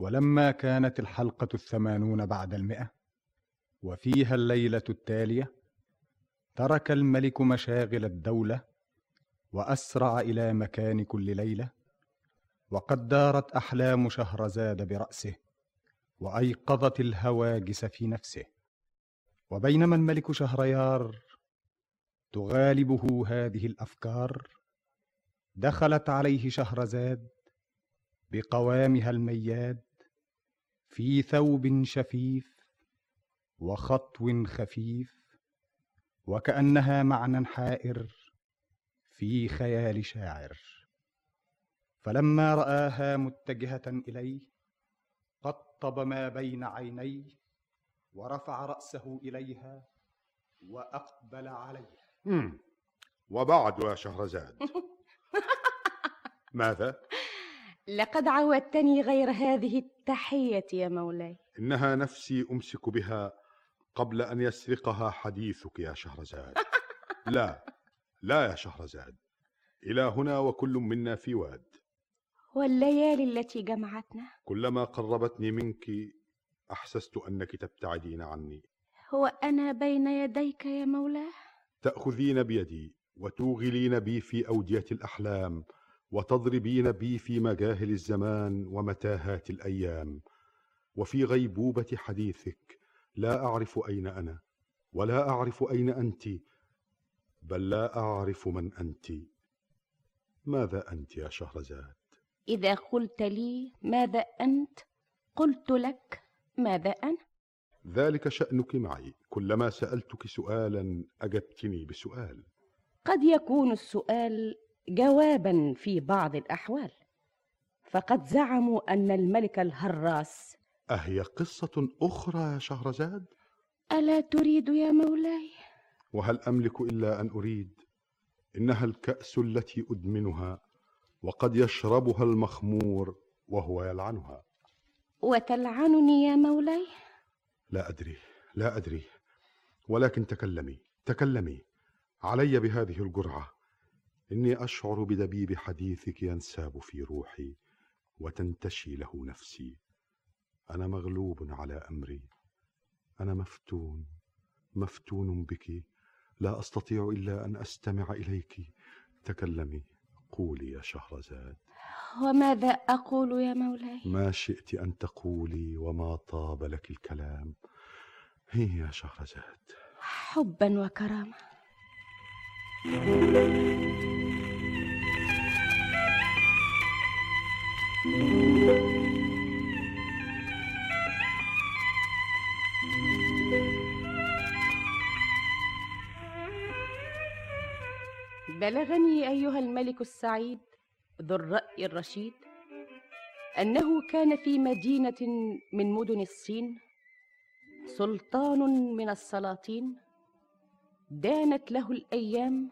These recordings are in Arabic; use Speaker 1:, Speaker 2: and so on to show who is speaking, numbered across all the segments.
Speaker 1: ولما كانت الحلقة الثمانون بعد المئة وفيها الليلة التالية ترك الملك مشاغل الدولة وأسرع إلى مكان كل ليلة وقد دارت أحلام شهرزاد برأسه وأيقظت الهواجس في نفسه وبينما الملك شهريار تغالبه هذه الأفكار دخلت عليه شهرزاد بقوامها المياد في ثوب شفيف وخطو خفيف وكانها معنى حائر في خيال شاعر فلما راها متجهه اليه قطب ما بين عينيه ورفع راسه اليها واقبل عليها
Speaker 2: مم. وبعد يا شهرزاد ماذا؟
Speaker 3: لقد عودتني غير هذه التحية يا مولاي
Speaker 2: إنها نفسي أمسك بها قبل أن يسرقها حديثك يا شهرزاد لا لا يا شهرزاد إلى هنا وكل منا في واد
Speaker 3: والليالي التي جمعتنا
Speaker 2: كلما قربتني منك أحسست أنك تبتعدين عني
Speaker 3: وأنا بين يديك يا مولاه
Speaker 2: تأخذين بيدي وتوغلين بي في أودية الأحلام وتضربين بي في مجاهل الزمان ومتاهات الأيام وفي غيبوبة حديثك لا أعرف أين أنا ولا أعرف أين أنت بل لا أعرف من أنت ماذا أنت يا شهرزاد
Speaker 3: إذا قلت لي ماذا أنت قلت لك ماذا أنا
Speaker 2: ذلك شأنك معي كلما سألتك سؤالا أجبتني بسؤال
Speaker 3: قد يكون السؤال جوابا في بعض الأحوال فقد زعموا أن الملك الهراس
Speaker 2: أهي قصة أخرى يا شهرزاد
Speaker 3: ألا تريد يا مولاي
Speaker 2: وهل املك الا ان اريد انها الكاس التي ادمنها وقد يشربها المخمور وهو يلعنها
Speaker 3: وتلعنني يا مولاي
Speaker 2: لا ادري لا ادري ولكن تكلمي تكلمي علي بهذه الجرعه اني اشعر بدبيب حديثك ينساب في روحي وتنتشي له نفسي انا مغلوب على امري انا مفتون مفتون بك لا استطيع الا ان استمع اليك تكلمي قولي يا شهرزاد
Speaker 3: وماذا أقول يا مولاي
Speaker 2: ما شئت ان تقولي وما طاب لك الكلام هي يا شهرزاد
Speaker 3: حبا وكرامة بلغني أيها الملك السعيد ذو الرأي الرشيد أنه كان في مدينة من مدن الصين سلطان من السلاطين دانت له الأيام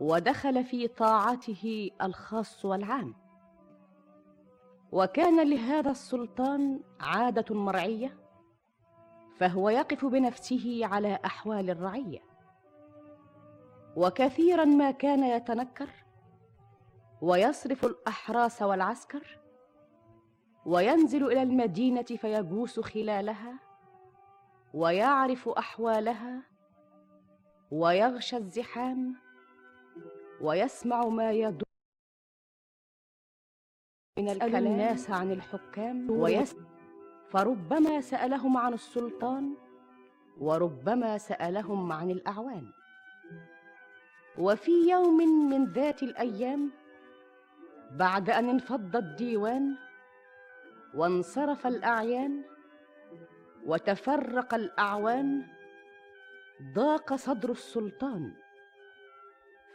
Speaker 3: ودخل في طاعته الخاص والعام وكان لهذا السلطان عادة مرعية فهو يقف بنفسه على أحوال الرعية وكثيرا ما كان يتنكر ويصرف الاحراس والعسكر وينزل الى المدينه فيجوس خلالها ويعرف احوالها ويغشى الزحام ويسمع ما يدور من الكلام الناس عن الحكام ويس فربما سالهم عن السلطان وربما سالهم عن الاعوان وفي يوم من ذات الايام بعد ان انفض الديوان وانصرف الاعيان وتفرق الاعوان ضاق صدر السلطان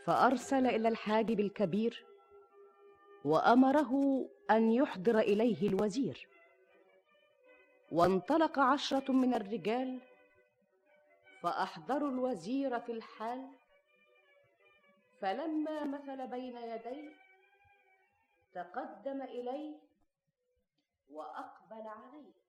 Speaker 3: فارسل الى الحاجب الكبير وامره ان يحضر اليه الوزير وانطلق عشره من الرجال فاحضروا الوزير في الحال فلما مثل بين يديه تقدم اليه واقبل عليه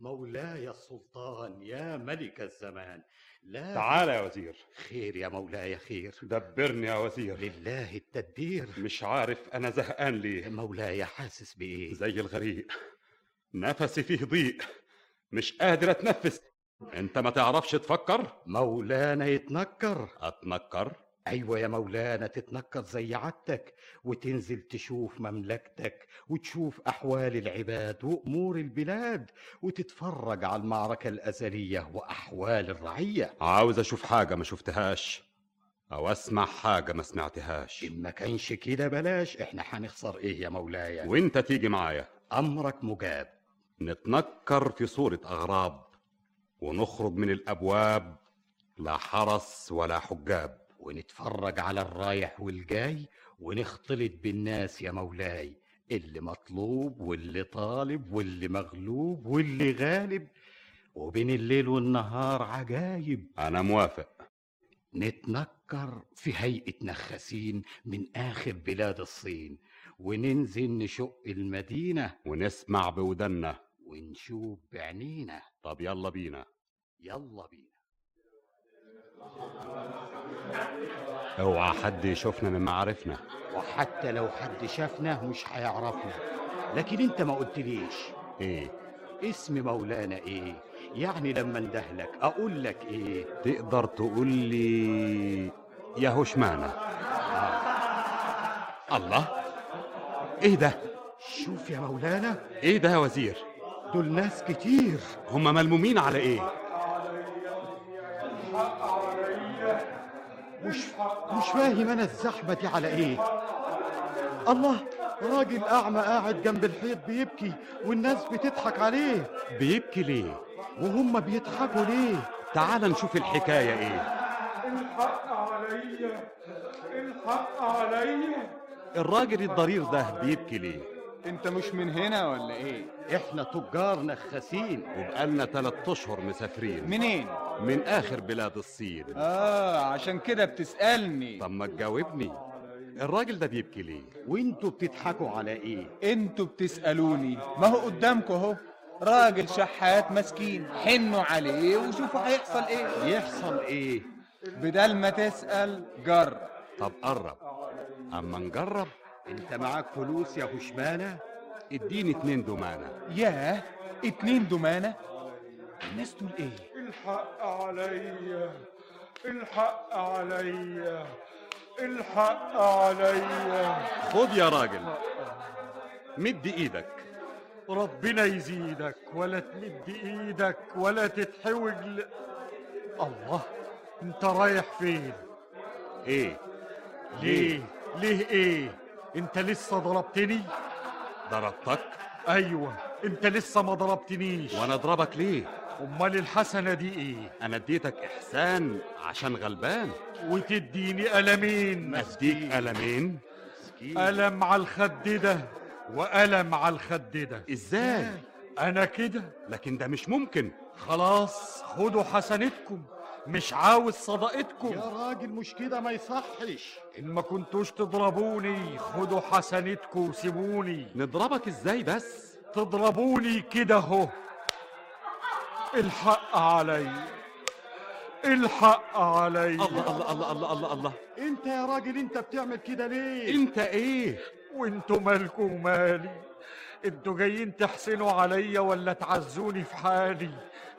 Speaker 4: مولاي السلطان يا ملك الزمان لا
Speaker 5: تعال يا وزير
Speaker 4: خير يا مولاي خير
Speaker 5: دبرني يا وزير
Speaker 4: لله التدبير
Speaker 5: مش عارف انا زهقان ليه
Speaker 4: مولاي حاسس بايه
Speaker 5: زي الغريق
Speaker 4: نفسي فيه ضيق مش قادر اتنفس انت ما تعرفش تفكر
Speaker 6: مولانا يتنكر
Speaker 4: اتنكر
Speaker 6: أيوة يا مولانا تتنكر زي عادتك وتنزل تشوف مملكتك وتشوف أحوال العباد وأمور البلاد وتتفرج على المعركة الأزلية وأحوال الرعية
Speaker 4: عاوز اشوف حاجه ما شفتهاش او اسمع حاجه ما سمعتهاش
Speaker 6: إن ما كانش كده بلاش إحنا هنخسر إيه يا مولايا
Speaker 4: وانت تيجي معايا
Speaker 6: أمرك مجاب
Speaker 4: نتنكر في صوره اغراب ونخرج من الابواب لا حرس ولا حجاب
Speaker 6: ونتفرج على الرايح والجاي ونختلط بالناس يا مولاي اللي مطلوب واللي طالب واللي مغلوب واللي غالب وبين الليل والنهار عجايب
Speaker 4: انا موافق
Speaker 6: نتنكر في هيئة نخاسين من آخر بلاد الصين وننزل نشق المدينة
Speaker 4: ونسمع بودنا
Speaker 6: ونشوف بعينينا
Speaker 4: طب يلا بينا
Speaker 6: يلا بينا
Speaker 4: اوعى حد يشوفنا من معارفنا
Speaker 6: وحتى لو حد شافنا مش هيعرفنا لكن انت ما قلتليش
Speaker 4: ايه
Speaker 6: اسم مولانا ايه يعني لما اندهلك اقول لك ايه
Speaker 4: تقدر تقول لي يا هشمانة الله ايه ده
Speaker 6: شوف يا مولانا
Speaker 4: ايه ده يا وزير
Speaker 6: دول ناس كتير
Speaker 4: هم ملمومين على ايه
Speaker 6: مش مش فاهم انا الزحمه دي على ايه الله راجل اعمى قاعد جنب الحيط بيبكي والناس بتضحك عليه
Speaker 4: بيبكي ليه
Speaker 6: وهم بيضحكوا ليه
Speaker 4: تعال نشوف الحكاية ايه
Speaker 5: الحق عليا الحق عليا
Speaker 4: الراجل الضرير ده بيبكي ليه
Speaker 2: انت مش من هنا ولا ايه
Speaker 6: احنا تجار نخاسين
Speaker 4: وبقالنا تلات اشهر مسافرين
Speaker 2: منين
Speaker 4: من اخر بلاد الصين
Speaker 2: اه عشان كده بتسالني
Speaker 4: طب ما تجاوبني الراجل ده بيبكي ليه
Speaker 6: وانتوا بتضحكوا على ايه
Speaker 2: انتوا بتسالوني ما هو قدامكم اهو راجل شحات مسكين حنوا عليه وشوفوا هيحصل ايه
Speaker 6: يحصل ايه
Speaker 2: بدل ما تسال جرب
Speaker 4: طب قرب اما نجرب
Speaker 6: انت معاك فلوس يا هشمانه
Speaker 4: اديني اتنين دمانه
Speaker 2: ياه اتنين دمانه الناس دول ايه
Speaker 5: الحق عليا الحق عليا الحق عليا
Speaker 4: خد يا راجل مد ايدك
Speaker 5: ربنا يزيدك ولا تمد ايدك ولا تتحوج ل... الله انت رايح فين
Speaker 4: ايه
Speaker 5: ليه ليه ايه انت لسه ضربتني
Speaker 4: ضربتك
Speaker 5: ايوه انت لسه ما ضربتنيش
Speaker 4: وانا اضربك ليه
Speaker 5: امال الحسنه دي ايه
Speaker 4: انا اديتك احسان عشان غلبان
Speaker 5: وتديني ألمين
Speaker 4: اديك قلمين
Speaker 5: ألم على الخد ده وألم على الخد ده
Speaker 4: ازاي
Speaker 5: أنا كده
Speaker 4: لكن ده مش ممكن
Speaker 5: خلاص خدوا حسنتكم مش عاوز صدقتكم
Speaker 6: يا راجل مش كده ما يصحش
Speaker 5: إن ما كنتوش تضربوني خدوا حسنتكم وسيبوني
Speaker 4: نضربك ازاي بس
Speaker 5: تضربوني كده أهو الحق علي الحق علي
Speaker 4: الله الله الله الله الله الله
Speaker 6: انت يا راجل انت بتعمل كده ليه
Speaker 4: انت ايه
Speaker 5: وانتوا مالكوا ومالي انتوا جايين تحسنوا عليا ولا تعزوني في حالي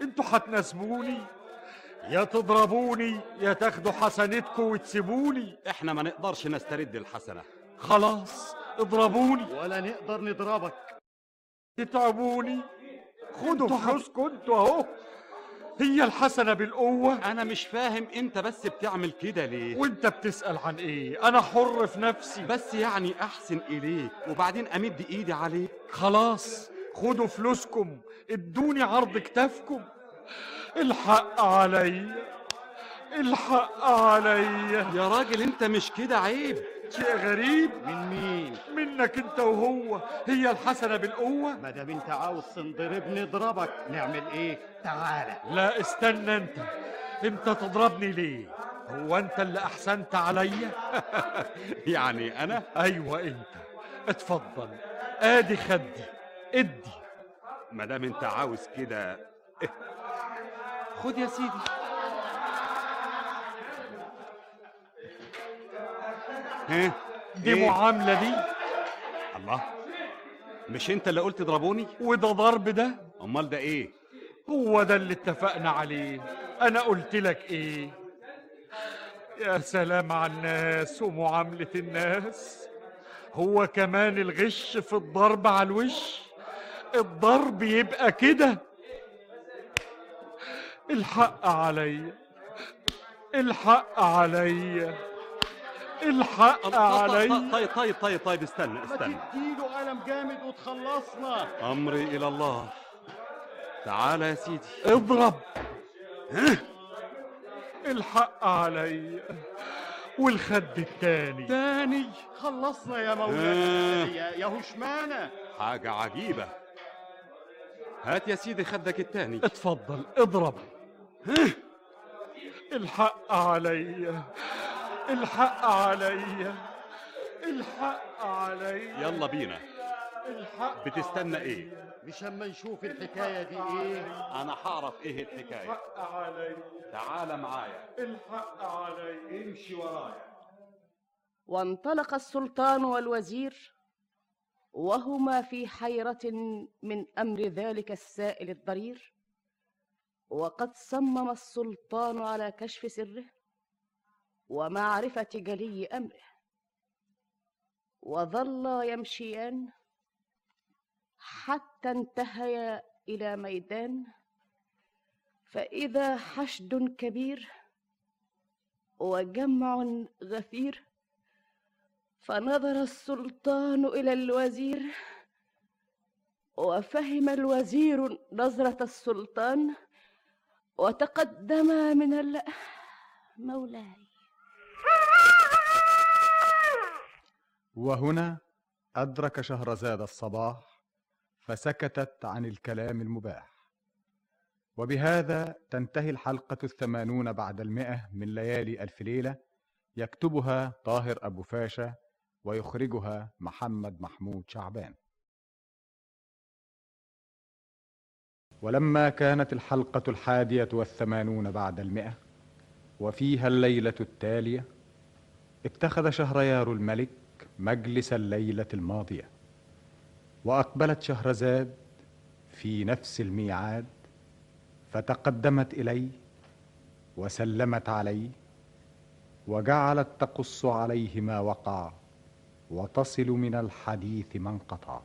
Speaker 5: انتوا هتناسبوني يا تضربوني يا تاخدوا حسنتكم وتسيبوني
Speaker 4: احنا ما نقدرش نسترد الحسنه
Speaker 5: خلاص اضربوني
Speaker 6: ولا نقدر نضربك
Speaker 5: اتعبوني خدوا فلوسكم انتوا اهو هي الحسنة بالقوة
Speaker 4: انا مش فاهم انت بس بتعمل كده ليه
Speaker 5: وانت بتسأل عن ايه انا حر في نفسي
Speaker 4: بس يعني احسن اليك وبعدين امد ايدي عليك
Speaker 5: خلاص خدوا فلوسكم ادوني عرض كتافكم الحق عليا الحق عليا
Speaker 4: يا راجل انت مش كده عيب
Speaker 5: شيء غريب
Speaker 6: من مين
Speaker 5: منك انت وهو هي الحسنة بالقوة
Speaker 6: ما دام انت عاوز تنضرب نضربك نعمل ايه تعالى
Speaker 5: لا استنى انت انت تضربني ليه هو انت اللي احسنت عليا
Speaker 4: يعني انا
Speaker 5: ايوه انت اتفضل ادي خدي ادي
Speaker 4: ما دام انت عاوز كده خد يا سيدي ها
Speaker 5: دي معاملة دي
Speaker 4: اه، ايه؟ الله مش انت اللي قلت اضربوني
Speaker 5: وده ضرب ده
Speaker 4: امال ده ايه
Speaker 5: هو ده اللي اتفقنا عليه انا قلت لك ايه يا سلام على الناس ومعاملة الناس هو كمان الغش في الضرب على الوش الضرب يبقى كده الحق عليا الحق عليا الحق عليا
Speaker 4: طيب طيب طيب طيب استنى استنى
Speaker 6: تديله قلم جامد وتخلصنا
Speaker 4: امري الى الله تعالى يا سيدي
Speaker 5: اضرب الحق عليا والخد التاني
Speaker 6: تاني خلصنا يا مولانا يا يا هشمانه
Speaker 4: حاجه عجيبه هات يا سيدي خدك التاني
Speaker 5: اتفضل اضرب إيه؟ الحق عليا الحق عليا الحق عليا
Speaker 4: يلا بينا
Speaker 5: الحق
Speaker 4: بتستنى ايه
Speaker 6: مش اما نشوف الحكايه دي ايه
Speaker 4: انا هعرف ايه الحكايه
Speaker 5: الحق عليا
Speaker 4: تعالى معايا
Speaker 5: الحق عليا امشي ورايا
Speaker 3: وانطلق السلطان والوزير وهما في حيرة من أمر ذلك السائل الضرير وقد صمم السلطان على كشف سره ومعرفة جلي أمره وظلا يمشيان حتى انتهيا إلى ميدان فإذا حشد كبير وجمع غفير فنظر السلطان الى الوزير وفهم الوزير نظره السلطان وتقدما من ال مولاي
Speaker 1: وهنا أدرك شهرزاد الصباح فسكتت عن الكلام المباح وبهذا تنتهي الحلقة الثمانون بعد المئة من ليالي ألف ليلة يكتبها طاهر أبو فاشا ويخرجها محمد محمود شعبان ولما كانت الحلقة الحادية والثمانون بعد المئة وفيها الليلة التالية اتخذ شهريار الملك مجلس الليلة الماضية وأقبلت شهرزاد في نفس الميعاد فتقدمت إليه وسلمت عليه وجعلت تقص عليه ما وقع وتصل من الحديث ما انقطع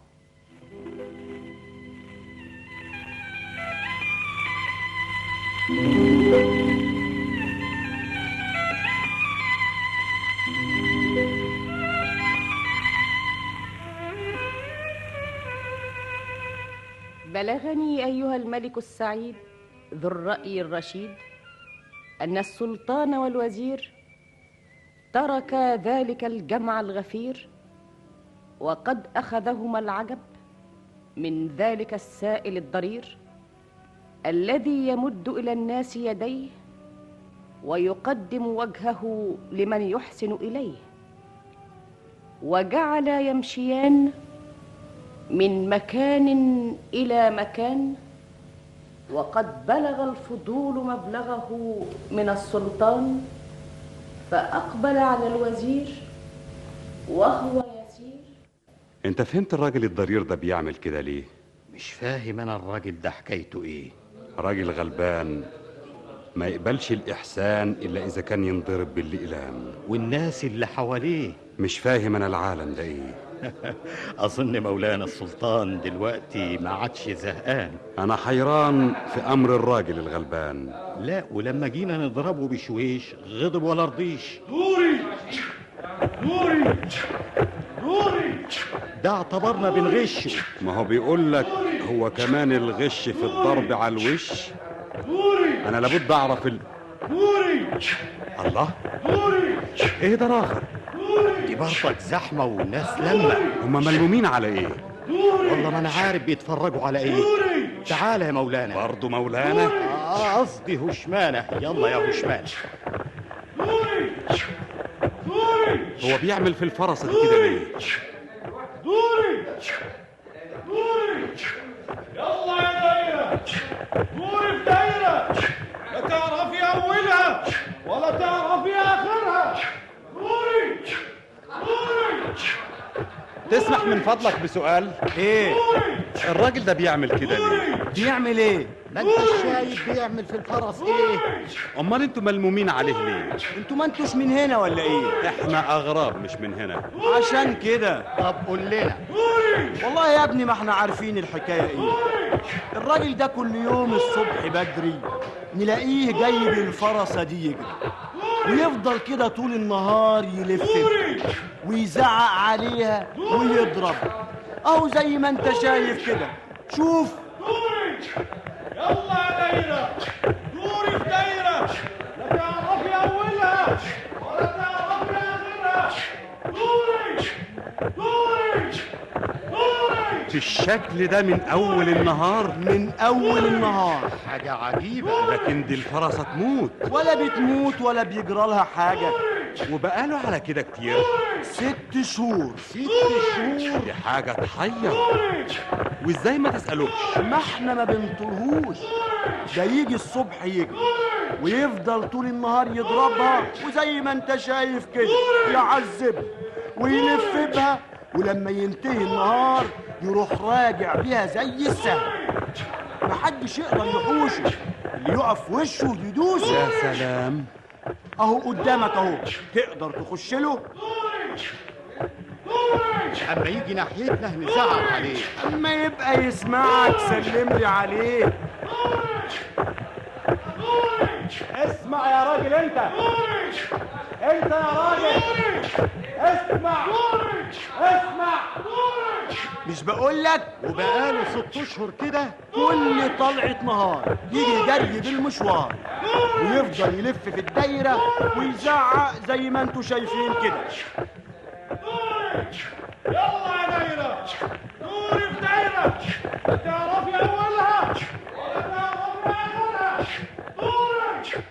Speaker 3: بلغني ايها الملك السعيد ذو الراي الرشيد ان السلطان والوزير تركا ذلك الجمع الغفير وقد اخذهما العجب من ذلك السائل الضرير الذي يمد الى الناس يديه ويقدم وجهه لمن يحسن اليه وجعلا يمشيان من مكان الى مكان وقد بلغ الفضول مبلغه من السلطان فاقبل على الوزير وهو يسير
Speaker 4: انت فهمت الراجل الضرير ده بيعمل كده ليه
Speaker 6: مش فاهم انا الراجل ده حكايته ايه
Speaker 4: راجل غلبان ما يقبلش الاحسان الا اذا كان ينضرب بالاقلام
Speaker 6: والناس اللي حواليه
Speaker 4: مش فاهم انا العالم ده ايه
Speaker 6: اظن مولانا السلطان دلوقتي ما عادش زهقان
Speaker 4: انا حيران في امر الراجل الغلبان
Speaker 6: لا ولما جينا نضربه بشويش غضب ولا رضيش نوري نوري نوري ده اعتبرنا بنغشه
Speaker 4: ما هو بيقول لك هو كمان الغش في الضرب على الوش انا لابد اعرف ال... الله ايه ده راغب
Speaker 6: دي برضك زحمه والناس لما
Speaker 4: هما ملمومين على ايه
Speaker 6: والله ما انا عارف بيتفرجوا على ايه تعالى يا مولانا
Speaker 4: برضه مولانا
Speaker 6: آه، قصدي هشمانه يلا يا هشمانه
Speaker 4: هو بيعمل في الفرس دي كده ليه
Speaker 7: يلا يا دايرة دوري في دايرة لا تعرفي أولها ولا تعرفي آخرها دوري دوري
Speaker 4: تسمح من فضلك بسؤال
Speaker 6: إيه؟
Speaker 4: ايه الراجل ده بيعمل كده ليه بيعمل ايه
Speaker 6: إيه؟
Speaker 8: ما انت شايف بيعمل في الفرس ايه
Speaker 4: امال انتوا ملمومين عليه ليه
Speaker 8: انتوا ما انتوش من هنا ولا ايه
Speaker 4: احنا اغراب مش من هنا
Speaker 8: عشان كده طب قول لنا والله يا ابني ما احنا عارفين الحكايه ايه الراجل ده كل يوم الصبح بدري نلاقيه جاي بالفرسه دي يجري ويفضل كده طول النهار يلف ويزعق عليها ويضرب اهو زي ما انت شايف كده شوف
Speaker 7: يلا يا دايرة دوري في دايرة لا تعرفي أولها ولا تعرفي آخرها دوري دوري دوري
Speaker 4: الشكل ده من اول النهار
Speaker 8: من اول النهار
Speaker 4: حاجه عجيبه لكن دي الفرسه تموت
Speaker 8: ولا بتموت ولا بيجرى لها حاجه
Speaker 4: وبقاله على كده كتير
Speaker 8: ست شهور
Speaker 4: ست شهور دي حاجه تحير وازاي ما تسالوش
Speaker 8: ما احنا ما بنطلهوش ده يجي الصبح يجري ويفضل طول النهار يضربها وزي ما انت شايف كده يعذبها ويلف بها ولما ينتهي النهار يروح راجع بيها زي السهم محدش يقدر يحوشه اللي يقف وشه يدوسه
Speaker 4: يا سلام
Speaker 8: اهو قدامك اهو تقدر تخش له
Speaker 5: اما يجي ناحيتنا هنزعل عليه
Speaker 8: اما يبقى يسمعك سلم لي عليه
Speaker 7: اسمع يا راجل انت انت يا راجل اسمع اسمع
Speaker 8: مش بقولك
Speaker 5: وبقاله ست اشهر كده
Speaker 8: كل طلعة نهار يجي جري بالمشوار ويفضل يلف في الدايرة ويزعق زي ما انتوا شايفين كده
Speaker 7: يلا يا دايرة دوري في دايرة لا تعرفي أولها ولا تعرفي آخرها دوري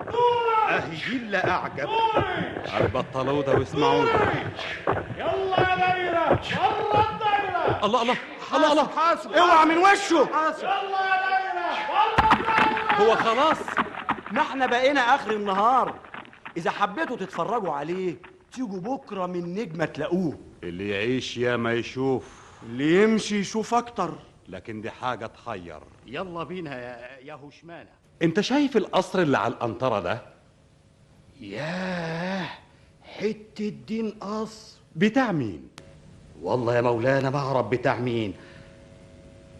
Speaker 7: دوري
Speaker 5: اهي الا اعجب
Speaker 7: دوري
Speaker 4: البطلوه ده واسمعوه
Speaker 7: يلا يا دايرة بره الدايرة
Speaker 4: الله الله الله الله
Speaker 8: حاسب اوعى من وشه
Speaker 7: يلا يا دايرة بره الدايرة
Speaker 4: هو خلاص
Speaker 8: ما احنا بقينا اخر النهار اذا حبيتوا تتفرجوا عليه تيجوا بكرة من نجمة تلاقوه
Speaker 4: اللي يعيش يا ما يشوف
Speaker 8: اللي يمشي يشوف اكتر
Speaker 4: لكن دي حاجه تحير
Speaker 5: يلا بينا يا- يا هشمانه
Speaker 4: انت شايف القصر اللي على القنطره ده
Speaker 5: ياه حته دين قصر
Speaker 4: بتاع مين
Speaker 5: والله يا مولانا ما اعرف بتاع مين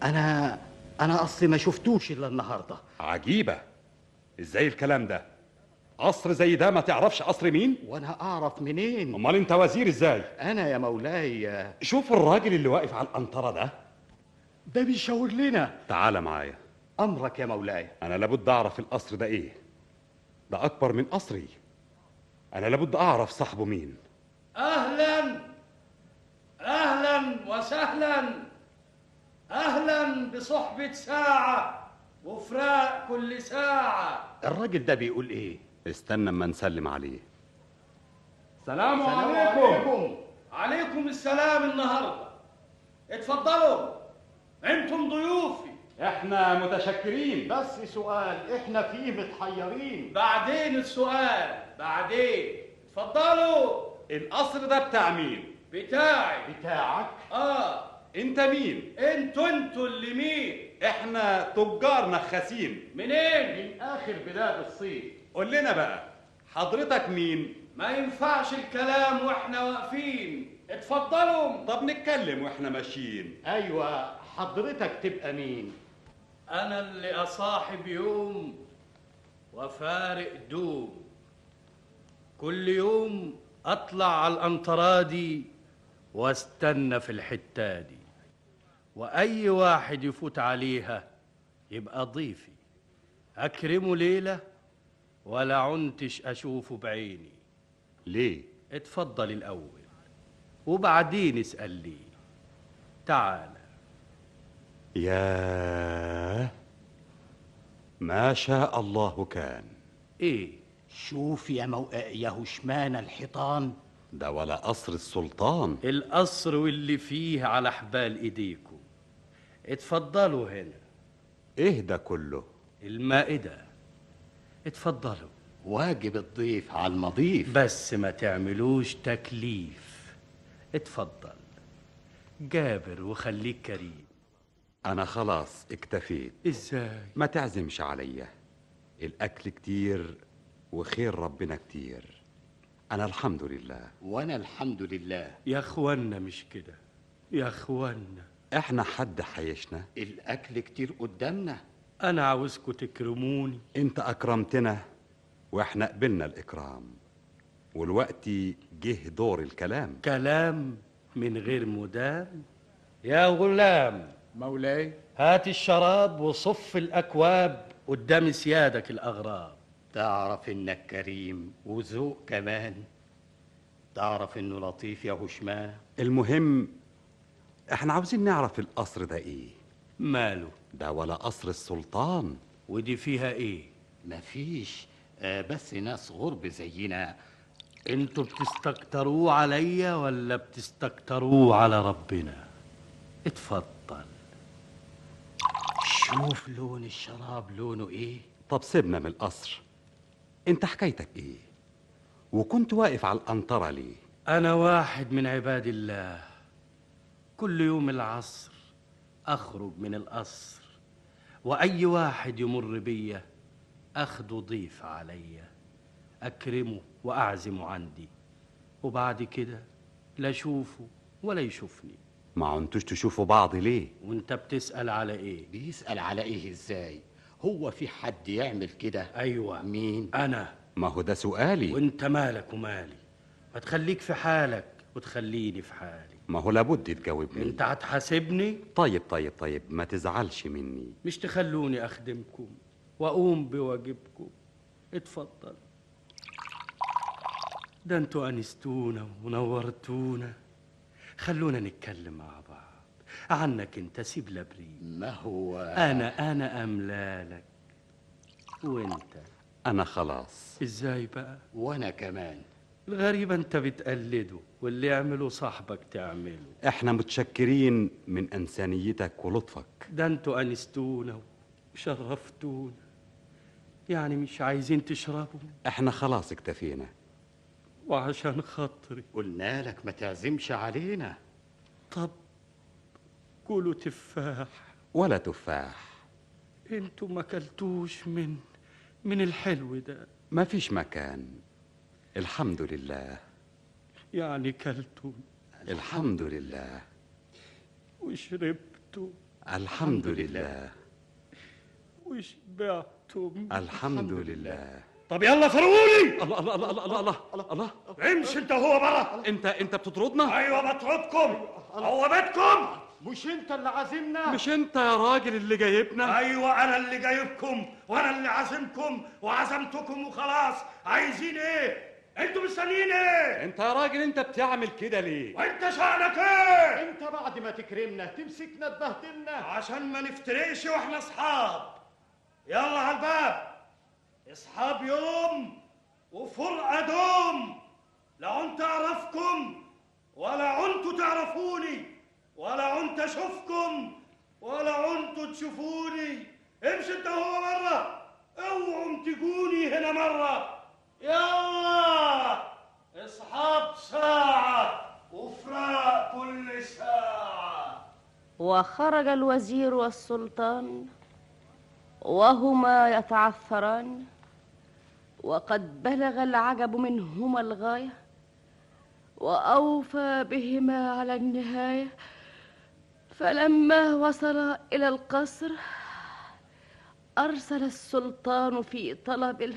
Speaker 5: انا انا اصلي ما شفتوش الا النهارده
Speaker 4: عجيبه ازاي الكلام ده قصر زي ده ما تعرفش قصر مين
Speaker 5: وانا اعرف منين
Speaker 4: امال انت وزير ازاي
Speaker 5: انا يا مولاي
Speaker 4: شوف الراجل اللي واقف على القنطره ده
Speaker 5: ده بيشاور لنا
Speaker 4: تعال معايا
Speaker 5: امرك يا مولاي
Speaker 4: انا لابد اعرف القصر ده ايه ده اكبر من قصري انا لابد اعرف صاحبه مين
Speaker 9: اهلا اهلا وسهلا اهلا بصحبه ساعه وفراق كل ساعه
Speaker 5: الراجل ده بيقول ايه
Speaker 4: استنى اما نسلم عليه
Speaker 9: السلام, عليكم. عليكم عليكم السلام النهارده اتفضلوا انتم ضيوفي
Speaker 4: احنا متشكرين
Speaker 5: بس سؤال احنا فيه متحيرين
Speaker 9: بعدين السؤال بعدين اتفضلوا
Speaker 4: القصر ده بتاع مين
Speaker 9: بتاعي
Speaker 5: بتاعك
Speaker 9: اه
Speaker 4: انت مين
Speaker 9: انتوا انتوا اللي مين
Speaker 4: احنا تجار نخاسين
Speaker 9: منين
Speaker 5: اخر بلاد الصين
Speaker 4: قول لنا بقى حضرتك مين
Speaker 9: ما ينفعش الكلام واحنا واقفين اتفضلوا أيوة،
Speaker 4: طب نتكلم واحنا ماشيين
Speaker 5: ايوه حضرتك تبقى مين
Speaker 9: انا اللي اصاحب يوم وفارق دوم كل يوم اطلع على الانطرة دي واستنى في الحتة دي واي واحد يفوت عليها يبقى ضيفي اكرمه ليلة ولا عنتش اشوفه بعيني
Speaker 4: ليه
Speaker 9: اتفضل الاول وبعدين اسال لي تعال
Speaker 4: يا ما شاء الله كان
Speaker 9: ايه
Speaker 6: إيه؟
Speaker 5: شوف يا مو... يا هشمانه الحيطان
Speaker 4: ده ولا قصر السلطان
Speaker 9: القصر واللي فيه على حبال ايديكم اتفضلوا هنا
Speaker 4: ايه ده كله
Speaker 9: المائدة اتفضلوا
Speaker 5: واجب الضيف على المضيف
Speaker 9: بس ما تعملوش تكليف اتفضل جابر وخليك كريم
Speaker 4: أنا خلاص اكتفيت
Speaker 9: إزاي؟
Speaker 4: ما تعزمش عليا الأكل كتير وخير ربنا كتير أنا الحمد لله
Speaker 6: وأنا الحمد لله
Speaker 9: يا اخوانا مش كده يا اخوانا
Speaker 4: إحنا حد حيشنا
Speaker 6: الأكل كتير قدامنا
Speaker 9: أنا عاوزكم تكرموني
Speaker 4: أنت أكرمتنا وإحنا قبلنا الإكرام والوقت جه دور الكلام
Speaker 9: كلام من غير مدام يا غلام
Speaker 2: مولاي
Speaker 9: هات الشراب وصف الأكواب قدام سيادك الأغراب
Speaker 6: تعرف إنك كريم وذوق كمان تعرف إنه لطيف يا هشام
Speaker 4: المهم إحنا عاوزين نعرف القصر ده إيه
Speaker 9: ماله
Speaker 4: ده ولا قصر السلطان
Speaker 9: ودي فيها إيه
Speaker 6: مفيش آه بس ناس غرب زينا
Speaker 9: انتوا بتستكتروه عليا ولا بتستكتروه على ربنا اتفضل
Speaker 6: شوف لون الشراب لونه ايه
Speaker 4: طب سيبنا من القصر أنت حكايتك إيه وكنت واقف على القنطرة ليه
Speaker 9: انا واحد من عباد الله كل يوم العصر اخرج من القصر واي واحد يمر بيا اخده ضيف عليا اكرمه واعزمه عندي وبعد كده لا اشوفه ولا يشوفني
Speaker 4: ما عنتوش تشوفوا بعض ليه
Speaker 9: وانت بتسال على ايه
Speaker 6: بيسأل على ايه ازاي هو في حد يعمل كده
Speaker 9: ايوه
Speaker 6: مين
Speaker 9: انا
Speaker 4: ما هو ده سؤالي
Speaker 9: وانت مالك ومالي ما تخليك في حالك وتخليني في حالي
Speaker 4: ما هو لابد تجاوبني
Speaker 9: انت هتحاسبني
Speaker 4: طيب طيب طيب ما تزعلش مني
Speaker 9: مش تخلوني اخدمكم واقوم بواجبكم اتفضل ده انتوا انستونا ونورتونا خلونا نتكلم مع بعض عنك انت سيب لبريد
Speaker 6: ما هو
Speaker 9: انا انا املالك وانت
Speaker 4: أنا خلاص
Speaker 9: ازاي بقى
Speaker 6: وانا كمان
Speaker 9: الغريب انت بتقلده واللي يعمله صاحبك تعمله
Speaker 4: إحنا متشكرين من إنسانيتك ولطفك
Speaker 9: ده انتوا انستونا وشرفتونا يعني مش عايزين تشربوا
Speaker 4: إحنا خلاص اكتفينا
Speaker 9: وعشان خاطري
Speaker 6: قلنا لك ما تعزمش علينا
Speaker 9: طب كلوا تفاح
Speaker 4: ولا تفاح
Speaker 9: انتوا ما كلتوش من من الحلو ده
Speaker 4: ما فيش مكان الحمد لله
Speaker 9: يعني كلتوا
Speaker 4: الحمد لله
Speaker 9: وشربتوا
Speaker 4: الحمد لله
Speaker 9: وشبعتم
Speaker 4: الحمد لله
Speaker 9: طب يلا فرقوني
Speaker 4: الله الله الله الله الله الله الله
Speaker 5: امشي انت هو برا
Speaker 4: أنت أنت بتطردنا
Speaker 9: أيوة،
Speaker 5: ايوه بطردكم عوابتكم
Speaker 7: مش انت اللي عازمنا
Speaker 4: مش أنت يا راجل اللي جايبنا
Speaker 5: ايوه انا اللي جايبكم وانا اللي عازمكم وعزمتكم وخلاص عايزين ايه انتوا مستنيين ايه
Speaker 4: أنت يا راجل أنت بتعمل كده ليه
Speaker 5: وانت شأنك ايه
Speaker 7: انت بعد ما تكرمنا تمسكنا تبهدلنا
Speaker 5: عشان ما نفترقش واحنا اصحاب يلا على الباب اصحاب يوم وفرقه دوم لا عنت اعرفكم ولا عنتوا تعرفوني ولا عنت اشوفكم ولا عنتوا تشوفوني امشي انت هو مره اوعوا تجوني هنا مره يلا اصحاب ساعه وفراق كل ساعه
Speaker 3: وخرج الوزير والسلطان وهما يتعثران وقد بلغ العجب منهما الغايه واوفى بهما على النهايه فلما وصلا الى القصر ارسل السلطان في طلب ال-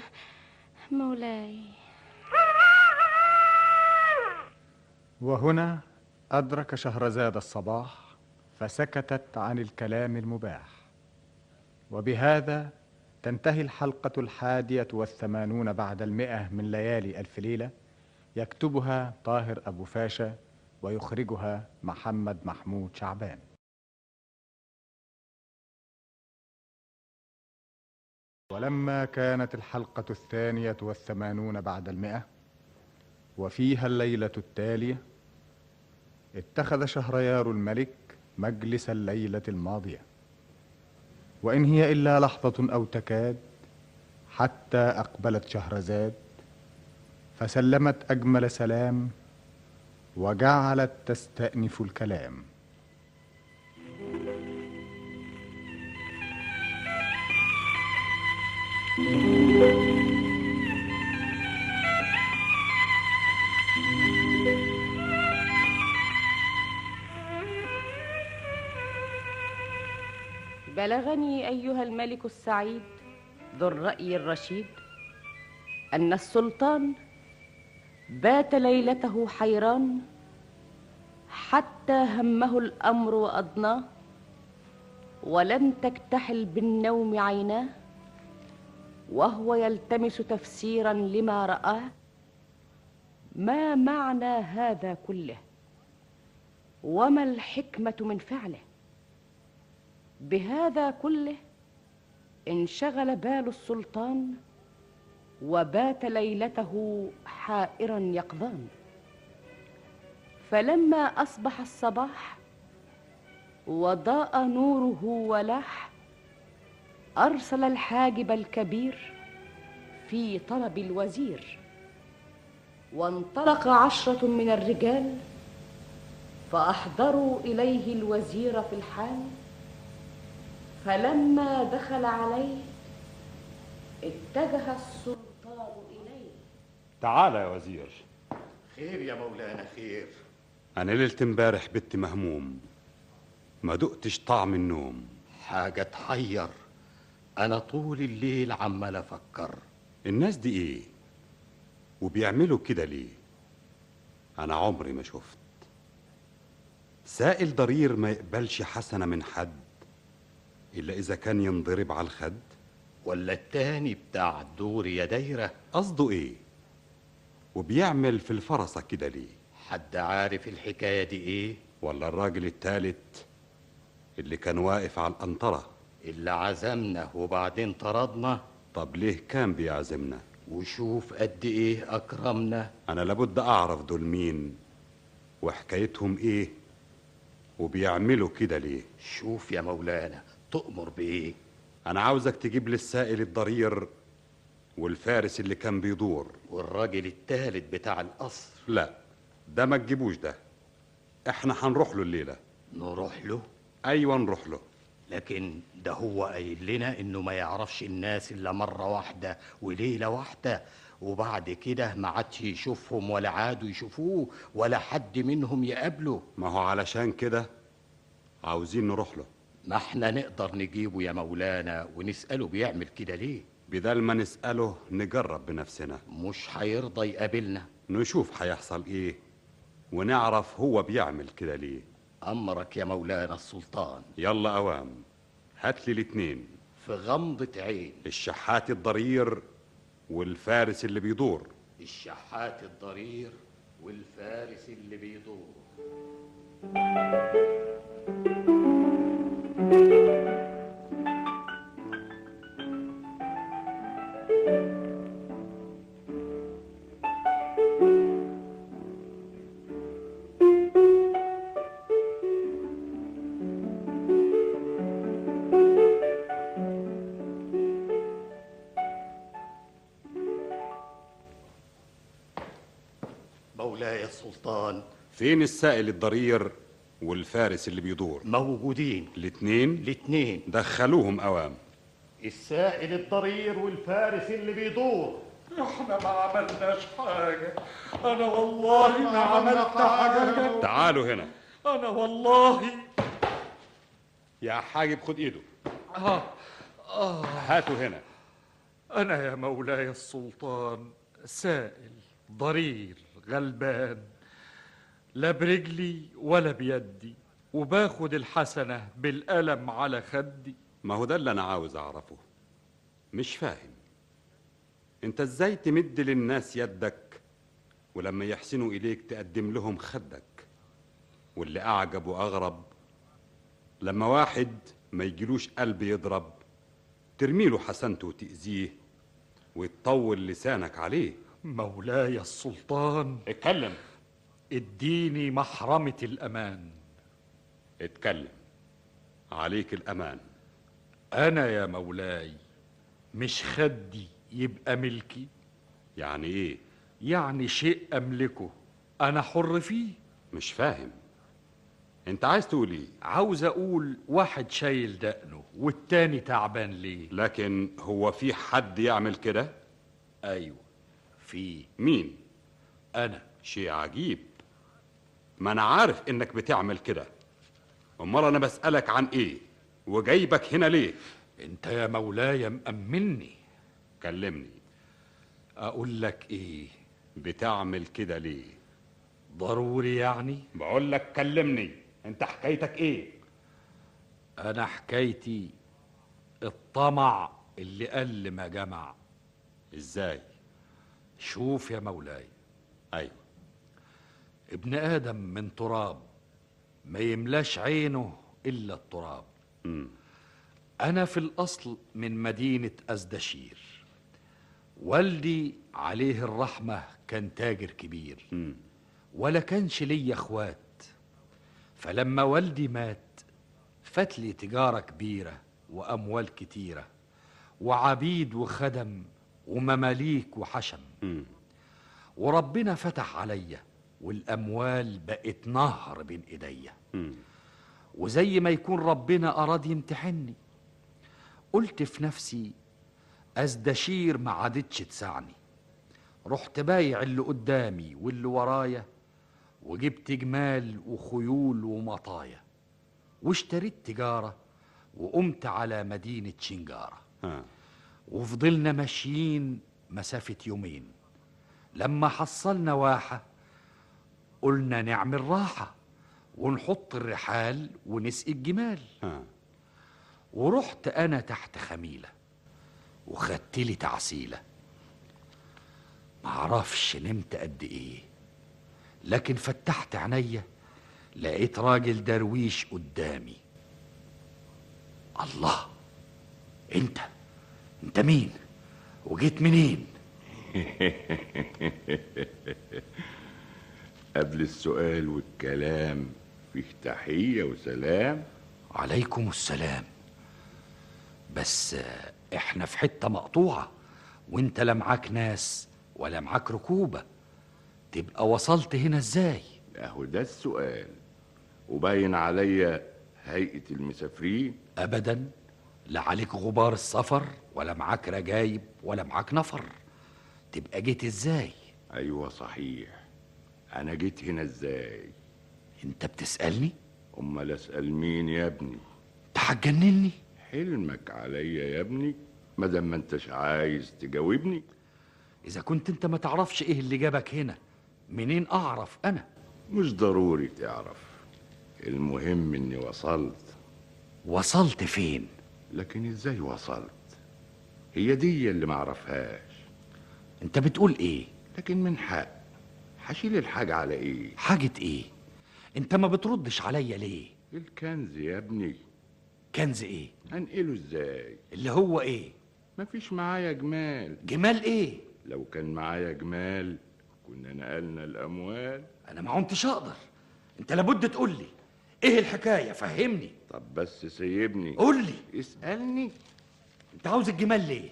Speaker 3: مولاي
Speaker 1: وهنا أدرك شهرزاد الصباح فسكتت عن الكلام المباح وبهذا تنتهي الحلقة الحادية والثمانون بعد المئة من ليالي ألف ليلة يكتبها طاهر أبو فاشا ويخرجها محمد محمود شعبان ولما كانت الحلقة الثانية والثمانون بعد المئة وفيها الليلة التالية اتخذ شهريار الملك مجلس الليلة الماضية وإن هي إلا لحظة أو تكاد حتى أقبلت شهرزاد فسلمت أجمل سلام وجعلت تستأنف الكلام
Speaker 3: بلغني ايها الملك السعيد ذو الراي الرشيد ان السلطان بات ليلته حيران حتى همه الامر وادناه ولم تكتحل بالنوم عيناه وهو يلتمس تفسيرا لما راه ما معنى هذا كله وما الحكمه من فعله بهذا كله انشغل بال السلطان وبات ليلته حائرا يقظان فلما اصبح الصباح وضاء نوره ولاح ارسل الحاجب الكبير في طلب الوزير وانطلق عشره من الرجال فاحضروا اليه الوزير في الحال فلما دخل عليه اتجه السلطان اليه
Speaker 10: تعال يا وزير
Speaker 6: خير يا مولانا خير
Speaker 4: أنا ليلة امبارح بنتي مهموم ما دقتش طعم النوم
Speaker 6: حاجة تحير أنا طول الليل عمال أفكر
Speaker 4: الناس دي إيه؟ وبيعملوا كده ليه؟ أنا عمري ما شفت سائل ضرير ما يقبلش حسنة من حد إلا إذا كان ينضرب على الخد
Speaker 6: ولا التاني بتاع الدور يا دايرة
Speaker 4: قصده إيه؟ وبيعمل في الفرصة كده ليه؟
Speaker 6: حد عارف الحكاية دي إيه؟
Speaker 4: ولا الراجل التالت اللي كان واقف على القنطرة
Speaker 6: اللي عزمنا وبعدين طردنا
Speaker 4: طب ليه كان بيعزمنا؟
Speaker 6: وشوف قد إيه أكرمنا
Speaker 4: أنا لابد أعرف دول مين وحكايتهم إيه وبيعملوا كده ليه
Speaker 6: شوف يا مولانا تؤمر بإيه؟
Speaker 4: أنا عاوزك تجيب لي السائل الضرير والفارس اللي كان بيدور
Speaker 6: والراجل التالت بتاع القصر
Speaker 4: لا ده ما تجيبوش ده احنا هنروح له الليلة
Speaker 6: نروح له؟
Speaker 4: أيوة نروح له
Speaker 6: لكن ده هو قايل لنا إنه ما يعرفش الناس إلا مرة واحدة وليلة واحدة وبعد كده ما عادش يشوفهم ولا عادوا يشوفوه ولا حد منهم يقابله
Speaker 4: ما هو علشان كده عاوزين نروح له
Speaker 6: ما احنا نقدر نجيبه يا مولانا ونسأله بيعمل كده ليه
Speaker 4: بدل ما نسأله نجرب بنفسنا
Speaker 6: مش هيرضى يقابلنا
Speaker 4: نشوف هيحصل ايه ونعرف هو بيعمل كده ليه
Speaker 6: أمرك يا مولانا السلطان
Speaker 4: يلا أوام هات لي الاتنين
Speaker 6: في غمضة عين
Speaker 4: الشحات الضرير والفارس اللي بيدور
Speaker 6: الشحات الضرير والفارس اللي بيدور مولاي السلطان
Speaker 4: فين السائل الضرير والفارس اللي بيدور
Speaker 6: موجودين
Speaker 4: الاتنين
Speaker 6: الاتنين
Speaker 4: دخلوهم أوام
Speaker 6: السائل الضرير والفارس اللي بيدور
Speaker 5: احنا ما عملناش حاجة انا والله ما عملت حاجة
Speaker 4: تعالوا هنا
Speaker 5: انا والله
Speaker 4: يا حاجب خد ايده
Speaker 5: آه. آه.
Speaker 4: هاتوا هنا
Speaker 5: انا يا مولاي السلطان سائل ضرير غلبان لا برجلي ولا بيدي وباخد الحسنة بالقلم على خدي
Speaker 4: ما هو ده اللي أنا عاوز أعرفه مش فاهم أنت إزاي تمد للناس يدك ولما يحسنوا إليك تقدم لهم خدك واللي أعجب وأغرب لما واحد ما يجيلوش قلب يضرب ترميله حسنته وتأذيه وتطول لسانك عليه
Speaker 5: مولاي السلطان
Speaker 4: اتكلم
Speaker 5: اديني محرمة الأمان
Speaker 4: اتكلم عليك الأمان
Speaker 5: أنا يا مولاي مش خدي يبقى ملكي
Speaker 4: يعني إيه؟
Speaker 5: يعني شيء أملكه أنا حر فيه
Speaker 4: مش فاهم انت عايز تقول ايه
Speaker 11: عاوز اقول واحد شايل دقنه والتاني تعبان ليه
Speaker 4: لكن هو في حد يعمل كده
Speaker 5: أيوه،
Speaker 11: ايوه في
Speaker 4: مين
Speaker 11: انا
Speaker 4: شيء عجيب ما انا عارف انك بتعمل كده امال انا بسالك عن ايه وجايبك هنا ليه
Speaker 11: انت يا مولاي مأمني
Speaker 4: كلمني
Speaker 11: اقول لك ايه
Speaker 4: بتعمل كده ليه
Speaker 11: ضروري يعني
Speaker 4: بقول لك كلمني انت حكايتك ايه
Speaker 11: انا حكايتي الطمع اللي قل ما جمع
Speaker 4: ازاي
Speaker 11: شوف يا مولاي
Speaker 4: ايوه
Speaker 11: ابن ادم من تراب ما يملاش عينه الا التراب
Speaker 4: امم
Speaker 11: انا في الاصل من مدينه ازدشير والدي عليه الرحمه كان تاجر كبير
Speaker 4: امم
Speaker 11: ولا كانش ليا اخوات فلما والدي مات فات لي تجاره كبيره واموال كتيره وعبيد وخدم ومماليك وحشم
Speaker 4: امم
Speaker 11: وربنا فتح عليا والاموال بقت نهر بين ايديا
Speaker 4: امم
Speaker 11: وزي ما يكون ربنا أراد يمتحني قلت في نفسي أزدشير ما عادتش تسعني رحت بايع اللي قدامي واللي ورايا وجبت جمال وخيول ومطايا واشتريت تجارة وقمت على مدينة شنجارة
Speaker 4: ها
Speaker 11: وفضلنا ماشيين مسافة يومين لما حصلنا واحة قلنا نعمل راحة ونحط الرحال ونسقي الجمال
Speaker 4: ها
Speaker 11: ورحت أنا تحت خميلة وخدت لي تعسيلة معرفش نمت قد إيه لكن فتحت عينيا لقيت راجل درويش قدامي الله انت انت مين وجيت منين
Speaker 12: قبل السؤال والكلام فيه تحية وسلام
Speaker 11: عليكم السلام بس آه، احنا في حتة مقطوعة وانت لا معاك ناس ولا معاك ركوبة تبقى وصلت هنا ازاي
Speaker 12: أهو ده السؤال وباين عليا هيئة المسافرين
Speaker 11: ابدا لا عليك غبار السفر ولا معاك رجايب ولا معاك نفر تبقى جيت ازاي
Speaker 12: أيوة صحيح أنا جيت هنا إزاي
Speaker 11: انت بتسألني
Speaker 12: أمال أسأل مين يا ابني
Speaker 11: انت هتجنني
Speaker 12: حلمك عليا يا ابني مادام ما انتش عايز تجاوبني
Speaker 11: اذا كنت انت ما تعرفش ايه اللي جابك هنا منين اعرف انا
Speaker 12: مش ضروري تعرف المهم اني وصلت
Speaker 11: وصلت فين
Speaker 12: لكن ازاي وصلت هي دي اللي معرفهاش
Speaker 11: انت بتقول ايه
Speaker 12: لكن من حق هشيل الحاجة على ايه
Speaker 11: حاجة ايه انت ما بتردش عليا ليه
Speaker 12: الكنز يا ابني
Speaker 11: كنز ايه
Speaker 12: هنقله ازاي
Speaker 11: اللي هو ايه
Speaker 12: مفيش معايا جمال
Speaker 11: جمال ايه
Speaker 12: لو كان معايا جمال كنا نقلنا الاموال
Speaker 11: انا ما عمتش اقدر انت لابد تقول لي ايه الحكايه فهمني
Speaker 12: طب بس سيبني
Speaker 11: قول لي
Speaker 12: اسألني
Speaker 11: انت عاوز الجمال ليه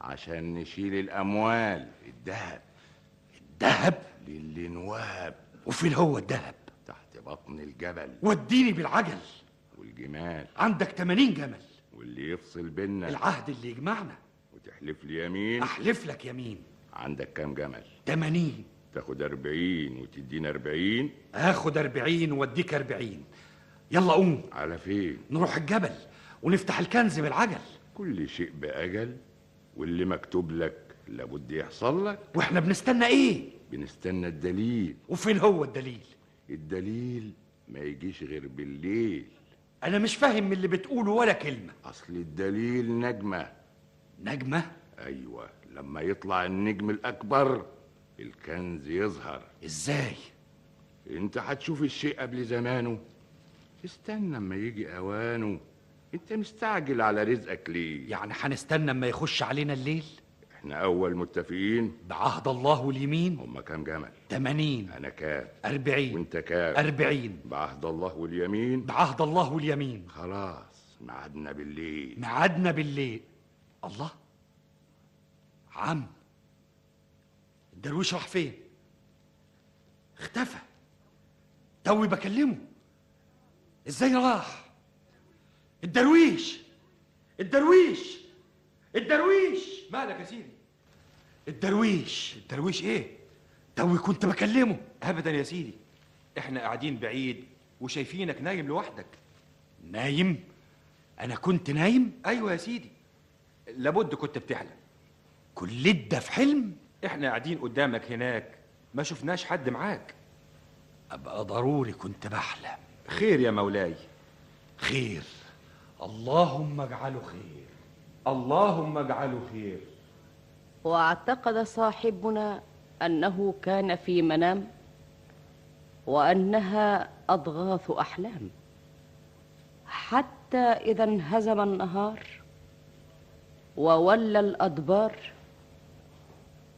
Speaker 12: عشان نشيل الاموال الذهب
Speaker 11: الذهب
Speaker 12: للي نواب
Speaker 11: وفين هو الذهب
Speaker 12: تحت بطن الجبل
Speaker 11: وديني بالعجل
Speaker 12: والجمال
Speaker 11: عندك 80 جمل
Speaker 12: واللي يفصل بينا
Speaker 11: العهد اللي يجمعنا
Speaker 12: وتحلف لي يمين
Speaker 11: احلف لك يمين
Speaker 12: عندك كام جمل
Speaker 11: 80
Speaker 12: تاخد أربعين وتدينا أربعين
Speaker 11: هاخد 40 واديك 40 يلا قوم
Speaker 12: على فين
Speaker 11: نروح الجبل ونفتح الكنز بالعجل
Speaker 12: كل شيء بأجل واللي مكتوب لك لابد يحصل لك
Speaker 11: واحنا بنستنى ايه
Speaker 12: بنستنى الدليل
Speaker 11: وفين هو الدليل
Speaker 12: الدليل ما يجيش غير بالليل
Speaker 11: انا مش فاهم من اللي بتقوله ولا كلمه
Speaker 12: أصل الدليل نجمة
Speaker 11: نجمه
Speaker 12: أيوة لما يطلع النجم الأكبر الكنز يظهر
Speaker 11: ازاي
Speaker 12: انت هتشوف الشيء قبل زمانه استنى اما يجي اوانه انت مستعجل على رزقك ليه
Speaker 11: يعني هنستنى اما يخش علينا الليل
Speaker 12: احنا اول متفقين
Speaker 11: بعهد الله واليمين
Speaker 12: هما كام جمل
Speaker 11: 80
Speaker 12: انا كام
Speaker 11: 40
Speaker 12: وانت كام
Speaker 11: 40
Speaker 12: بعهد الله واليمين
Speaker 11: بعهد الله واليمين
Speaker 12: خلاص ميعادنا بالليل
Speaker 11: ميعادنا بالليل الله عم الدرويش راح فين اختفى
Speaker 5: توي بكلمه ازاي راح الدرويش الدرويش الدرويش مالك يا سيدي الدرويش الدرويش
Speaker 13: إيه؟
Speaker 5: ايه توي كنت بكلمه
Speaker 13: ابدا يا سيدي احنا قاعدين بعيد وشايفينك نايم لوحدك
Speaker 5: نايم انا كنت نايم
Speaker 13: ايوه يا سيدي لابد كنت بتحلم
Speaker 5: كل ده في حلم
Speaker 13: احنا قاعدين قدامك هناك ما شفناش حد معاك
Speaker 5: ابقى ضروري كنت بحلم
Speaker 13: خير يا مولاي
Speaker 5: خير اللهم اجعله خير
Speaker 13: اللهم اجعله خير
Speaker 3: واعتقد صاحبنا انه كان في منام وانها اضغاث احلام حتى اذا انهزم النهار وولى الادبار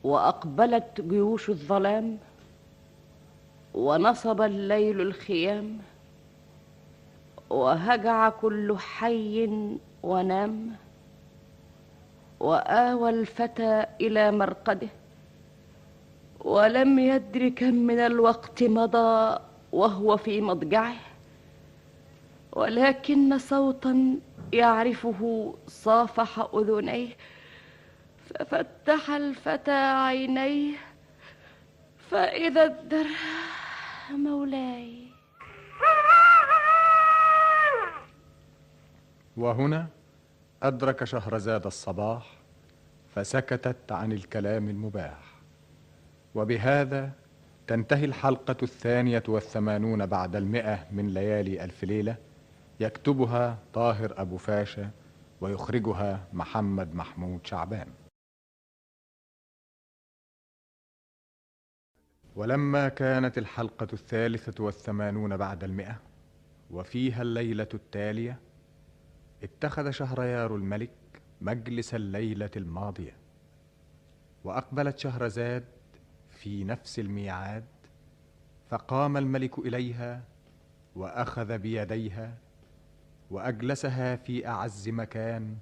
Speaker 3: واقبلت جيوش الظلام ونصب الليل الخيام وهجع كل حي ونام واوى الفتى الى مرقده ولم يدر كم من الوقت مضى وهو في مضجعه ولكن صوتا يعرفه صافح اذنيه ففتح الفتى عينيه فاذا الدر مولاي
Speaker 1: وهنا أدرك شهرزاد الصباح فسكتت عن الكلام المباح وبهذا تنتهي الحلقة الثانية والثمانون بعد المئة من ليالي ألف ليلة يكتبها طاهر أبو فاشا ويخرجها محمد محمود شعبان ولما كانت الحلقة الثالثة والثمانون بعد المئة وفيها الليلة التالية اتخذ شهريار الملك مجلس الليله الماضيه واقبلت شهرزاد في نفس الميعاد فقام الملك اليها واخذ بيديها واجلسها في اعز مكان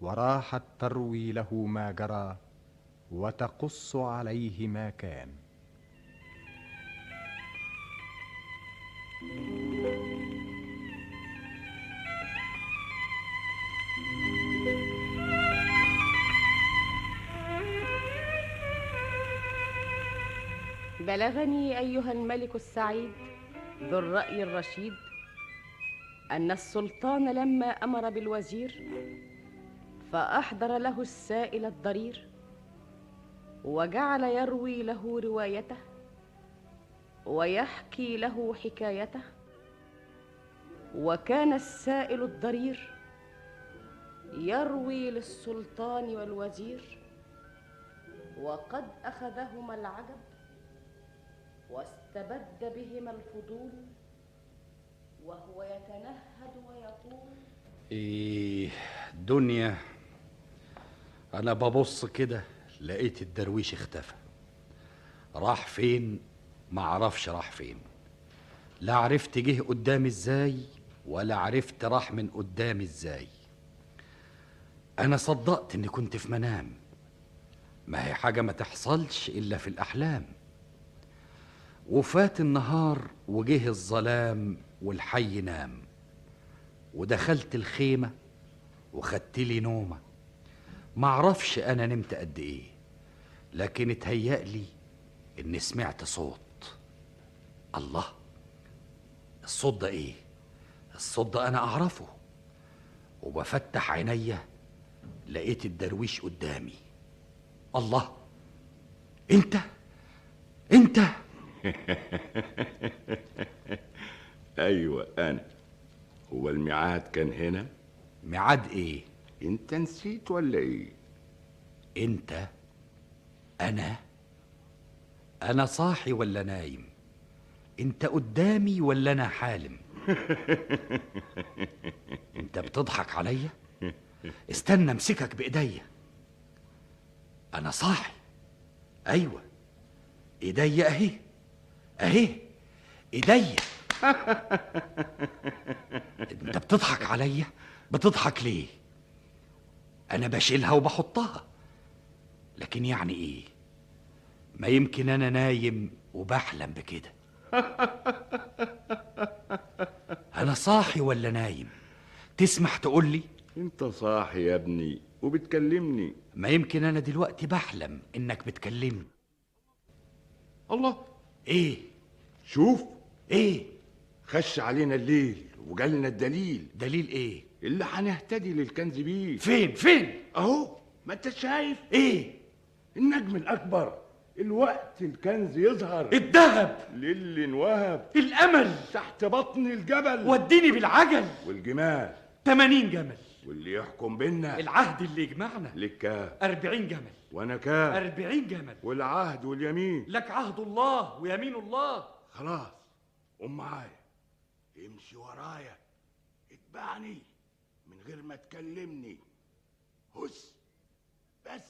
Speaker 1: وراحت تروي له ما جرى وتقص عليه ما كان
Speaker 3: بلغني ايها الملك السعيد ذو الراي الرشيد ان السلطان لما امر بالوزير فاحضر له السائل الضرير وجعل يروي له روايته ويحكي له حكايته وكان السائل الضرير يروي للسلطان والوزير وقد اخذهما العجب واستبد بهما الفضول وهو يتنهد ويقول
Speaker 11: إيه دنيا أنا ببص كده لقيت الدرويش اختفى راح فين معرفش راح فين لا عرفت جه قدامي ازاي ولا عرفت راح من قدامي ازاي أنا صدقت إني كنت في منام ما هي حاجة ما تحصلش إلا في الأحلام وفات النهار وجه الظلام والحي نام ودخلت الخيمة وخدت لي نومة معرفش أنا نمت قد إيه لكن اتهيأ لي إني سمعت صوت الله الصوت ده إيه؟ الصوت ده أنا أعرفه وبفتح عينيا لقيت الدرويش قدامي الله أنت أنت
Speaker 12: ايوه انا هو الميعاد كان هنا
Speaker 11: ميعاد ايه
Speaker 12: انت نسيت ولا ايه
Speaker 11: انت انا انا صاحي ولا نايم انت قدامي ولا انا حالم انت بتضحك عليا استنى امسكك بايديا انا صاحي ايوه ايديا اهي اهي ايديا انت بتضحك عليا بتضحك ليه انا بشيلها وبحطها
Speaker 5: إيه؟
Speaker 11: لكن يعني ايه ما يمكن انا نايم وبحلم بكده
Speaker 5: أنا صاحي ولا نايم؟ تسمح تقول لي؟
Speaker 8: أنت صاحي يا ابني وبتكلمني
Speaker 5: ما يمكن أنا دلوقتي بحلم إنك بتكلمني
Speaker 8: الله
Speaker 5: إيه؟
Speaker 8: شوف
Speaker 5: إيه؟
Speaker 8: خش علينا الليل وجالنا الدليل
Speaker 5: دليل إيه؟
Speaker 8: اللي هنهتدي للكنز بيه
Speaker 5: فين فين؟
Speaker 8: أهو ما أنت شايف
Speaker 5: إيه؟
Speaker 8: النجم الأكبر الوقت الكنز يظهر
Speaker 5: الذهب
Speaker 8: للي انوهب
Speaker 5: الأمل
Speaker 8: تحت بطن الجبل
Speaker 5: وديني بالعجل
Speaker 8: والجمال
Speaker 5: 80 جمل
Speaker 8: واللي يحكم بينا
Speaker 5: العهد اللي يجمعنا
Speaker 8: لك كاف
Speaker 5: 40 جمل
Speaker 8: وانا كاف
Speaker 5: 40 جمل
Speaker 8: والعهد واليمين
Speaker 5: لك عهد الله ويمين الله
Speaker 8: خلاص قوم معايا امشي ورايا اتبعني من غير ما تكلمني هس بس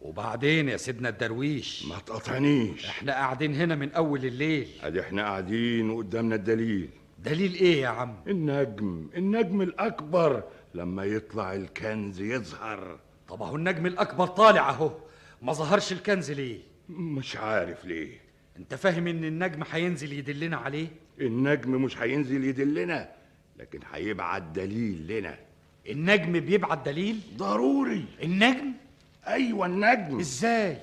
Speaker 11: وبعدين يا سيدنا الدرويش
Speaker 8: ما تقاطعنيش
Speaker 11: احنا قاعدين هنا من اول الليل
Speaker 8: ادي احنا قاعدين وقدامنا الدليل
Speaker 11: دليل ايه يا عم
Speaker 8: النجم النجم الاكبر لما يطلع الكنز يظهر
Speaker 11: طب اهو النجم الاكبر طالع اهو ما ظهرش الكنز ليه
Speaker 8: مش عارف ليه
Speaker 11: انت فاهم ان النجم هينزل يدلنا عليه
Speaker 8: النجم مش هينزل يدلنا لكن هيبعت دليل لنا
Speaker 11: النجم بيبعت دليل
Speaker 8: ضروري
Speaker 11: النجم
Speaker 8: ايوه النجم
Speaker 11: ازاي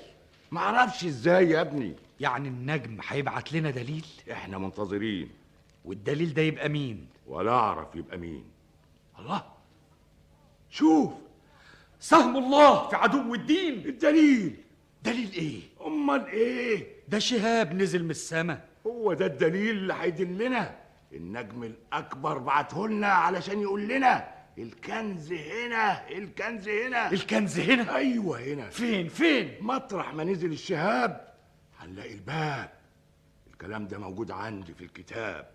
Speaker 8: معرفش ازاي يا ابني
Speaker 11: يعني النجم هيبعت لنا دليل
Speaker 8: احنا منتظرين
Speaker 11: والدليل ده يبقى مين
Speaker 8: ولا اعرف يبقى مين
Speaker 5: الله
Speaker 8: شوف
Speaker 5: سهم الله في عدو الدين
Speaker 8: الدليل
Speaker 5: دليل ايه
Speaker 8: امال ايه
Speaker 5: ده شهاب نزل من السماء
Speaker 8: هو ده الدليل إيه اللي هيدلنا النجم الاكبر بعته لنا علشان يقول لنا الكنز هنا الكنز هنا
Speaker 5: الكنز هنا
Speaker 8: ايوه هنا
Speaker 5: فين فين
Speaker 8: مطرح ما نزل الشهاب آه، هنلاقي الباب الكلام ده موجود عندي في الكتاب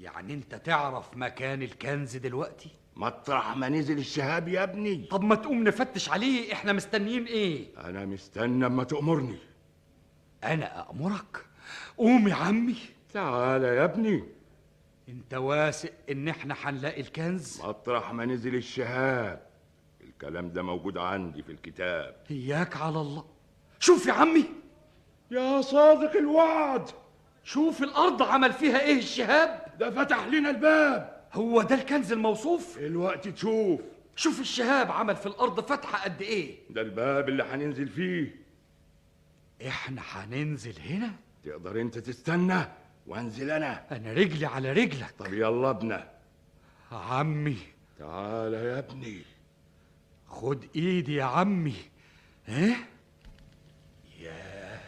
Speaker 5: يعني انت تعرف مكان الكنز دلوقتي
Speaker 8: مطرح ما نزل الشهاب يا ابني
Speaker 5: طب ما تقوم نفتش عليه احنا مستنيين ايه
Speaker 8: انا مستنى اما تامرني
Speaker 5: انا امرك قوم يا عمي
Speaker 8: تعالى يا ابني
Speaker 5: انت واثق ان احنا هنلاقي الكنز
Speaker 8: مطرح ما نزل الشهاب الكلام ده موجود عندي في الكتاب
Speaker 5: اياك على الله شوف يا عمي
Speaker 8: يا صادق الوعد
Speaker 5: شوف الارض عمل فيها ايه الشهاب
Speaker 8: ده فتح لنا الباب
Speaker 5: هو ده الكنز الموصوف
Speaker 8: الوقت تشوف
Speaker 5: شوف الشهاب عمل في الارض فتحه قد ايه
Speaker 8: ده الباب اللي هننزل فيه
Speaker 5: احنا هننزل هنا
Speaker 8: تقدر انت تستنى وانزل انا
Speaker 5: انا رجلي على رجلك
Speaker 8: طب يلا ابنا
Speaker 5: عمي
Speaker 8: تعالى يا ابني
Speaker 5: خد ايدي يا عمي ايه
Speaker 8: ياه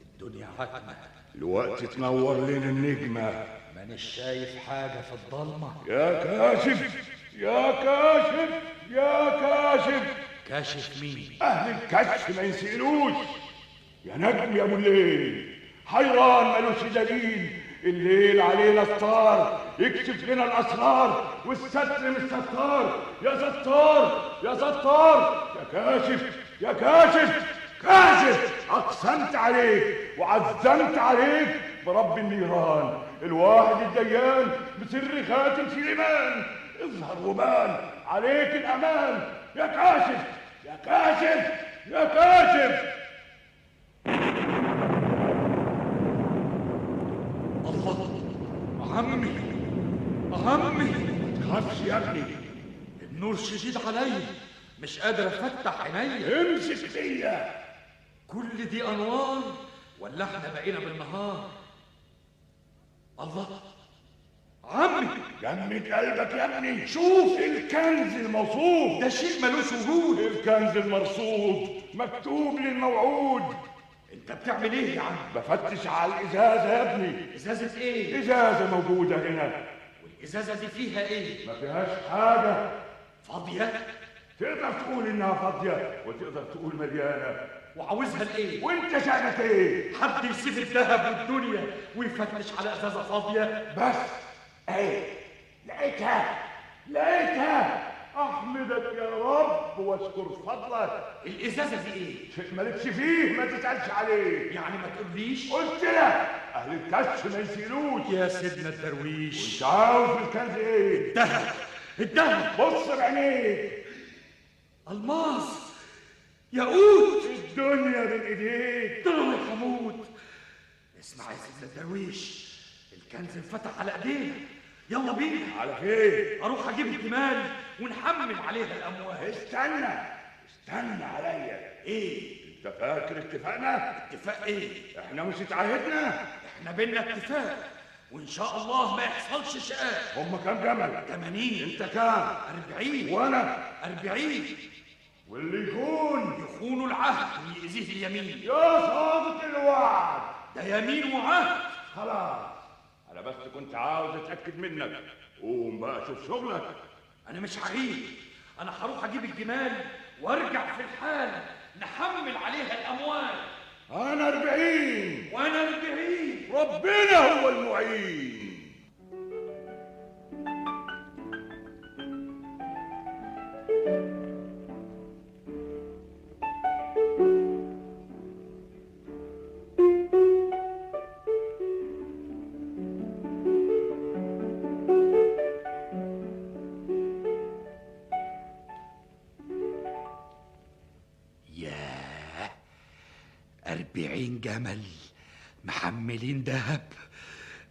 Speaker 8: الدنيا حكمة الوقت تنور لنا النجمة
Speaker 5: مانيش شايف حاجة في الضلمة
Speaker 8: يا كاشف يا كاشف يا كاشف
Speaker 5: كاشف مين؟
Speaker 8: أهل الكشف ما ينسألوش يا نجم يا أبو الليل حيران ملوش دليل الليل علينا ستار يكشف لنا الأسرار والستر مش ستار يا ستار يا ستار يا كاشف يا كاشف كاشف أقسمت عليك وعزمت عليك برب النيران الواحد الديان بسر خاتم سليمان اظهر وبان عليك الأمان يا كاشف يا كاشف يا كاشف
Speaker 5: الله عمي عمي
Speaker 8: تخافش يا ابني
Speaker 5: النور شديد عليا مش قادر افتح عينيا
Speaker 8: امسك فيا
Speaker 5: كل دي انوار ولا احنا بقينا بالنهار الله عمي
Speaker 8: جمد يعني قلبك يا ابني شوف الكنز الموصوف
Speaker 5: ده شيء ملوش وجود
Speaker 8: الكنز المرصود مكتوب للموعود
Speaker 5: انت بتعمل ايه يا عم
Speaker 8: بفتش على الازازه يا ابني
Speaker 5: ازازه ايه
Speaker 8: ازازه موجوده هنا
Speaker 5: والازازه دي فيها ايه
Speaker 8: ما فيهاش حاجه
Speaker 5: فاضيه
Speaker 8: تقدر تقول انها فاضيه وتقدر تقول مليانه
Speaker 5: وعاوزها لايه
Speaker 8: وانت شأنك ايه
Speaker 5: حد يسيب الذهب والدنيا ويفتش على ازازه فاضيه
Speaker 8: بس ايه لقيتها لقيتها احمدك يا رب واشكر فضلك
Speaker 5: الازازه دي ايه
Speaker 8: شيء مالكش فيه ما تسالش عليه
Speaker 5: يعني ما تقوليش
Speaker 8: قلت لك اهل الكش ما يسيلوش
Speaker 5: يا سيدنا الدرويش
Speaker 8: انت عاوز الكنز ايه
Speaker 5: الدهب الدهب
Speaker 8: بص بعينيك
Speaker 5: الماس ياقوت
Speaker 8: الدنيا بين ايديك
Speaker 5: درهم حمود
Speaker 11: اسمع يا سيد الدرويش الكنز انفتح على ايدينا يلا بينا
Speaker 8: على فين؟
Speaker 11: اروح اجيب الجمال ونحمل عليها الاموال
Speaker 8: استنى استنى عليا ايه؟ انت فاكر اتفاقنا؟
Speaker 11: اتفاق ايه؟
Speaker 8: احنا مش اتعاهدنا؟
Speaker 11: احنا بينا اتفاق وان شاء الله ما يحصلش شقاق
Speaker 8: هم كام جمل؟
Speaker 11: 80
Speaker 8: انت كام؟
Speaker 11: 40
Speaker 8: وانا؟
Speaker 11: 40
Speaker 8: واللي يخون
Speaker 11: يخون العهد ويأذيه اليمين
Speaker 8: يا صادق الوعد
Speaker 11: ده يمين وعهد
Speaker 8: خلاص انا بس كنت عاوز اتاكد منك قوم بقى شوف شغلك
Speaker 11: انا مش هغيب انا هروح اجيب الجمال وارجع في الحال نحمل عليها الاموال
Speaker 8: انا أربعين
Speaker 11: وانا 40
Speaker 8: ربنا هو المعين
Speaker 11: ياه أربعين جمل محملين دهب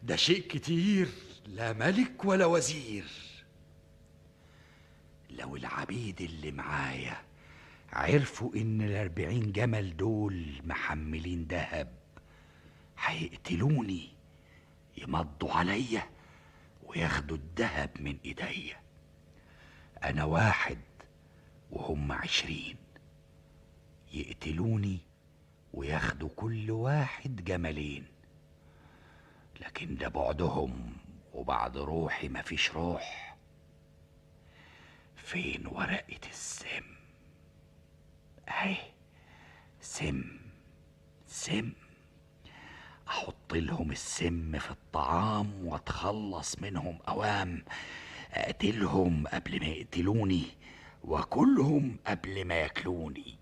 Speaker 11: ده شيء كتير لا ملك ولا وزير لو العبيد اللي معايا عرفوا إن الأربعين جمل دول محملين دهب هيقتلوني يمضوا عليا وياخدوا الدهب من إيديا أنا واحد وهم عشرين يقتلوني وياخدوا كل واحد جملين لكن ده بعدهم وبعد روحي مفيش روح فين ورقة السم اهي سم سم احط لهم السم في الطعام واتخلص منهم اوام اقتلهم قبل ما يقتلوني واكلهم قبل ما ياكلوني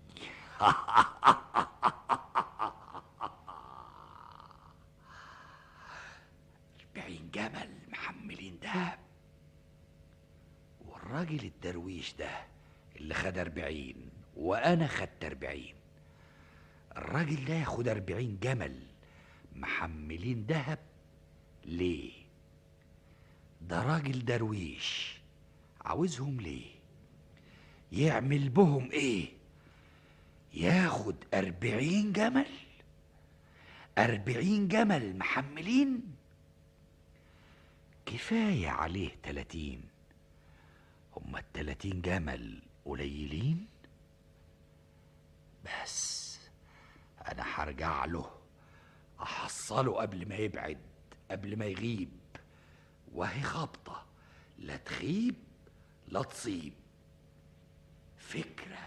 Speaker 11: أربعين جمل محملين دهب والراجل الدرويش ده اللي خد أربعين وأنا خدت أربعين الراجل ده ياخد أربعين جمل محملين دهب ليه؟ ده راجل درويش عاوزهم ليه؟ يعمل بهم ايه؟ ياخد أربعين جمل أربعين جمل محملين كفاية عليه تلاتين هما التلاتين جمل قليلين بس أنا هرجع له أحصله قبل ما يبعد قبل ما يغيب وهي خبطة لا تخيب لا تصيب فكره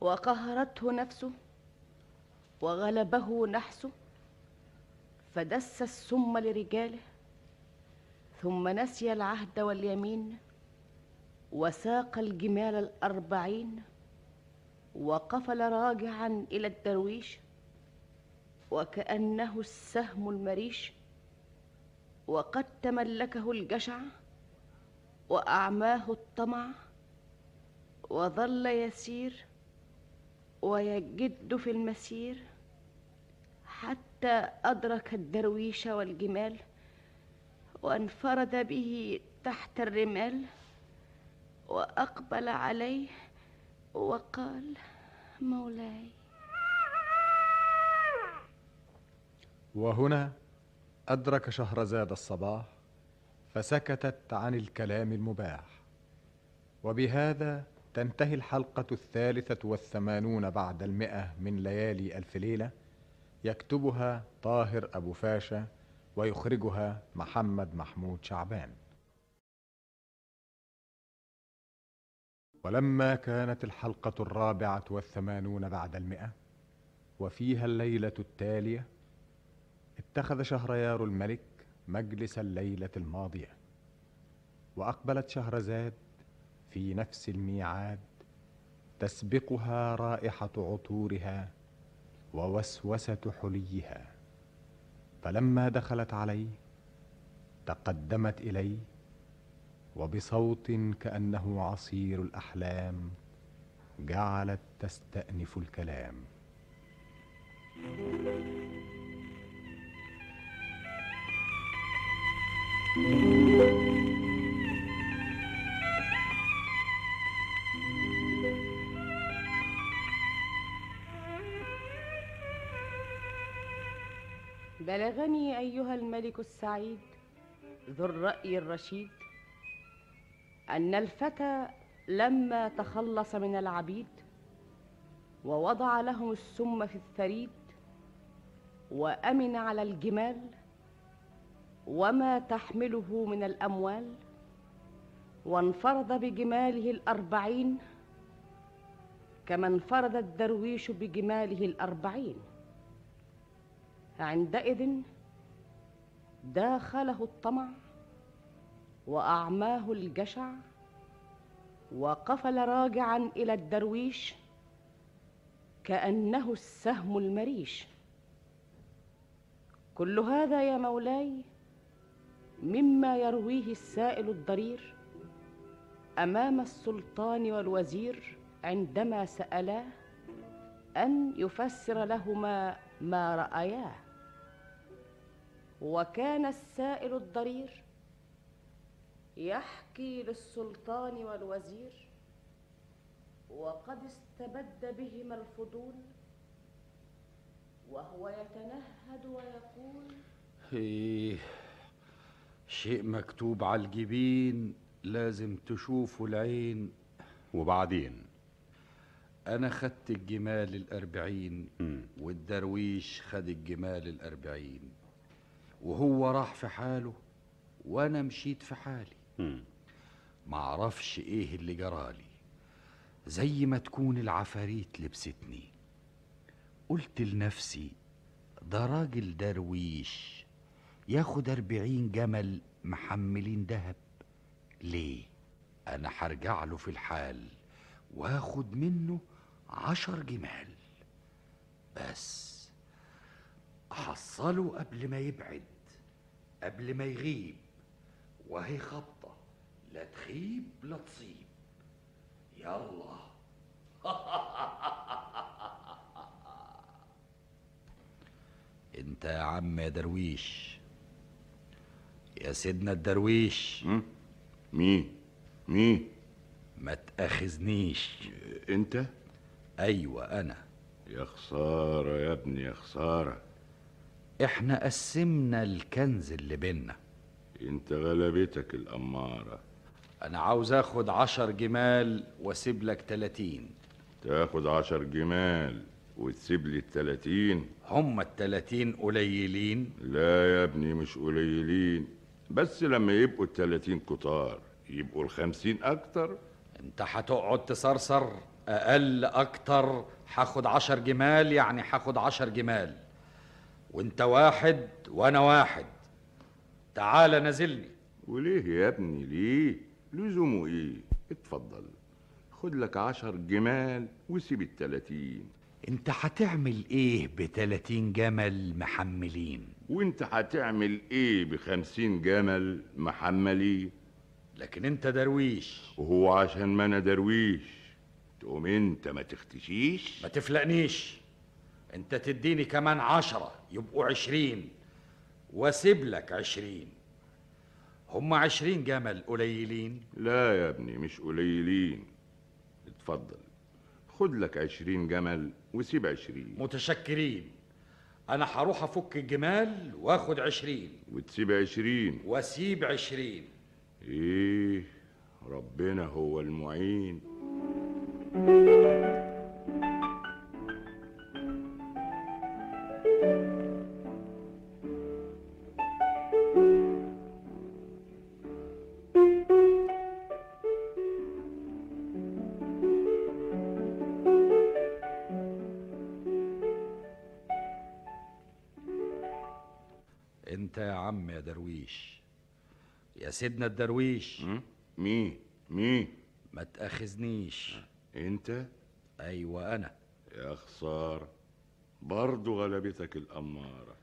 Speaker 3: وقهرته نفسه وغلبه نحسه فدس السم لرجاله ثم نسي العهد واليمين وساق الجمال الأربعين وقفل راجعا إلى الدرويش وكأنه السهم المريش وقد تملكه الجشع وأعماه الطمع وظل يسير ويجد في المسير حتى أدرك الدرويش والجمال وانفرد به تحت الرمال وأقبل عليه وقال مولاي
Speaker 1: وهنا أدرك شهرزاد الصباح فسكتت عن الكلام المباح وبهذا تنتهي الحلقة الثالثة والثمانون بعد المئة من ليالي ألف ليلة يكتبها طاهر أبو فاشا ويخرجها محمد محمود شعبان ولما كانت الحلقة الرابعة والثمانون بعد المئة وفيها الليلة التالية اتخذ شهريار الملك مجلس الليله الماضيه واقبلت شهرزاد في نفس الميعاد تسبقها رائحه عطورها ووسوسه حليها فلما دخلت عليه تقدمت اليه وبصوت كانه عصير الاحلام جعلت تستأنف الكلام
Speaker 3: بلغني ايها الملك السعيد ذو الراي الرشيد ان الفتى لما تخلص من العبيد ووضع لهم السم في الثريد وامن على الجمال وما تحمله من الاموال وانفرد بجماله الاربعين كما انفرد الدرويش بجماله الاربعين عندئذ داخله الطمع واعماه الجشع وقفل راجعا الى الدرويش كانه السهم المريش كل هذا يا مولاي مما يرويه السائل الضرير امام السلطان والوزير عندما سالاه ان يفسر لهما ما راياه وكان السائل الضرير يحكي للسلطان والوزير وقد استبد بهما الفضول وهو يتنهد ويقول
Speaker 11: إيه شيء مكتوب على الجبين لازم تشوفه العين
Speaker 10: وبعدين
Speaker 11: أنا خدت الجمال الأربعين والدرويش خد الجمال الأربعين وهو راح في حاله وأنا مشيت في حالي
Speaker 10: مم.
Speaker 11: معرفش إيه اللي جرالي زي ما تكون العفاريت لبستني قلت لنفسي ده راجل درويش ياخد أربعين جمل محملين دهب ليه أنا هرجع له في الحال واخد منه عشر جمال بس حصله قبل ما يبعد قبل ما يغيب وهي خبطة لا تخيب لا تصيب يلا انت يا عم يا درويش يا سيدنا الدرويش مين مين ما تأخذنيش انت ايوه انا
Speaker 12: يا خسارة يا ابني يا خسارة
Speaker 11: احنا قسمنا الكنز اللي بينا
Speaker 12: انت غلبتك الأمارة
Speaker 11: انا عاوز اخد عشر جمال واسيب لك تلاتين
Speaker 12: تاخد عشر جمال وتسيب لي التلاتين
Speaker 11: هما التلاتين قليلين
Speaker 12: لا يا ابني مش قليلين بس لما يبقوا التلاتين كتار يبقوا الخمسين أكتر
Speaker 11: انت هتقعد تسرسر اقل اكتر هاخد عشر جمال يعني هاخد عشر جمال وانت واحد وانا واحد تعال نازلني
Speaker 12: وليه يا ابني ليه لزومه ايه اتفضل خد لك عشر جمال وسيب التلاتين
Speaker 11: انت هتعمل ايه بتلاتين جمل محملين
Speaker 12: وانت هتعمل ايه بخمسين جمل محملي
Speaker 11: لكن انت درويش
Speaker 12: وهو عشان ما انا درويش تقوم انت ما تختشيش
Speaker 11: ما تفلقنيش انت تديني كمان عشرة يبقوا عشرين واسيب لك عشرين هم عشرين جمل قليلين
Speaker 12: لا يا ابني مش قليلين اتفضل خد لك عشرين جمل وسيب عشرين
Speaker 11: متشكرين انا هروح افك الجمال واخد عشرين
Speaker 12: وتسيب عشرين
Speaker 11: واسيب عشرين
Speaker 12: ايه ربنا هو المعين
Speaker 11: انت يا عم يا درويش يا سيدنا الدرويش
Speaker 12: مين مين
Speaker 11: ما تاخذنيش
Speaker 12: انت
Speaker 10: أيوة،
Speaker 11: ايوه انا
Speaker 12: يا خسارة برضو غلبتك الأمارة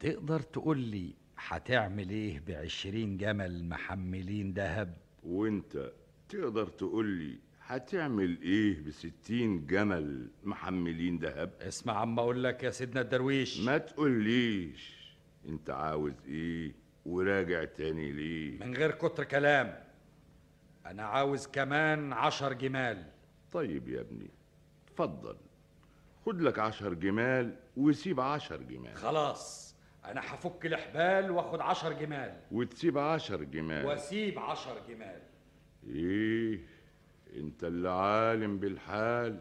Speaker 11: تقدر تقول لي هتعمل ايه بعشرين جمل محملين دهب
Speaker 12: وانت تقدر تقول لي هتعمل ايه بستين جمل محملين دهب
Speaker 10: اسمع عم اقول لك يا سيدنا الدرويش
Speaker 12: ما تقوليش انت عاوز ايه وراجع تاني ليه
Speaker 10: من غير كتر كلام انا عاوز كمان عشر جمال
Speaker 12: طيب يا ابني اتفضل خد لك عشر جمال وسيب عشر جمال
Speaker 10: خلاص انا هفك الحبال واخد عشر جمال
Speaker 12: وتسيب عشر جمال
Speaker 10: واسيب عشر جمال
Speaker 12: ايه انت اللي عالم بالحال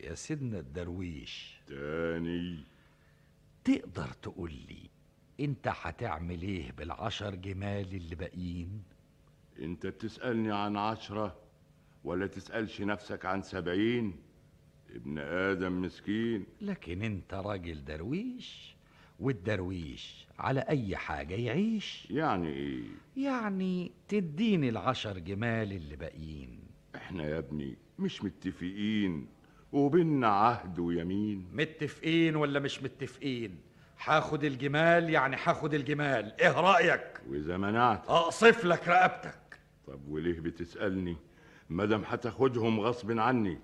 Speaker 11: يا سيدنا الدرويش
Speaker 12: تاني
Speaker 11: تقدر تقول لي انت هتعمل ايه بالعشر جمال اللي باقيين
Speaker 12: انت بتسألني عن عشرة ولا تسألش نفسك عن سبعين ابن آدم مسكين
Speaker 11: لكن انت راجل درويش والدرويش على اي حاجه يعيش
Speaker 12: يعني ايه
Speaker 11: يعني تديني العشر جمال اللي باقيين
Speaker 12: احنا يا ابني مش متفقين وبيننا عهد ويمين
Speaker 10: متفقين ولا مش متفقين هاخد الجمال يعني هاخد الجمال ايه رايك
Speaker 12: وإذا منعت
Speaker 10: اقصف لك رقبتك
Speaker 12: طب وليه بتسألني مادام هتاخدهم غصب عني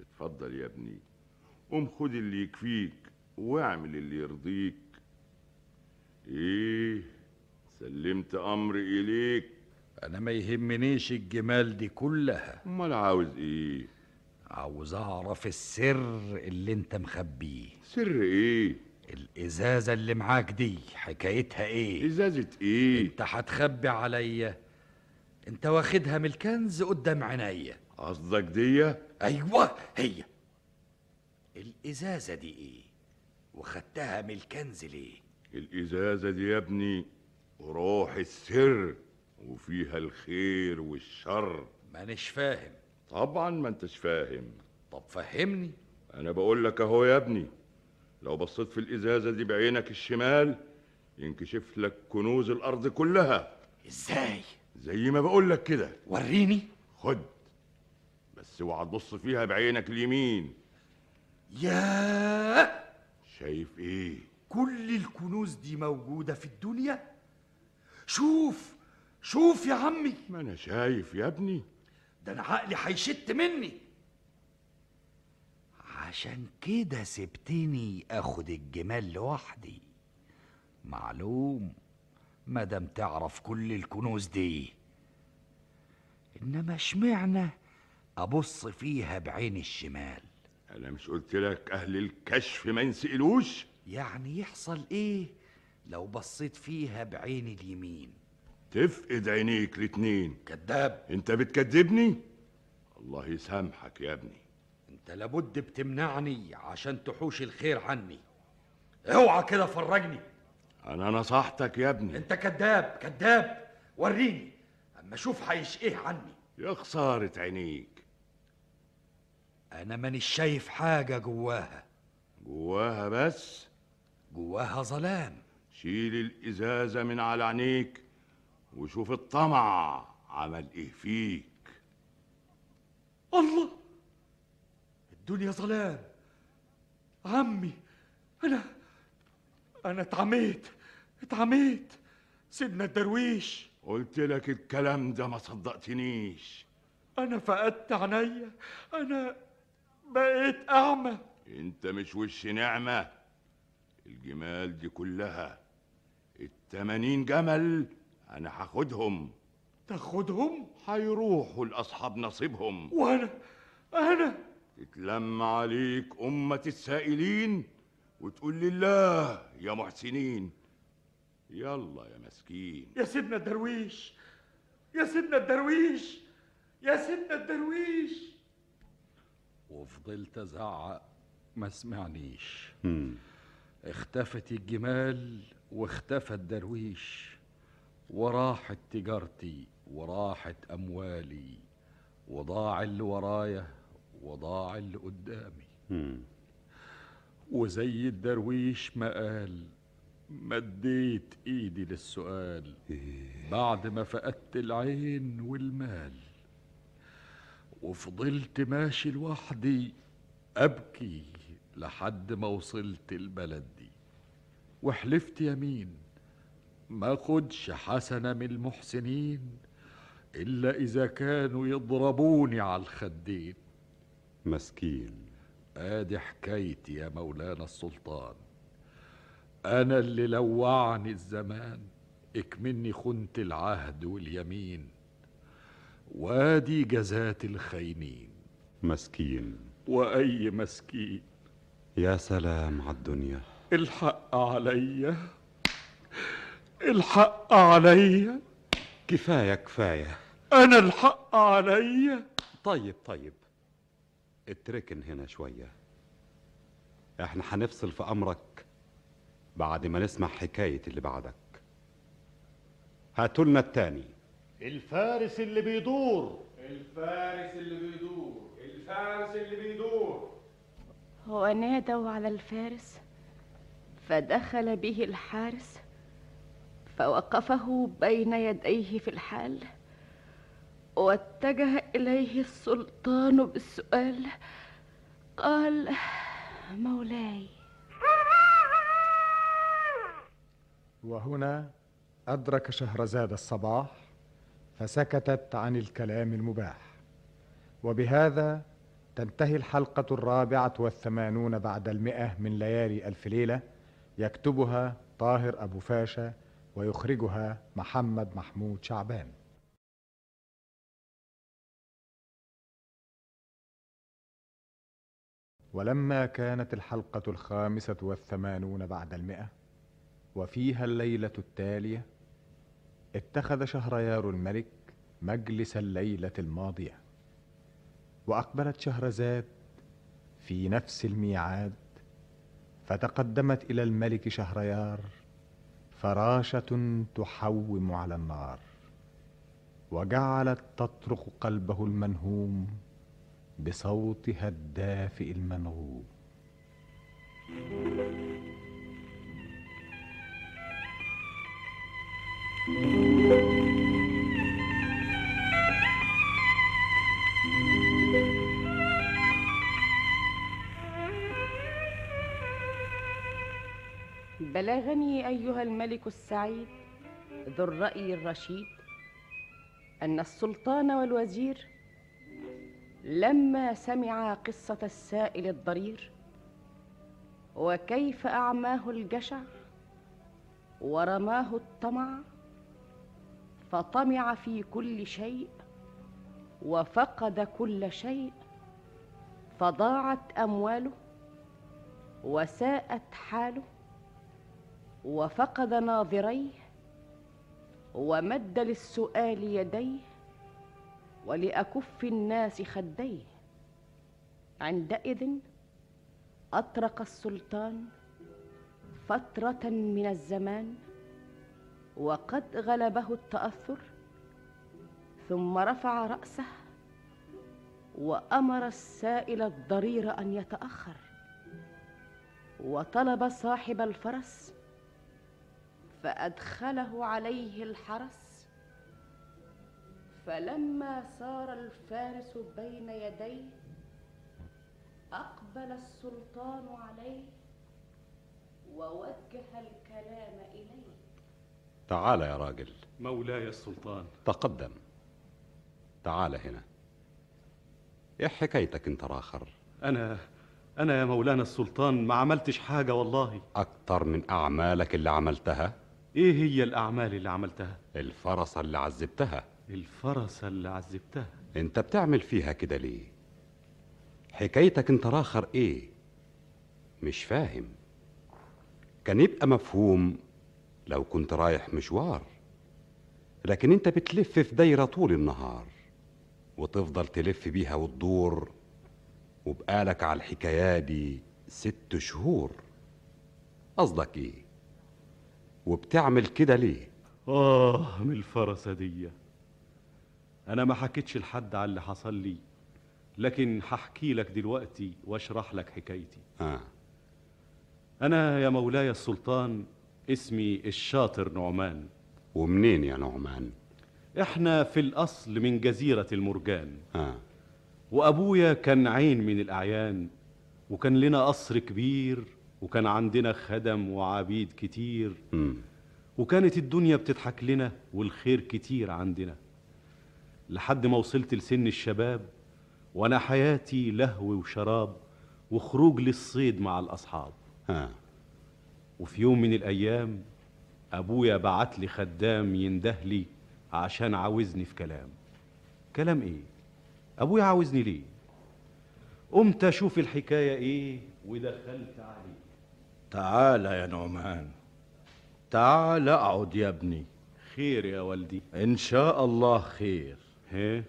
Speaker 12: اتفضل يا ابني قوم خد اللي يكفيك واعمل اللي يرضيك ايه سلمت امر اليك
Speaker 10: انا ما يهمنيش الجمال دي كلها
Speaker 12: امال عاوز ايه
Speaker 11: عاوز اعرف السر اللي انت مخبيه
Speaker 12: سر ايه
Speaker 11: الازازه اللي معاك دي حكايتها ايه
Speaker 12: ازازه ايه
Speaker 11: انت هتخبي عليا انت واخدها من الكنز قدام عينيا
Speaker 12: قصدك دي
Speaker 11: ايوه هي الازازه دي ايه وخدتها من الكنز ليه
Speaker 12: الازازه دي يا ابني روح السر وفيها الخير والشر
Speaker 10: مانيش فاهم
Speaker 12: طبعا ما انتش فاهم
Speaker 10: طب فهمني
Speaker 12: انا بقول لك اهو يا ابني لو بصيت في الازازه دي بعينك الشمال ينكشف لك كنوز الارض كلها
Speaker 11: ازاي
Speaker 12: زي ما بقول لك كده
Speaker 11: وريني
Speaker 12: خد بس اوعى تبص فيها بعينك اليمين
Speaker 11: ياه
Speaker 12: شايف ايه
Speaker 11: كل الكنوز دي موجوده في الدنيا شوف شوف يا عمي
Speaker 12: ما انا شايف يا ابني
Speaker 11: ده انا عقلي هيشت مني عشان كده سبتني اخد الجمال لوحدي معلوم مادام تعرف كل الكنوز دي انما اشمعنى ابص فيها بعين الشمال
Speaker 12: انا مش قلت لك اهل الكشف ما ينسألوش
Speaker 11: يعني يحصل ايه لو بصيت فيها بعين اليمين
Speaker 12: تفقد عينيك الاتنين
Speaker 10: كذاب
Speaker 12: انت بتكذبني الله يسامحك يا ابني
Speaker 10: انت لابد بتمنعني عشان تحوش الخير عني اوعى كده فرجني
Speaker 12: انا نصحتك يا ابني
Speaker 10: انت كذاب كذاب وريني اما اشوف هيشقيه عني
Speaker 12: يا خسارة عينيك
Speaker 11: انا مانيش شايف حاجة جواها
Speaker 12: جواها بس
Speaker 11: جواها ظلام
Speaker 12: شيل الازازة من على عينيك وشوف الطمع عمل ايه فيك
Speaker 10: الله الدنيا ظلام عمي انا انا اتعميت اتعميت سيدنا الدرويش
Speaker 12: قلت لك الكلام ده ما صدقتنيش
Speaker 5: انا فقدت عينيا انا بقيت اعمى
Speaker 12: انت مش وش نعمة الجمال دي كلها التمانين جمل انا هاخدهم
Speaker 5: تاخدهم
Speaker 12: هيروحوا لاصحاب نصيبهم
Speaker 5: وانا انا
Speaker 12: تتلم عليك امة السائلين وتقول لله يا محسنين يلا يا مسكين
Speaker 5: يا سيدنا الدرويش يا سيدنا الدرويش يا سيدنا الدرويش
Speaker 9: وفضلت ازعق ما سمعنيش
Speaker 10: مم.
Speaker 9: اختفت الجمال واختفى الدرويش وراحت تجارتي وراحت اموالي وضاع اللي ورايا وضاع اللي قدامي وزي الدرويش ما قال
Speaker 11: مديت ايدي للسؤال بعد ما فقدت العين والمال وفضلت ماشي لوحدي ابكي لحد ما وصلت البلد دي وحلفت يمين ما خدش حسنة من المحسنين إلا إذا كانوا يضربوني على الخدين
Speaker 4: مسكين
Speaker 11: ادي حكايتي يا مولانا السلطان انا اللي لوعني الزمان اكمني خنت العهد واليمين وادي جزات الخاينين
Speaker 4: مسكين
Speaker 11: واي مسكين
Speaker 4: يا سلام على الدنيا
Speaker 11: الحق عليا الحق عليا
Speaker 4: كفاية كفاية
Speaker 11: انا الحق عليا
Speaker 4: طيب طيب اتركن هنا شوية احنا هنفصل في امرك بعد ما نسمع حكاية اللي بعدك هاتولنا التاني
Speaker 5: الفارس اللي بيدور
Speaker 14: الفارس اللي بيدور الفارس اللي بيدور
Speaker 3: ونادوا على الفارس فدخل به الحارس فوقفه بين يديه في الحال واتجه اليه السلطان بالسؤال قال مولاي
Speaker 1: وهنا أدرك شهرزاد الصباح فسكتت عن الكلام المباح وبهذا تنتهي الحلقة الرابعة والثمانون بعد المئة من ليالي ألف ليلة يكتبها طاهر أبو فاشا ويخرجها محمد محمود شعبان ولما كانت الحلقة الخامسة والثمانون بعد المئة وفيها الليلة التالية اتخذ شهريار الملك مجلس الليلة الماضية وأقبلت شهرزاد في نفس الميعاد فتقدمت إلى الملك شهريار فراشة تحوم على النار وجعلت تطرق قلبه المنهوم بصوتها الدافئ المنغوب
Speaker 3: بلغني ايها الملك السعيد ذو الراي الرشيد ان السلطان والوزير لما سمعا قصه السائل الضرير وكيف اعماه الجشع ورماه الطمع فطمع في كل شيء وفقد كل شيء فضاعت امواله وساءت حاله وفقد ناظريه ومد للسؤال يديه ولاكف الناس خديه عندئذ اطرق السلطان فتره من الزمان وقد غلبه التاثر ثم رفع راسه وامر السائل الضرير ان يتاخر وطلب صاحب الفرس فادخله عليه الحرس فلما سار الفارس بين يديه اقبل السلطان عليه ووجه الكلام اليه
Speaker 4: تعال يا راجل
Speaker 15: مولاي السلطان
Speaker 4: تقدم تعال هنا ايه حكايتك انت الاخر
Speaker 15: انا انا يا مولانا السلطان ما عملتش حاجه والله
Speaker 4: اكتر من اعمالك اللي عملتها
Speaker 15: ايه هي الاعمال اللي عملتها
Speaker 4: الفرصة اللي عذبتها
Speaker 15: الفرسه اللي عذبتها
Speaker 4: انت بتعمل فيها كده ليه حكايتك انت الاخر ايه مش فاهم كان يبقى مفهوم لو كنت رايح مشوار لكن انت بتلف في دايره طول النهار وتفضل تلف بيها وتدور وبقالك على الحكايه دي ست شهور قصدك ايه وبتعمل كده ليه
Speaker 15: اه من الفرسه دي انا ما حكيتش لحد على اللي حصل لي لكن هحكي لك دلوقتي واشرح لك حكايتي
Speaker 4: اه
Speaker 15: انا يا مولاي السلطان اسمي الشاطر نعمان
Speaker 4: ومنين يا نعمان
Speaker 15: احنا في الاصل من جزيرة المرجان
Speaker 4: آه.
Speaker 15: وابويا كان عين من الاعيان وكان لنا قصر كبير وكان عندنا خدم وعبيد كتير
Speaker 4: مم.
Speaker 15: وكانت الدنيا بتضحك لنا والخير كتير عندنا لحد ما وصلت لسن الشباب وانا حياتي لهو وشراب وخروج للصيد مع الاصحاب
Speaker 4: ها
Speaker 15: وفي يوم من الايام ابويا بعت لي خدام يندهلي عشان عاوزني في كلام كلام ايه ابويا عاوزني ليه قمت اشوف الحكايه ايه ودخلت عليه
Speaker 16: تعال يا نعمان تعال اقعد يا ابني
Speaker 15: خير يا والدي
Speaker 16: ان شاء الله خير
Speaker 15: ايه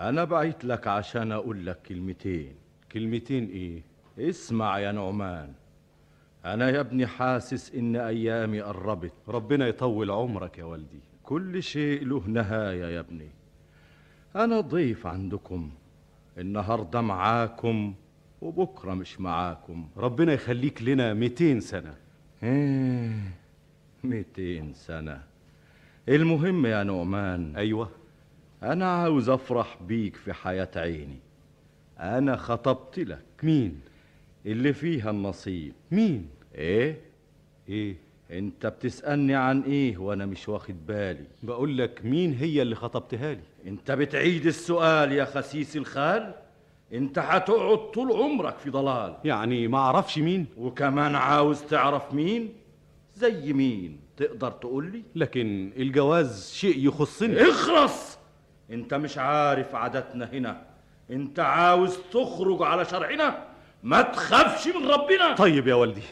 Speaker 16: انا بعت لك عشان اقول لك كلمتين
Speaker 15: كلمتين ايه
Speaker 16: اسمع يا نعمان انا يا ابني حاسس ان ايامي قربت
Speaker 15: ربنا يطول عمرك يا والدي
Speaker 16: كل شيء له نهايه يا ابني انا ضيف عندكم النهارده معاكم وبكره مش معاكم
Speaker 15: ربنا يخليك لنا 200 سنه
Speaker 16: إيه، 200 سنة المهم يا نعمان
Speaker 15: أيوة
Speaker 16: أنا عاوز أفرح بيك في حياة عيني أنا خطبت لك
Speaker 15: مين
Speaker 16: اللي فيها النصيب
Speaker 15: مين
Speaker 16: إيه؟
Speaker 15: ايه
Speaker 16: أنت بتسألني عن إيه وأنا مش واخد بالي
Speaker 15: بقول لك مين هي اللي خطبتها لي
Speaker 16: أنت بتعيد السؤال يا خسيس الخال أنت هتقعد طول عمرك في ضلال
Speaker 15: يعني ما اعرفش مين
Speaker 16: وكمان عاوز تعرف مين زي مين تقدر تقول لي
Speaker 15: لكن الجواز شيء يخصني
Speaker 16: اخرس انت مش عارف عاداتنا هنا انت عاوز تخرج على شرعنا ما تخافش من ربنا
Speaker 15: طيب يا والدي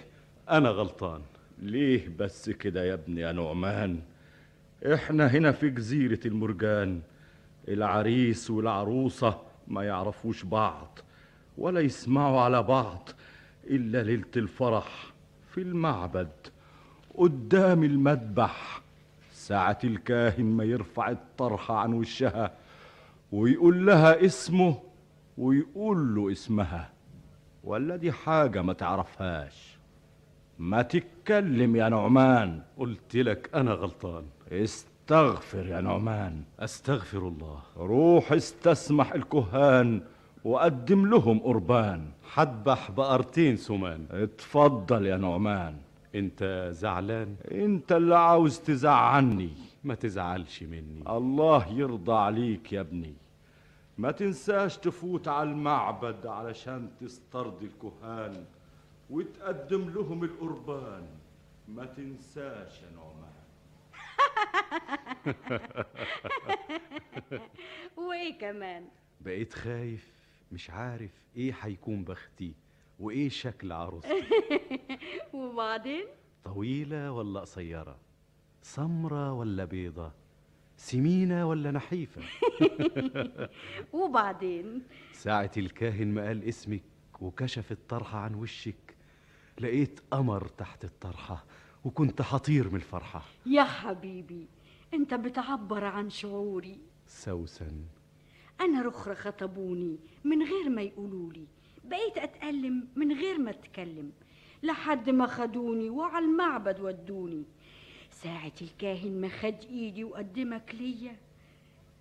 Speaker 15: انا غلطان
Speaker 16: ليه بس كده يا ابني يا نعمان احنا هنا في جزيرة المرجان العريس والعروسة ما يعرفوش بعض ولا يسمعوا على بعض إلا ليلة الفرح في المعبد قدام المذبح ساعة الكاهن ما يرفع الطرحة عن وشها ويقول لها اسمه ويقول له اسمها ولا دي حاجة ما تعرفهاش ما تتكلم يا نعمان
Speaker 15: قلت لك انا غلطان
Speaker 16: استغفر يا نعمان
Speaker 15: استغفر الله
Speaker 16: روح استسمح الكهان وقدم لهم قربان
Speaker 15: حدبح بقرتين سمان
Speaker 16: اتفضل يا نعمان
Speaker 15: انت زعلان
Speaker 16: انت اللي عاوز تزعني
Speaker 15: ما تزعلش مني
Speaker 16: الله يرضى عليك يا ابني ما تنساش تفوت على المعبد علشان تسترضي الكهان وتقدم لهم القربان ما تنساش يا نعمان
Speaker 17: وايه كمان
Speaker 15: بقيت خايف مش عارف ايه هيكون بختي وايه شكل عروستي
Speaker 17: وبعدين
Speaker 15: طويلة ولا قصيرة سمرة ولا بيضة سمينة ولا نحيفة
Speaker 17: وبعدين
Speaker 15: ساعة الكاهن ما قال اسمك وكشف الطرحة عن وشك لقيت قمر تحت الطرحة وكنت حطير من الفرحة
Speaker 17: يا حبيبي انت بتعبر عن شعوري
Speaker 15: سوسن
Speaker 17: انا رخرة خطبوني من غير ما يقولولي بقيت اتألم من غير ما اتكلم لحد ما خدوني وعلى المعبد ودوني ساعة الكاهن ما خد ايدي وقدمك ليا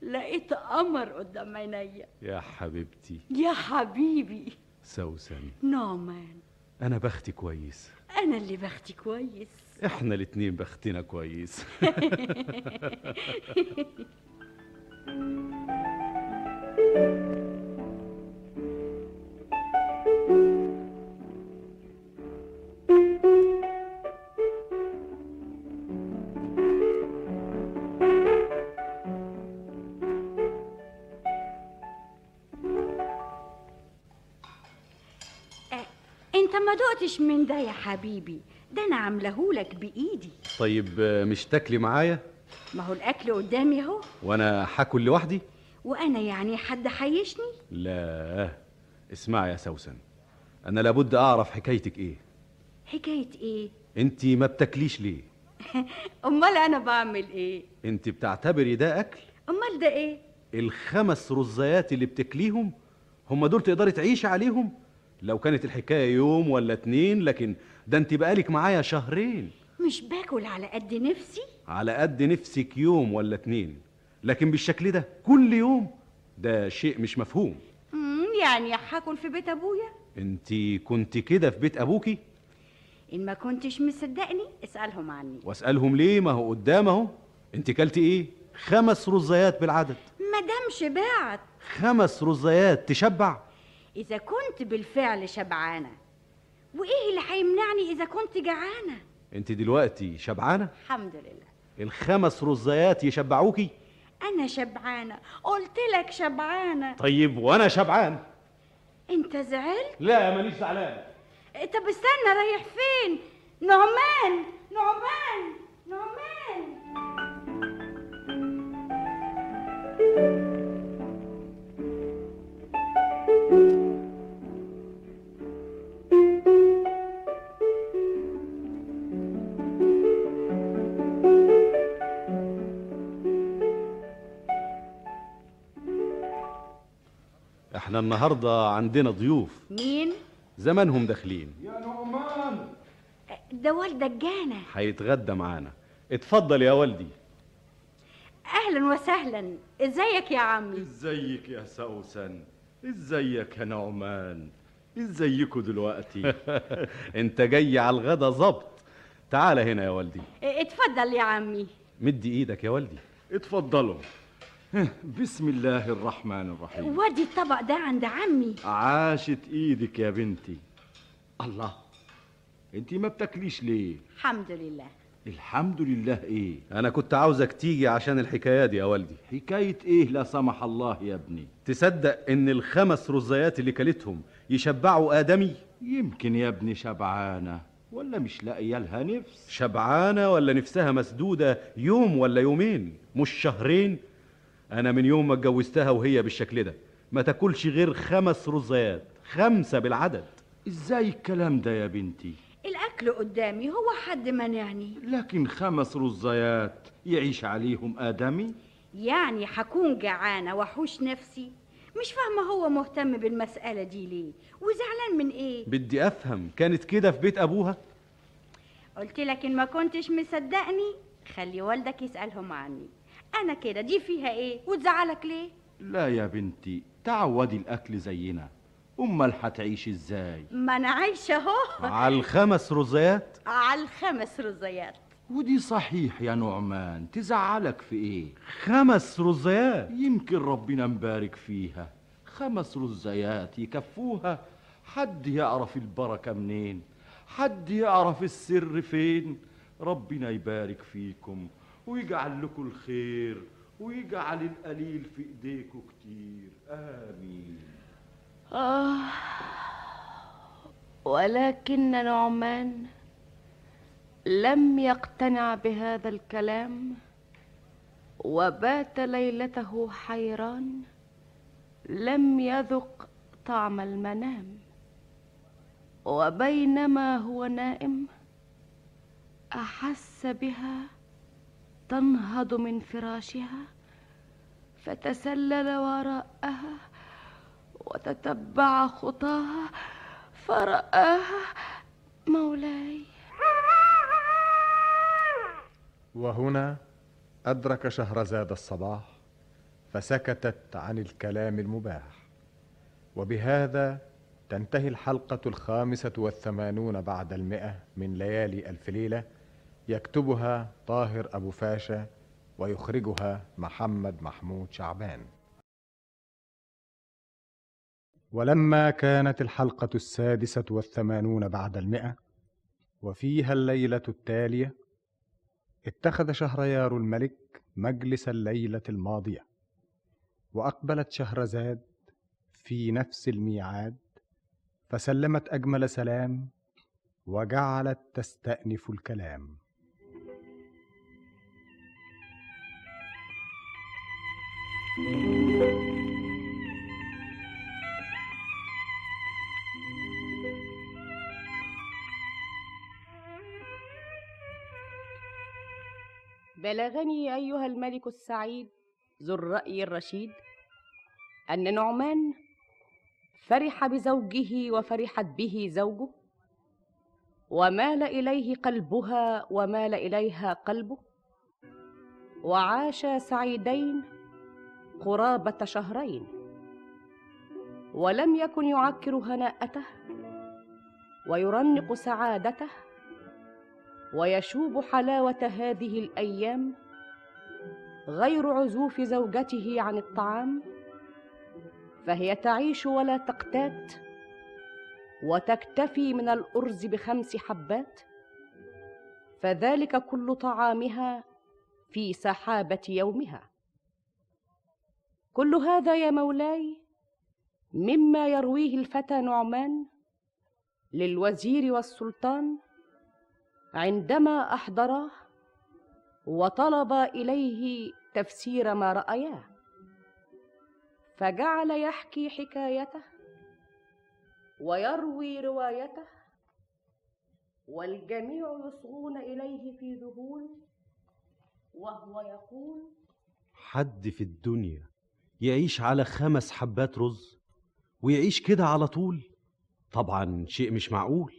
Speaker 17: لقيت قمر قدام عينيا
Speaker 15: يا حبيبتي
Speaker 17: يا حبيبي
Speaker 15: سوسن
Speaker 17: نعمان
Speaker 15: أنا بختي كويس
Speaker 17: انا اللي بختي كويس
Speaker 15: إحنا الاتنين بختنا كويس
Speaker 17: إيه، انت ما دقتش من ده يا حبيبي ده انا عاملهولك بايدي
Speaker 15: طيب آه، مش تاكلي معايا
Speaker 17: ما هو الاكل قدامي اهو
Speaker 15: وأنا هاكل لوحدي
Speaker 17: وانا يعني حد حيشني
Speaker 15: لا اسمعي يا سوسن أنا لابد أعرف حكايتك إيه
Speaker 17: حكايه ايه
Speaker 15: أنت ما بتاكليش ليه
Speaker 17: امال انا بعمل ايه
Speaker 15: أنت بتعتبري ده أكل
Speaker 17: امال ده ايه
Speaker 15: الخمس رزيات اللي بتاكليهم هم دول تقدري تعيشي عليهم لو كانت الحكاية يوم ولا اتنين لكن ده انت بقالك معايا شهرين
Speaker 17: مش باكل على قد نفسي
Speaker 15: على قد نفسك يوم ولا اتنين لكن بالشكل ده كل يوم ده شيء مش مفهوم
Speaker 17: مم، يعني هاكل في بيت ابويا
Speaker 15: انت كنت كده في بيت ابوكي
Speaker 17: ان ما كنتش مصدقني اسالهم عني
Speaker 15: واسالهم ليه ما هو قدام اهو انت كلت ايه خمس رزيات بالعدد
Speaker 17: ما دام شبعت
Speaker 15: خمس رزيات تشبع
Speaker 17: اذا كنت بالفعل شبعانه وايه اللي هيمنعني اذا كنت جعانه
Speaker 15: انت دلوقتي شبعانه
Speaker 17: الحمد لله
Speaker 15: الخمس رزيات يشبعوكي
Speaker 17: انا شبعانه قلت لك شبعانه
Speaker 15: طيب وانا شبعان
Speaker 17: انت زعلت
Speaker 15: لا مانيش زعلان
Speaker 17: طب استنى رايح فين نعمان نعمان نعمان
Speaker 15: احنا النهارده عندنا ضيوف
Speaker 17: مين
Speaker 15: زمانهم داخلين
Speaker 17: يا نعمان ده والدك جانا
Speaker 15: هيتغدى معانا اتفضل يا والدي
Speaker 17: اهلا وسهلا ازيك يا عمي
Speaker 16: ازيك يا سوسن ازيك يا نعمان ازيكوا دلوقتي
Speaker 15: انت جاي على الغدا ظبط تعال هنا يا والدي
Speaker 17: اتفضل يا عمي
Speaker 15: مدي ايدك يا والدي
Speaker 16: اتفضلوا بسم الله الرحمن الرحيم
Speaker 17: ودي الطبق ده عند عمي
Speaker 16: عاشت ايدك يا بنتي الله انت ما بتاكليش ليه
Speaker 17: الحمد لله
Speaker 16: الحمد لله ايه
Speaker 15: انا كنت عاوزك تيجي عشان الحكايه دي يا والدي
Speaker 16: حكايه ايه لا سمح الله يا ابني
Speaker 15: تصدق ان الخمس رزيات اللي كلتهم يشبعوا ادمي
Speaker 16: يمكن يا ابني شبعانه ولا مش لاقيه لها نفس
Speaker 15: شبعانه ولا نفسها مسدوده يوم ولا يومين مش شهرين انا من يوم ما اتجوزتها وهي بالشكل ده ما تاكلش غير خمس رزيات خمسه بالعدد
Speaker 16: ازاي الكلام ده يا بنتي
Speaker 17: الاكل قدامي هو حد يعني. منعني
Speaker 16: لكن خمس رزيات يعيش عليهم ادمي
Speaker 17: يعني هكون جعانه واحوش نفسي مش فاهمه هو مهتم بالمساله دي ليه وزعلان من ايه
Speaker 15: بدي افهم كانت كده في بيت ابوها
Speaker 17: قلت لك ان ما كنتش مصدقني خلي والدك يسالهم عني انا كده دي فيها ايه وتزعلك ليه
Speaker 16: لا يا بنتي تعودي الاكل زينا امال هتعيش ازاي
Speaker 17: ما انا عايشه اهو
Speaker 15: على الخمس رزيات
Speaker 17: على الخمس رزيات
Speaker 16: ودي صحيح يا نعمان تزعلك في ايه
Speaker 15: خمس رزيات
Speaker 16: يمكن ربنا مبارك فيها خمس رزيات يكفوها حد يعرف البركه منين حد يعرف السر فين ربنا يبارك فيكم ويجعل لكم الخير ويجعل القليل في ايديكم كتير امين
Speaker 3: آه ولكن نعمان لم يقتنع بهذا الكلام وبات ليلته حيران لم يذق طعم المنام وبينما هو نائم احس بها تنهض من فراشها فتسلل وراءها وتتبع خطاها فرآها مولاي
Speaker 1: وهنا أدرك شهرزاد الصباح فسكتت عن الكلام المباح وبهذا تنتهي الحلقة الخامسة والثمانون بعد المئة من ليالي ألف ليلة يكتبها طاهر أبو فاشا ويخرجها محمد محمود شعبان ولما كانت الحلقة السادسة والثمانون بعد المئة وفيها الليلة التالية اتخذ شهريار الملك مجلس الليلة الماضية وأقبلت شهرزاد في نفس الميعاد فسلمت أجمل سلام وجعلت تستأنف الكلام
Speaker 3: بلغني أيها الملك السعيد ذو الرأي الرشيد أن نعمان فرح بزوجه وفرحت به زوجه ومال اليه قلبها ومال اليها قلبه وعاشا سعيدين قرابه شهرين ولم يكن يعكر هناءته ويرنق سعادته ويشوب حلاوه هذه الايام غير عزوف زوجته عن الطعام فهي تعيش ولا تقتات وتكتفي من الارز بخمس حبات فذلك كل طعامها في سحابه يومها كل هذا يا مولاي مما يرويه الفتى نعمان للوزير والسلطان عندما احضراه وطلب اليه تفسير ما راياه فجعل يحكي حكايته ويروي روايته والجميع يصغون اليه في ذهول وهو يقول
Speaker 15: حد في الدنيا يعيش على خمس حبات رز ويعيش كده على طول طبعا شيء مش معقول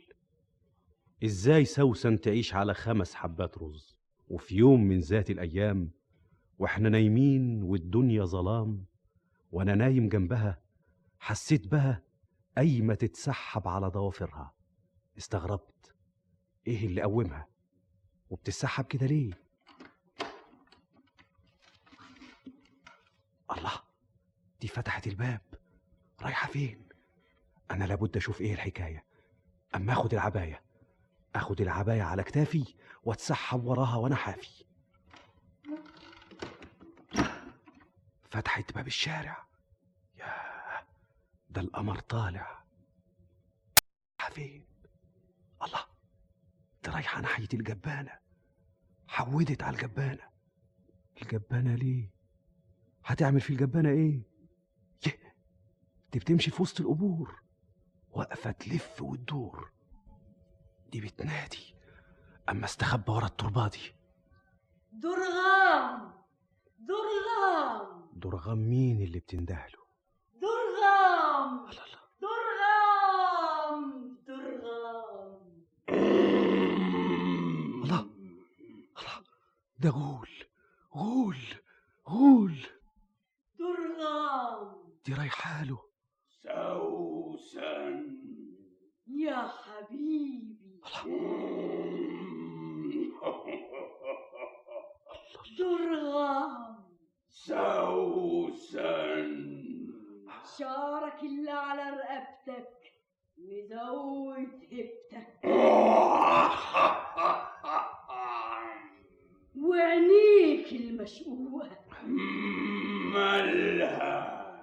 Speaker 15: ازاي سوسن تعيش على خمس حبات رز وفي يوم من ذات الايام واحنا نايمين والدنيا ظلام وانا نايم جنبها حسيت بها قايمه تتسحب على ضوافرها استغربت ايه اللي قومها وبتتسحب كده ليه الله دي فتحت الباب رايحه فين انا لابد اشوف ايه الحكايه اما اخد العبايه اخد العبايه على كتافي واتسحب وراها وانا حافي فتحت باب الشارع ياه ده القمر طالع فين الله دي رايحه ناحيه الجبانه حودت على الجبانه الجبانه ليه هتعمل في الجبانه ايه يه، دي بتمشي في وسط القبور واقفه تلف وتدور دي بتنادي اما استخبى ورا التربه دي
Speaker 18: درغام درغام
Speaker 15: درغام مين اللي بتندهله
Speaker 18: درغام درغام درغام
Speaker 15: الله الله ده غول غول غول
Speaker 18: درغام
Speaker 15: دي رايحه له
Speaker 7: سوسن
Speaker 18: يا حبيبي درغام
Speaker 7: سوسن
Speaker 18: شعرك اللي على رقبتك مزود هبتك وعينيك المشقوقة
Speaker 7: مالها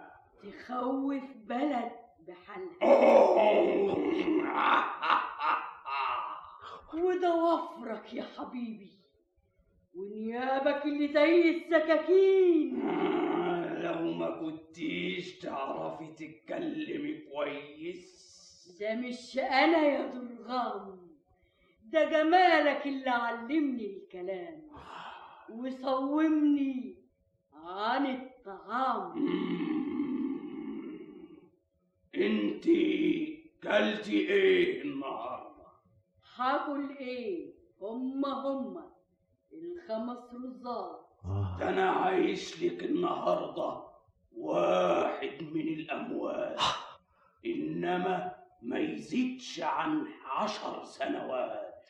Speaker 18: تخوف بلد بحالها وضوافرك يا حبيبي ونيابك اللي زي السكاكين
Speaker 7: لو ما كنتيش تعرفي تتكلمي كويس
Speaker 18: ده مش انا يا درغام ده جمالك اللي علمني الكلام وصومني عن الطعام
Speaker 7: انتي كلتي ايه النهارده
Speaker 18: هاكل ايه هما هما الخمس رزاق
Speaker 7: ده انا عايش لك النهارده واحد من الاموال انما ما يزيدش عن عشر سنوات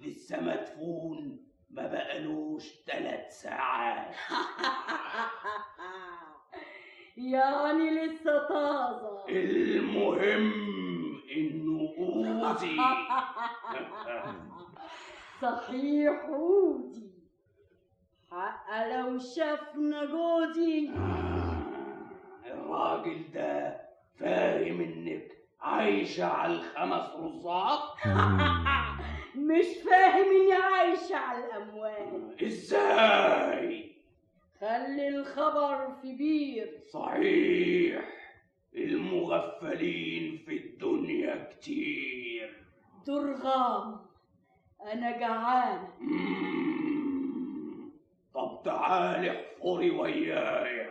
Speaker 7: لسه مدفون ما بقالوش ثلاث ساعات
Speaker 18: يعني لسه طازة
Speaker 7: المهم انه اوزي
Speaker 18: صحيح عودي حق لو شافنا جوزي
Speaker 7: الراجل ده فاهم انك عايشة على الخمس رزاق
Speaker 18: مش فاهم اني عايشة على الأموال
Speaker 7: ازاي
Speaker 18: خلي الخبر في بير
Speaker 7: صحيح المغفلين في الدنيا كتير
Speaker 18: درغام أنا جعانة
Speaker 7: طب تعالي احفري وياي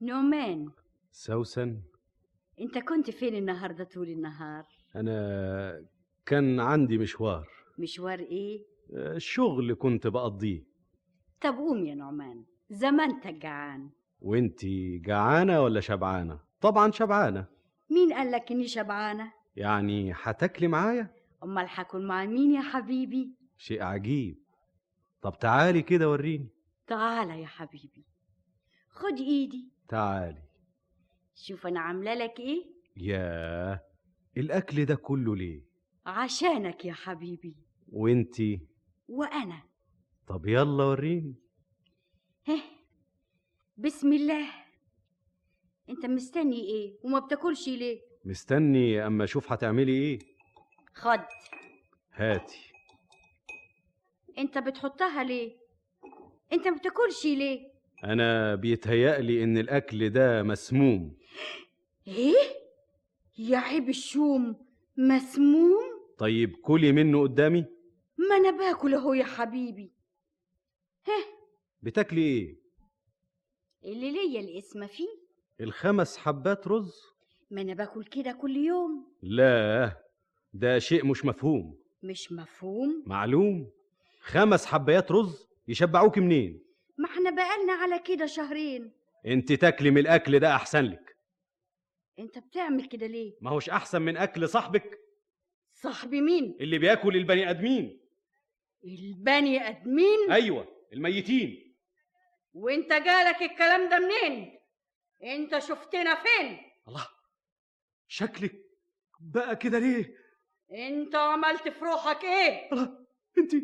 Speaker 17: نعمان
Speaker 15: سوسن
Speaker 17: انت كنت فين النهارده طول النهار
Speaker 15: أنا كان عندي مشوار
Speaker 17: مشوار ايه
Speaker 15: آه، شغل كنت بقضيه
Speaker 17: طب قوم يا نعمان زمانتك جعان
Speaker 15: وانتي جعانة ولا شبعانة؟ طبعا شبعانة
Speaker 17: مين قال لك اني شبعانه
Speaker 15: يعني هتاكلي معايا؟
Speaker 17: امال هاكل مع مين يا حبيبي
Speaker 15: شيء عجيب طب تعالي كده وريني
Speaker 17: تعالى يا حبيبي خد ايدي
Speaker 15: تعالي
Speaker 17: شوف انا عامله لك ايه
Speaker 15: ياه الأكل ده كله ليه؟
Speaker 17: عشانك يا حبيبي
Speaker 15: وانتي
Speaker 17: وانا
Speaker 15: طب يلا وريني
Speaker 17: هه بسم الله انت مستني ايه وما بتاكلش ليه
Speaker 15: مستني أما أشوف هتعملي إيه
Speaker 17: خد
Speaker 15: هاتي
Speaker 17: انت بتحطها ليه انت ما بتاكلش ليه
Speaker 15: أنا بيتهيألي إن الأكل ده مسموم
Speaker 17: ايه يا عيب الشوم مسموم
Speaker 15: طيب كلي منه قدامي
Speaker 17: ما انا باكل اهو يا حبيبي
Speaker 15: بتاكلي إيه؟
Speaker 17: اللي ليا الاسم فيه
Speaker 15: الخمس حبات رز؟
Speaker 17: ما انا باكل كده كل يوم
Speaker 15: لا ده شيء مش مفهوم
Speaker 17: مش مفهوم
Speaker 15: معلوم خمس حبايات رز يشبعوك منين
Speaker 17: ما احنا بقالنا على كده شهرين
Speaker 15: انت تاكلي من الاكل ده احسن لك
Speaker 17: انت بتعمل كده ليه
Speaker 15: ما هوش احسن من اكل صاحبك
Speaker 17: صاحبي مين
Speaker 15: اللي بياكل البني ادمين
Speaker 17: البني ادمين
Speaker 15: ايوه الميتين
Speaker 18: وانت جالك الكلام ده منين انت شفتنا فين
Speaker 15: الله شكلك بقى كده ليه
Speaker 18: انت عملت في روحك ايه
Speaker 7: انت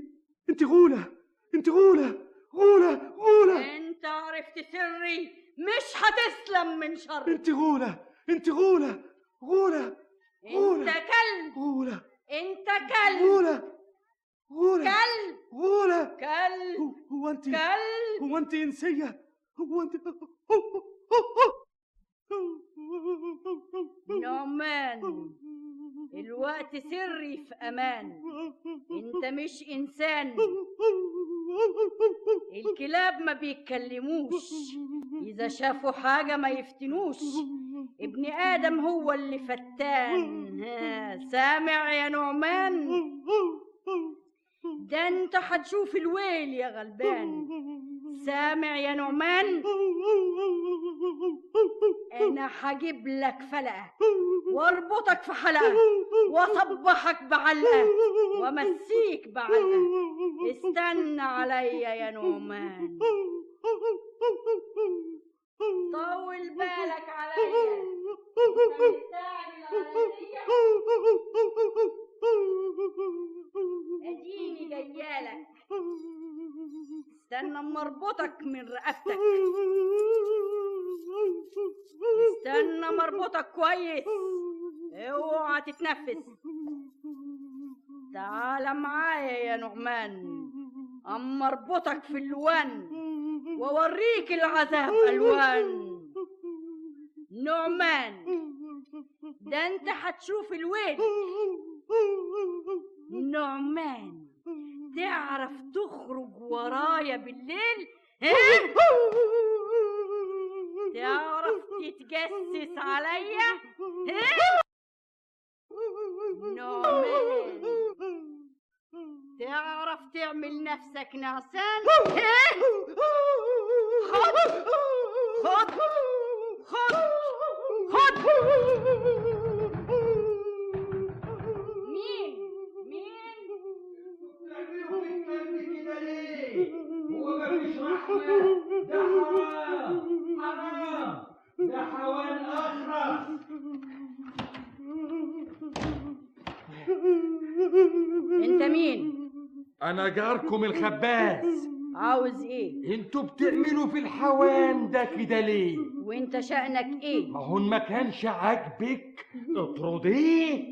Speaker 7: انت غولة انت غولة غولة غولة
Speaker 18: انت عرفت سري مش هتسلم من شر
Speaker 7: انت غولة انت غولة غولة
Speaker 18: انت كلب
Speaker 7: غولة
Speaker 18: انت كلب
Speaker 7: غولة غولة
Speaker 18: كلب
Speaker 7: غولة
Speaker 18: كلب
Speaker 7: هو انت
Speaker 18: كلب
Speaker 7: هو انت انسية هو انت
Speaker 18: نعمان الوقت سري في امان انت مش انسان الكلاب ما بيتكلموش اذا شافوا حاجه ما يفتنوش ابن ادم هو اللي فتان ها، سامع يا نعمان ده انت هتشوف الويل يا غلبان سامع يا نعمان انا هجيب لك فلقه واربطك في حلقه واصبحك بعلقه وامسيك بعلقه استنى عليا يا نعمان طول بالك عليا انت مستعجل عليا اديني جيالك استنى اما اربطك من رقبتك استنى اما اربطك كويس اوعى تتنفس تعال معايا يا نعمان اما اربطك في اللوان واوريك العذاب الوان نعمان ده انت هتشوف الويل نعمان تعرف تخرج ورايا بالليل ها؟ تعرف تتجسس عليا ها؟ نعمان تعرف تعمل نفسك نعسان ها؟ خد خد خد خد مين
Speaker 7: هو مفيش رحمة ده حرام حرام ده حيوان أخرس
Speaker 18: انت مين
Speaker 19: انا جاركم الخباز
Speaker 18: عاوز ايه
Speaker 19: انتوا بتعملوا في الحوان ده كده ليه
Speaker 18: وانت شأنك ايه
Speaker 19: ما هو إن ما كانش عاجبك اطرديه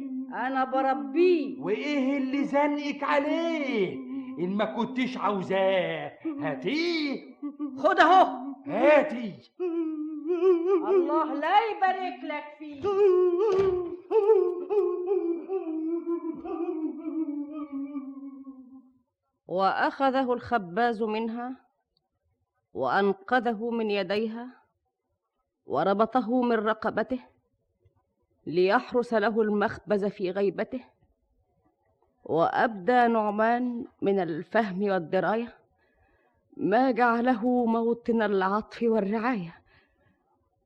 Speaker 18: انا بربيه
Speaker 19: وايه اللي زنقك عليه ان ما كنتش عاوزاه هاتيه
Speaker 18: خد اهو
Speaker 19: هاتي
Speaker 18: الله لا يبارك لك فيه
Speaker 3: واخذه الخباز منها وانقذه من يديها وربطه من رقبته ليحرس له المخبز في غيبته وابدى نعمان من الفهم والدرايه ما جعله موطن العطف والرعايه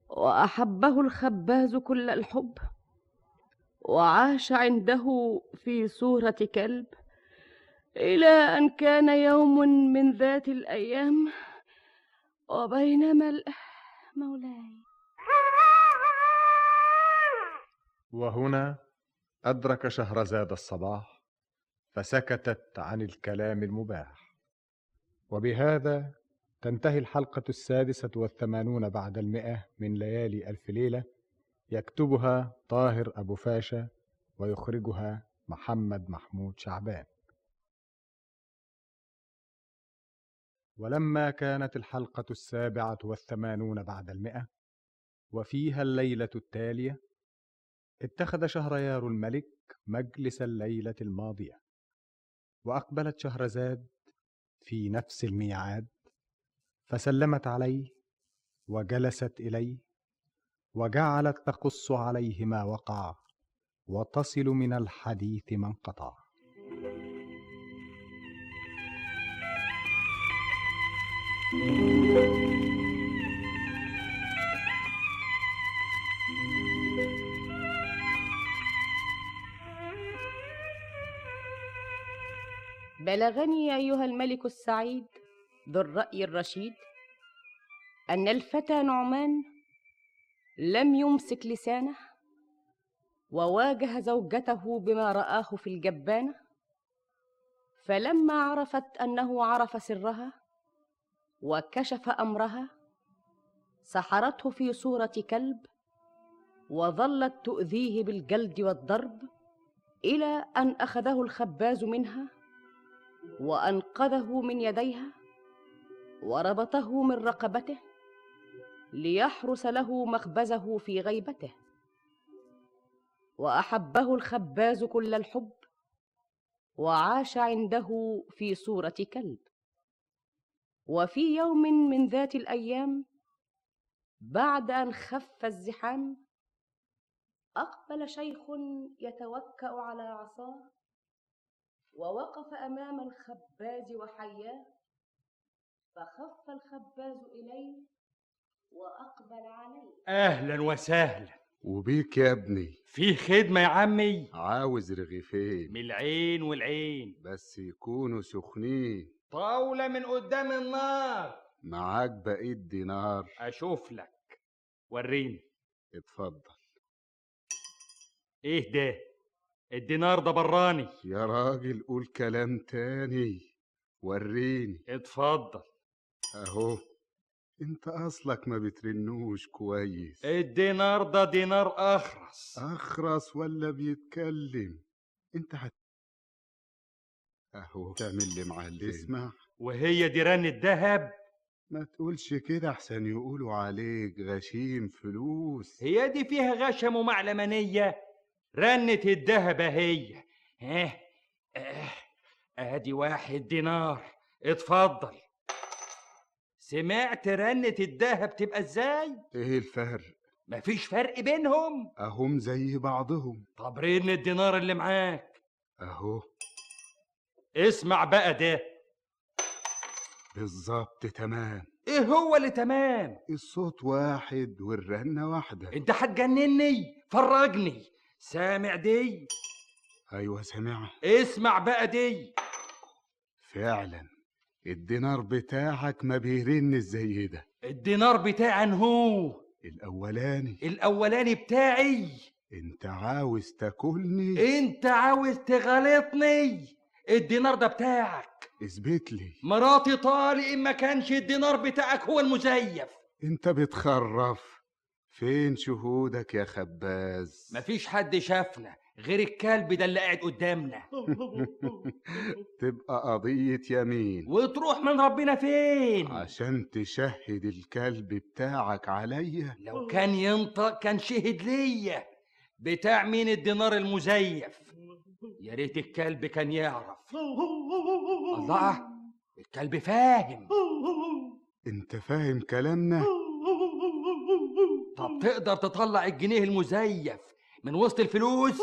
Speaker 3: واحبه الخباز كل الحب وعاش عنده في صوره كلب الى ان كان يوم من ذات الايام وبينما ال- مولاي
Speaker 1: وهنا أدرك شهرزاد الصباح فسكتت عن الكلام المباح وبهذا تنتهي الحلقة السادسة والثمانون بعد المئة من ليالي ألف ليلة يكتبها طاهر أبو فاشا ويخرجها محمد محمود شعبان ولما كانت الحلقة السابعة والثمانون بعد المئة وفيها الليلة التالية اتخذ شهريار الملك مجلس الليلة الماضية وأقبلت شهرزاد في نفس الميعاد فسلمت عليه وجلست إليه وجعلت تقص عليه ما وقع وتصل من الحديث ما انقطع
Speaker 3: بلغني ايها الملك السعيد ذو الراي الرشيد ان الفتى نعمان لم يمسك لسانه وواجه زوجته بما راه في الجبانه فلما عرفت انه عرف سرها وكشف امرها سحرته في صوره كلب وظلت تؤذيه بالجلد والضرب الى ان اخذه الخباز منها وانقذه من يديها وربطه من رقبته ليحرس له مخبزه في غيبته واحبه الخباز كل الحب وعاش عنده في صوره كلب وفي يوم من ذات الايام بعد ان خف الزحام اقبل شيخ يتوكا على عصاه ووقف امام الخباز وحياه فخف الخباز اليه واقبل عليه
Speaker 5: اهلا وسهلا
Speaker 20: وبيك يا ابني
Speaker 5: في خدمه يا عمي
Speaker 20: عاوز رغيفين
Speaker 5: من العين والعين
Speaker 20: بس يكونوا سخنين
Speaker 5: طاوله من قدام النار
Speaker 20: معاك بقيت دينار
Speaker 5: اشوف لك وريني
Speaker 20: اتفضل
Speaker 5: ايه ده الدينار ده براني
Speaker 20: يا راجل قول كلام تاني وريني
Speaker 5: اتفضل
Speaker 20: اهو انت اصلك ما بترنوش كويس
Speaker 5: الدينار ده دينار اخرس
Speaker 20: اخرس ولا بيتكلم انت هت اهو تعمل لي معلم اسمع
Speaker 5: وهي ديران الذهب
Speaker 20: ما تقولش كده احسن يقولوا عليك غشيم فلوس
Speaker 5: هي دي فيها غشم ومعلمانيه رنت الدهب هي ها آه، ادي واحد دينار اتفضل سمعت رنة الدهب تبقى ازاي؟
Speaker 20: ايه الفرق
Speaker 5: مفيش فرق بينهم
Speaker 20: اهم زي بعضهم
Speaker 5: طب رن الدينار اللي معاك
Speaker 20: اهو
Speaker 5: اسمع بقى ده
Speaker 20: بالظبط تمام
Speaker 5: ايه هو اللي تمام
Speaker 20: الصوت واحد والرنة واحدة
Speaker 5: انت هتجنني فرجني سامع دي
Speaker 20: ايوه سامعها
Speaker 5: اسمع بقى دي
Speaker 20: فعلا الدينار بتاعك ما بيرن زي ده
Speaker 5: الدينار بتاعي هو
Speaker 20: الاولاني
Speaker 5: الاولاني بتاعي إيه؟
Speaker 20: انت عاوز تاكلني
Speaker 5: انت عاوز تغلطني الدينار ده بتاعك
Speaker 20: اثبت لي
Speaker 5: مراتي طالق إن ما كانش الدينار بتاعك هو المزيف
Speaker 20: انت بتخرف فين شهودك يا خباز
Speaker 5: مفيش حد شافنا غير الكلب ده اللي قاعد قدامنا
Speaker 20: تبقى قضية يمين
Speaker 5: وتروح من ربنا فين
Speaker 20: عشان تشهد الكلب بتاعك عليا
Speaker 5: لو كان ينطق كان شهد ليا بتاع مين الدينار المزيف يا ريت الكلب كان يعرف الله الكلب فاهم
Speaker 20: انت فاهم كلامنا
Speaker 5: طب تقدر تطلع الجنيه المزيف من وسط الفلوس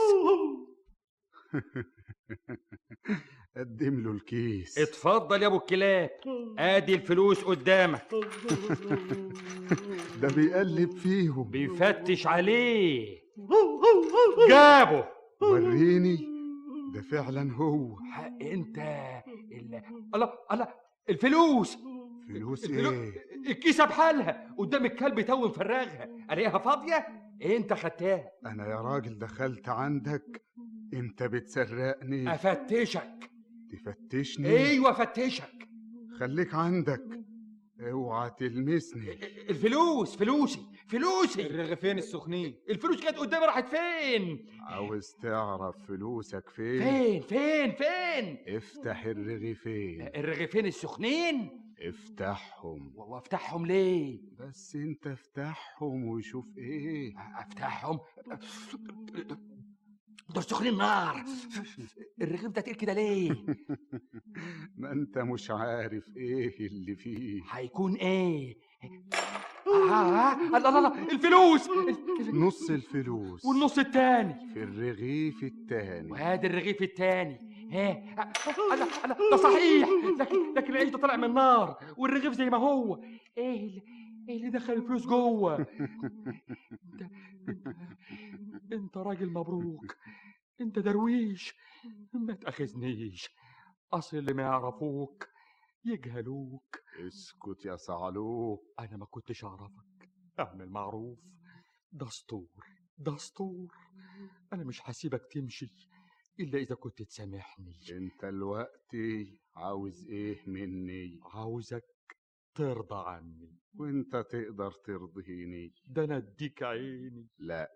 Speaker 20: قدم له الكيس
Speaker 5: اتفضل يا ابو الكلاب ادي الفلوس قدامك
Speaker 20: ده بيقلب فيهم
Speaker 5: بيفتش عليه جابه
Speaker 20: وريني ده فعلا هو
Speaker 5: حق انت ال... الله الله الفلوس
Speaker 20: فلوس
Speaker 5: الفلو-
Speaker 20: ايه
Speaker 5: الكيسه بحالها قدام الكلب تو مفرغها الاقيها فاضيه إيه انت خدتها
Speaker 20: انا يا راجل دخلت عندك انت بتسرقني
Speaker 5: افتشك
Speaker 20: تفتشني
Speaker 5: ايوه فتشك
Speaker 20: خليك عندك اوعى تلمسني
Speaker 5: الفلوس فلوسي فلوسي
Speaker 21: الرغيفين السخنين
Speaker 5: الفلوس كانت قدامي راحت فين
Speaker 20: عاوز تعرف فلوسك فين
Speaker 5: فين فين فين
Speaker 20: افتح الرغيفين
Speaker 5: الرغيفين السخنين
Speaker 20: افتحهم
Speaker 5: وافتحهم ليه
Speaker 20: بس انت افتحهم وشوف ايه
Speaker 5: افتحهم دول سخنين نار الرغيف ده تقيل كده ليه
Speaker 20: ما انت مش عارف ايه اللي فيه
Speaker 5: هيكون ايه آه، الله الله الله الفلوس
Speaker 20: نص الفلوس
Speaker 5: إيه؟ والنص التاني
Speaker 20: في الرغيف التاني
Speaker 5: وادي الرغيف التاني ها الله الله ده صحيح لكن لكن العيش ده طلع من النار والرغيف زي ما هو ايه اللي ايه اللي دخل الفلوس جوه انت راجل مبروك انت درويش ما تاخذنيش اصل اللي ما يعرفوك يجهلوك
Speaker 20: اسكت يا صعلوك
Speaker 5: انا ما كنتش اعرفك اعمل معروف دستور دستور انا مش هسيبك تمشي الا اذا كنت تسامحني
Speaker 20: انت دلوقتي عاوز ايه مني
Speaker 5: عاوزك ترضى عني
Speaker 20: وانت تقدر ترضيني
Speaker 5: ده انا اديك عيني
Speaker 20: لا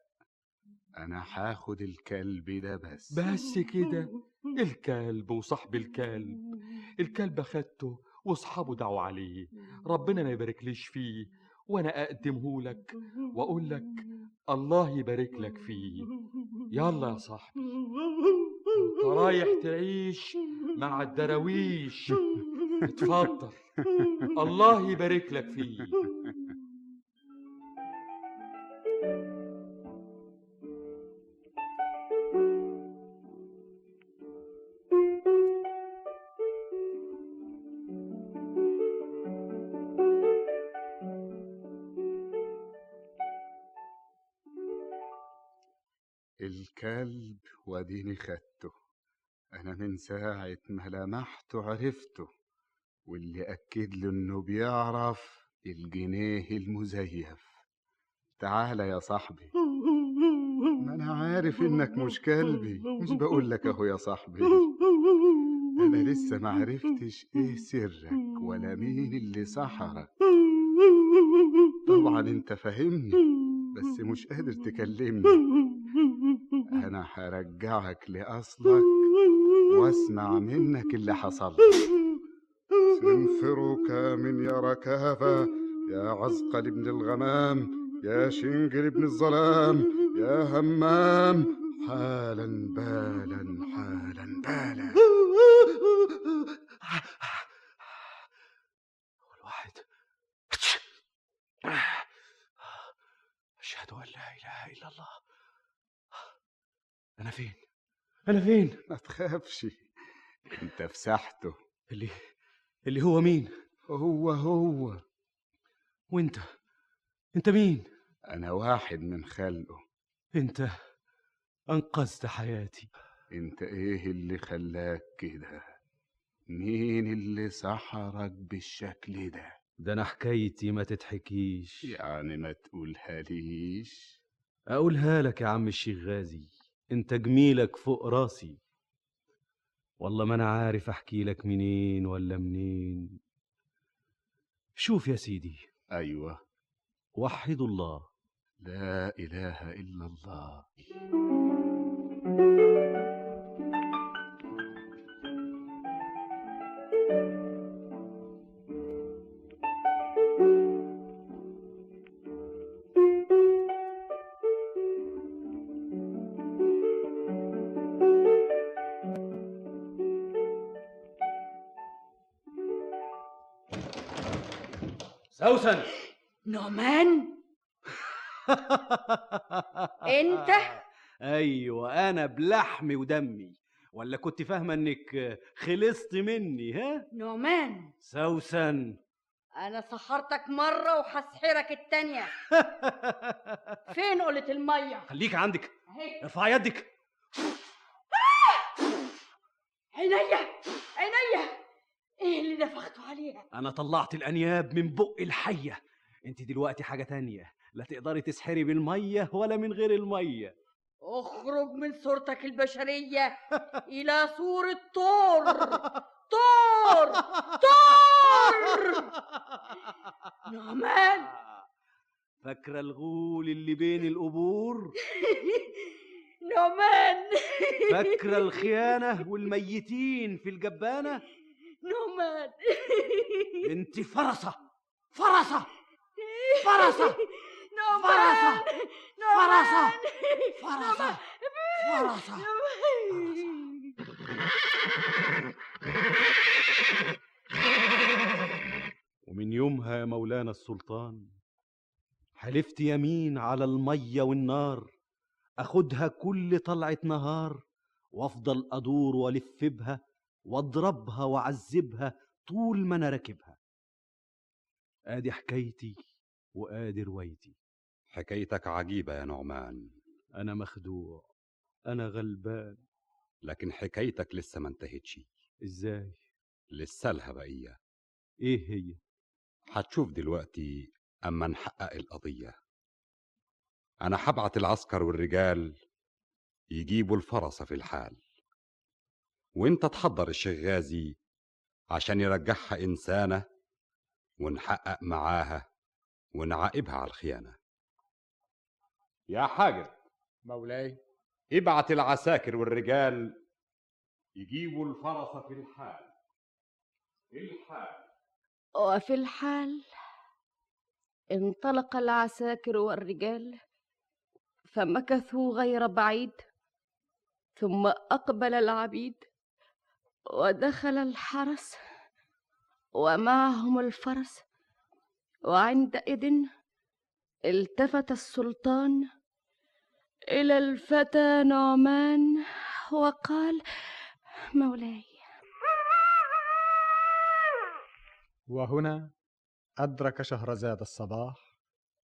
Speaker 20: انا هاخد الكلب ده بس
Speaker 5: بس كده الكلب وصاحب الكلب الكلب اخدته واصحابه دعوا عليه ربنا ما يباركليش فيه وانا اقدمه لك واقول لك الله يبارك لك فيه يلا يا صاحبي انت رايح تعيش مع الدراويش اتفضل الله يبارك لك فيه
Speaker 20: الكلب واديني خدته انا من ساعة ما لمحته عرفته واللي اكد له انه بيعرف الجنيه المزيف تعالى يا صاحبي ما انا عارف انك مش كلبي مش بقول لك اهو يا صاحبي انا لسه ما عرفتش ايه سرك ولا مين اللي سحرك طبعا انت فاهمني بس مش قادر تكلمني انا هرجعك لاصلك واسمع منك اللي حصل سنفرك من يا ركابة يا عزقل ابن الغمام يا شنجر ابن الظلام يا همام حالا بالا حالا بالا
Speaker 5: الواحد أشهد أن لا إله إلا الله أنا فين؟ أنا فين؟
Speaker 20: ما تخافش انت فسحته
Speaker 5: اللي اللي هو مين؟
Speaker 20: هو هو
Speaker 5: وأنت أنت مين؟
Speaker 20: انا واحد من خلقه
Speaker 5: أنت أنقذت حياتي
Speaker 20: انت ايه اللي خلاك كده مين اللي سحرك بالشكل ده
Speaker 15: ده انا حكايتي ما تتحكيش
Speaker 20: يعني ما تقولها ليش
Speaker 15: اقولها لك يا عم الشيخ غازي انت جميلك فوق راسي والله ما انا عارف احكي لك منين ولا منين شوف يا سيدي
Speaker 20: ايوه
Speaker 15: وحدوا الله
Speaker 20: لا اله الا الله
Speaker 22: سوسن
Speaker 18: نعمان انت
Speaker 15: ايوه انا بلحمي ودمي ولا كنت فاهمه انك خلصت مني ها
Speaker 18: نعمان
Speaker 15: سوسن
Speaker 18: انا سحرتك مره وهسحرك التانيه فين قلة الميه
Speaker 15: خليك عندك
Speaker 18: اهي
Speaker 15: ارفع يدك
Speaker 18: آه! عينيا عينيا ايه اللي نفخته عليها
Speaker 15: انا طلعت الانياب من بق الحيه انت دلوقتي حاجه تانية لا تقدري تسحري بالميه ولا من غير الميه
Speaker 18: اخرج من صورتك البشرية إلى صورة طور طور طور نعمان
Speaker 15: فاكره الغول اللي بين القبور
Speaker 18: نعمان
Speaker 15: فاكره الخيانه والميتين في الجبانه
Speaker 18: نعمان
Speaker 15: انت فرسه فرسه فرسه
Speaker 18: نعمان نعمان
Speaker 15: فرسه فرسه ومن يومها يا مولانا السلطان حلفت يمين على الميه والنار اخدها كل طلعه نهار وافضل ادور والف بها واضربها واعذبها طول ما انا راكبها ادي حكايتي وادي روايتي
Speaker 4: حكايتك عجيبة يا نعمان
Speaker 15: أنا مخدوع أنا غلبان
Speaker 4: لكن حكايتك لسه ما انتهتش
Speaker 15: إزاي؟
Speaker 4: لسه لها بقية
Speaker 15: إيه هي؟
Speaker 4: هتشوف دلوقتي أما نحقق القضية أنا هبعت العسكر والرجال يجيبوا الفرس في الحال وانت تحضر الشغازي عشان يرجعها إنسانة ونحقق معاها ونعاقبها على الخيانة يا حاجب
Speaker 1: مولاي
Speaker 4: ابعت العساكر والرجال يجيبوا الفرس في الحال الحال
Speaker 3: وفي الحال انطلق العساكر والرجال فمكثوا غير بعيد ثم اقبل العبيد ودخل الحرس ومعهم الفرس وعندئذ التفت السلطان الى الفتى نعمان وقال مولاي
Speaker 1: وهنا أدرك شهرزاد الصباح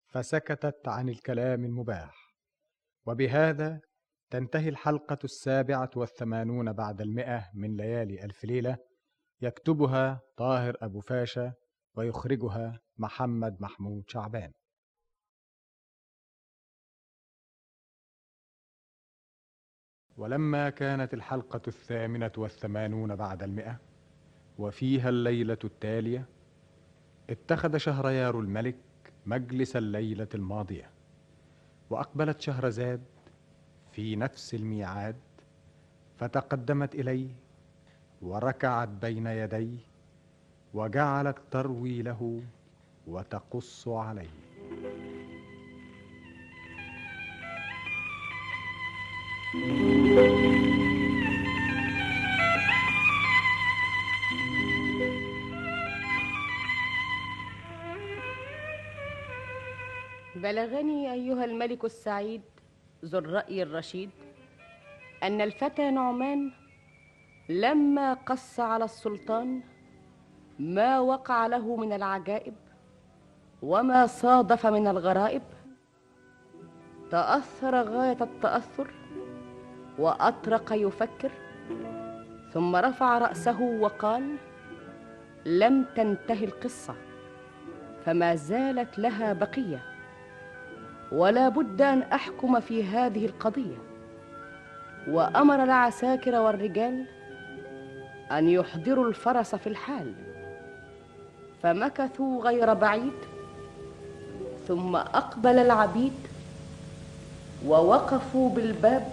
Speaker 1: فسكتت عن الكلام المباح وبهذا تنتهي الحلقة السابعة والثمانون بعد المئة من ليالي ألف ليلة يكتبها طاهر أبو فاشا ويخرجها محمد محمود شعبان ولما كانت الحلقة الثامنة والثمانون بعد المئة وفيها الليلة التالية اتخذ شهريار الملك مجلس الليلة الماضية وأقبلت شهرزاد في نفس الميعاد فتقدمت إليه وركعت بين يديه وجعلت تروي له وتقص عليه
Speaker 3: بلغني أيها الملك السعيد ذو الرأي الرشيد أن الفتى نعمان لما قص على السلطان ما وقع له من العجائب وما صادف من الغرائب تأثر غاية التأثر وأطرق يفكر ثم رفع رأسه وقال لم تنتهي القصة فما زالت لها بقيه ولا بد ان احكم في هذه القضيه وامر العساكر والرجال ان يحضروا الفرس في الحال فمكثوا غير بعيد ثم اقبل العبيد ووقفوا بالباب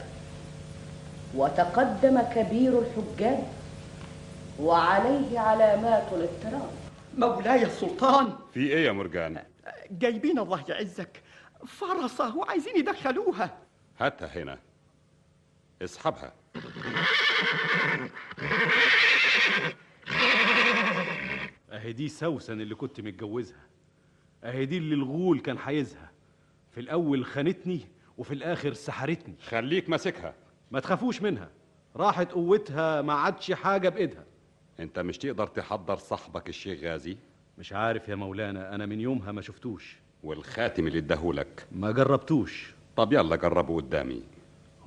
Speaker 3: وتقدم كبير الحجاج وعليه علامات الاضطراب
Speaker 8: مولاي السلطان
Speaker 4: في ايه يا مرجان
Speaker 8: جايبين الله يعزك فرسه وعايزين يدخلوها
Speaker 4: هاتها هنا اسحبها
Speaker 7: اهي دي سوسن اللي كنت متجوزها اهي دي اللي الغول كان حايزها
Speaker 15: في الأول خانتني وفي الآخر سحرتني
Speaker 4: خليك ماسكها
Speaker 15: ما تخافوش منها راحت قوتها ما عادش حاجة بإيدها
Speaker 4: انت مش تقدر تحضر صاحبك الشيخ غازي
Speaker 15: مش عارف يا مولانا أنا من يومها ما شفتوش
Speaker 4: والخاتم اللي اداهولك
Speaker 15: ما جربتوش
Speaker 4: طب يلا جربه قدامي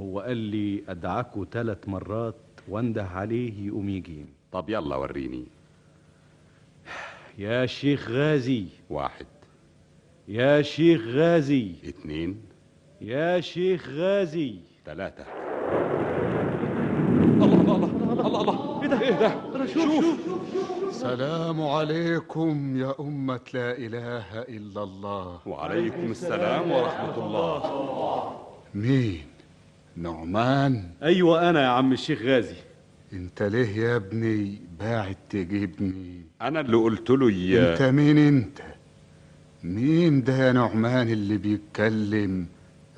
Speaker 15: هو قال لي أدعكه ثلاث مرات وانده عليه يقوم يجيني
Speaker 4: طب يلا وريني
Speaker 15: يا شيخ غازي
Speaker 4: واحد
Speaker 15: يا شيخ غازي
Speaker 4: اتنين
Speaker 15: يا شيخ غازي
Speaker 4: تلاتة
Speaker 8: الله الله الله الله الله ايه ده ايه ده شوف
Speaker 20: سلام عليكم يا أمة لا إله إلا الله
Speaker 4: وعليكم السلام ورحمة الله
Speaker 20: مين؟ نعمان؟
Speaker 15: أيوة أنا يا عم الشيخ غازي
Speaker 20: أنت ليه يا ابني باعت تجيبني؟
Speaker 4: أنا اللي قلت له
Speaker 20: أنت
Speaker 4: يا
Speaker 20: مين أنت؟ مين ده يا نعمان اللي بيتكلم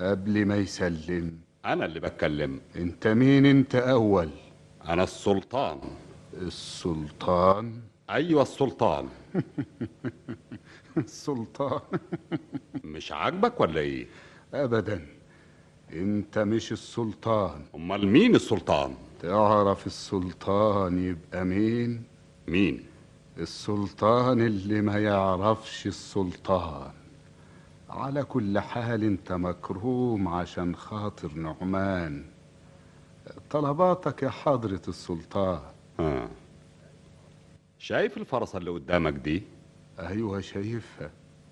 Speaker 20: قبل ما يسلم؟
Speaker 4: أنا اللي بتكلم
Speaker 20: أنت مين أنت أول؟
Speaker 4: أنا السلطان
Speaker 20: السلطان؟
Speaker 4: أيوة السلطان
Speaker 20: السلطان
Speaker 4: مش عاجبك ولا إيه؟
Speaker 20: أبدا أنت مش السلطان
Speaker 4: أمال مين السلطان؟
Speaker 20: تعرف السلطان يبقى مين؟
Speaker 4: مين؟
Speaker 20: السلطان اللي ما يعرفش السلطان على كل حال انت مكروم عشان خاطر نعمان طلباتك يا حضرة السلطان
Speaker 4: آه. شايف الفرصة اللي قدامك دي؟
Speaker 20: ايوه شايفها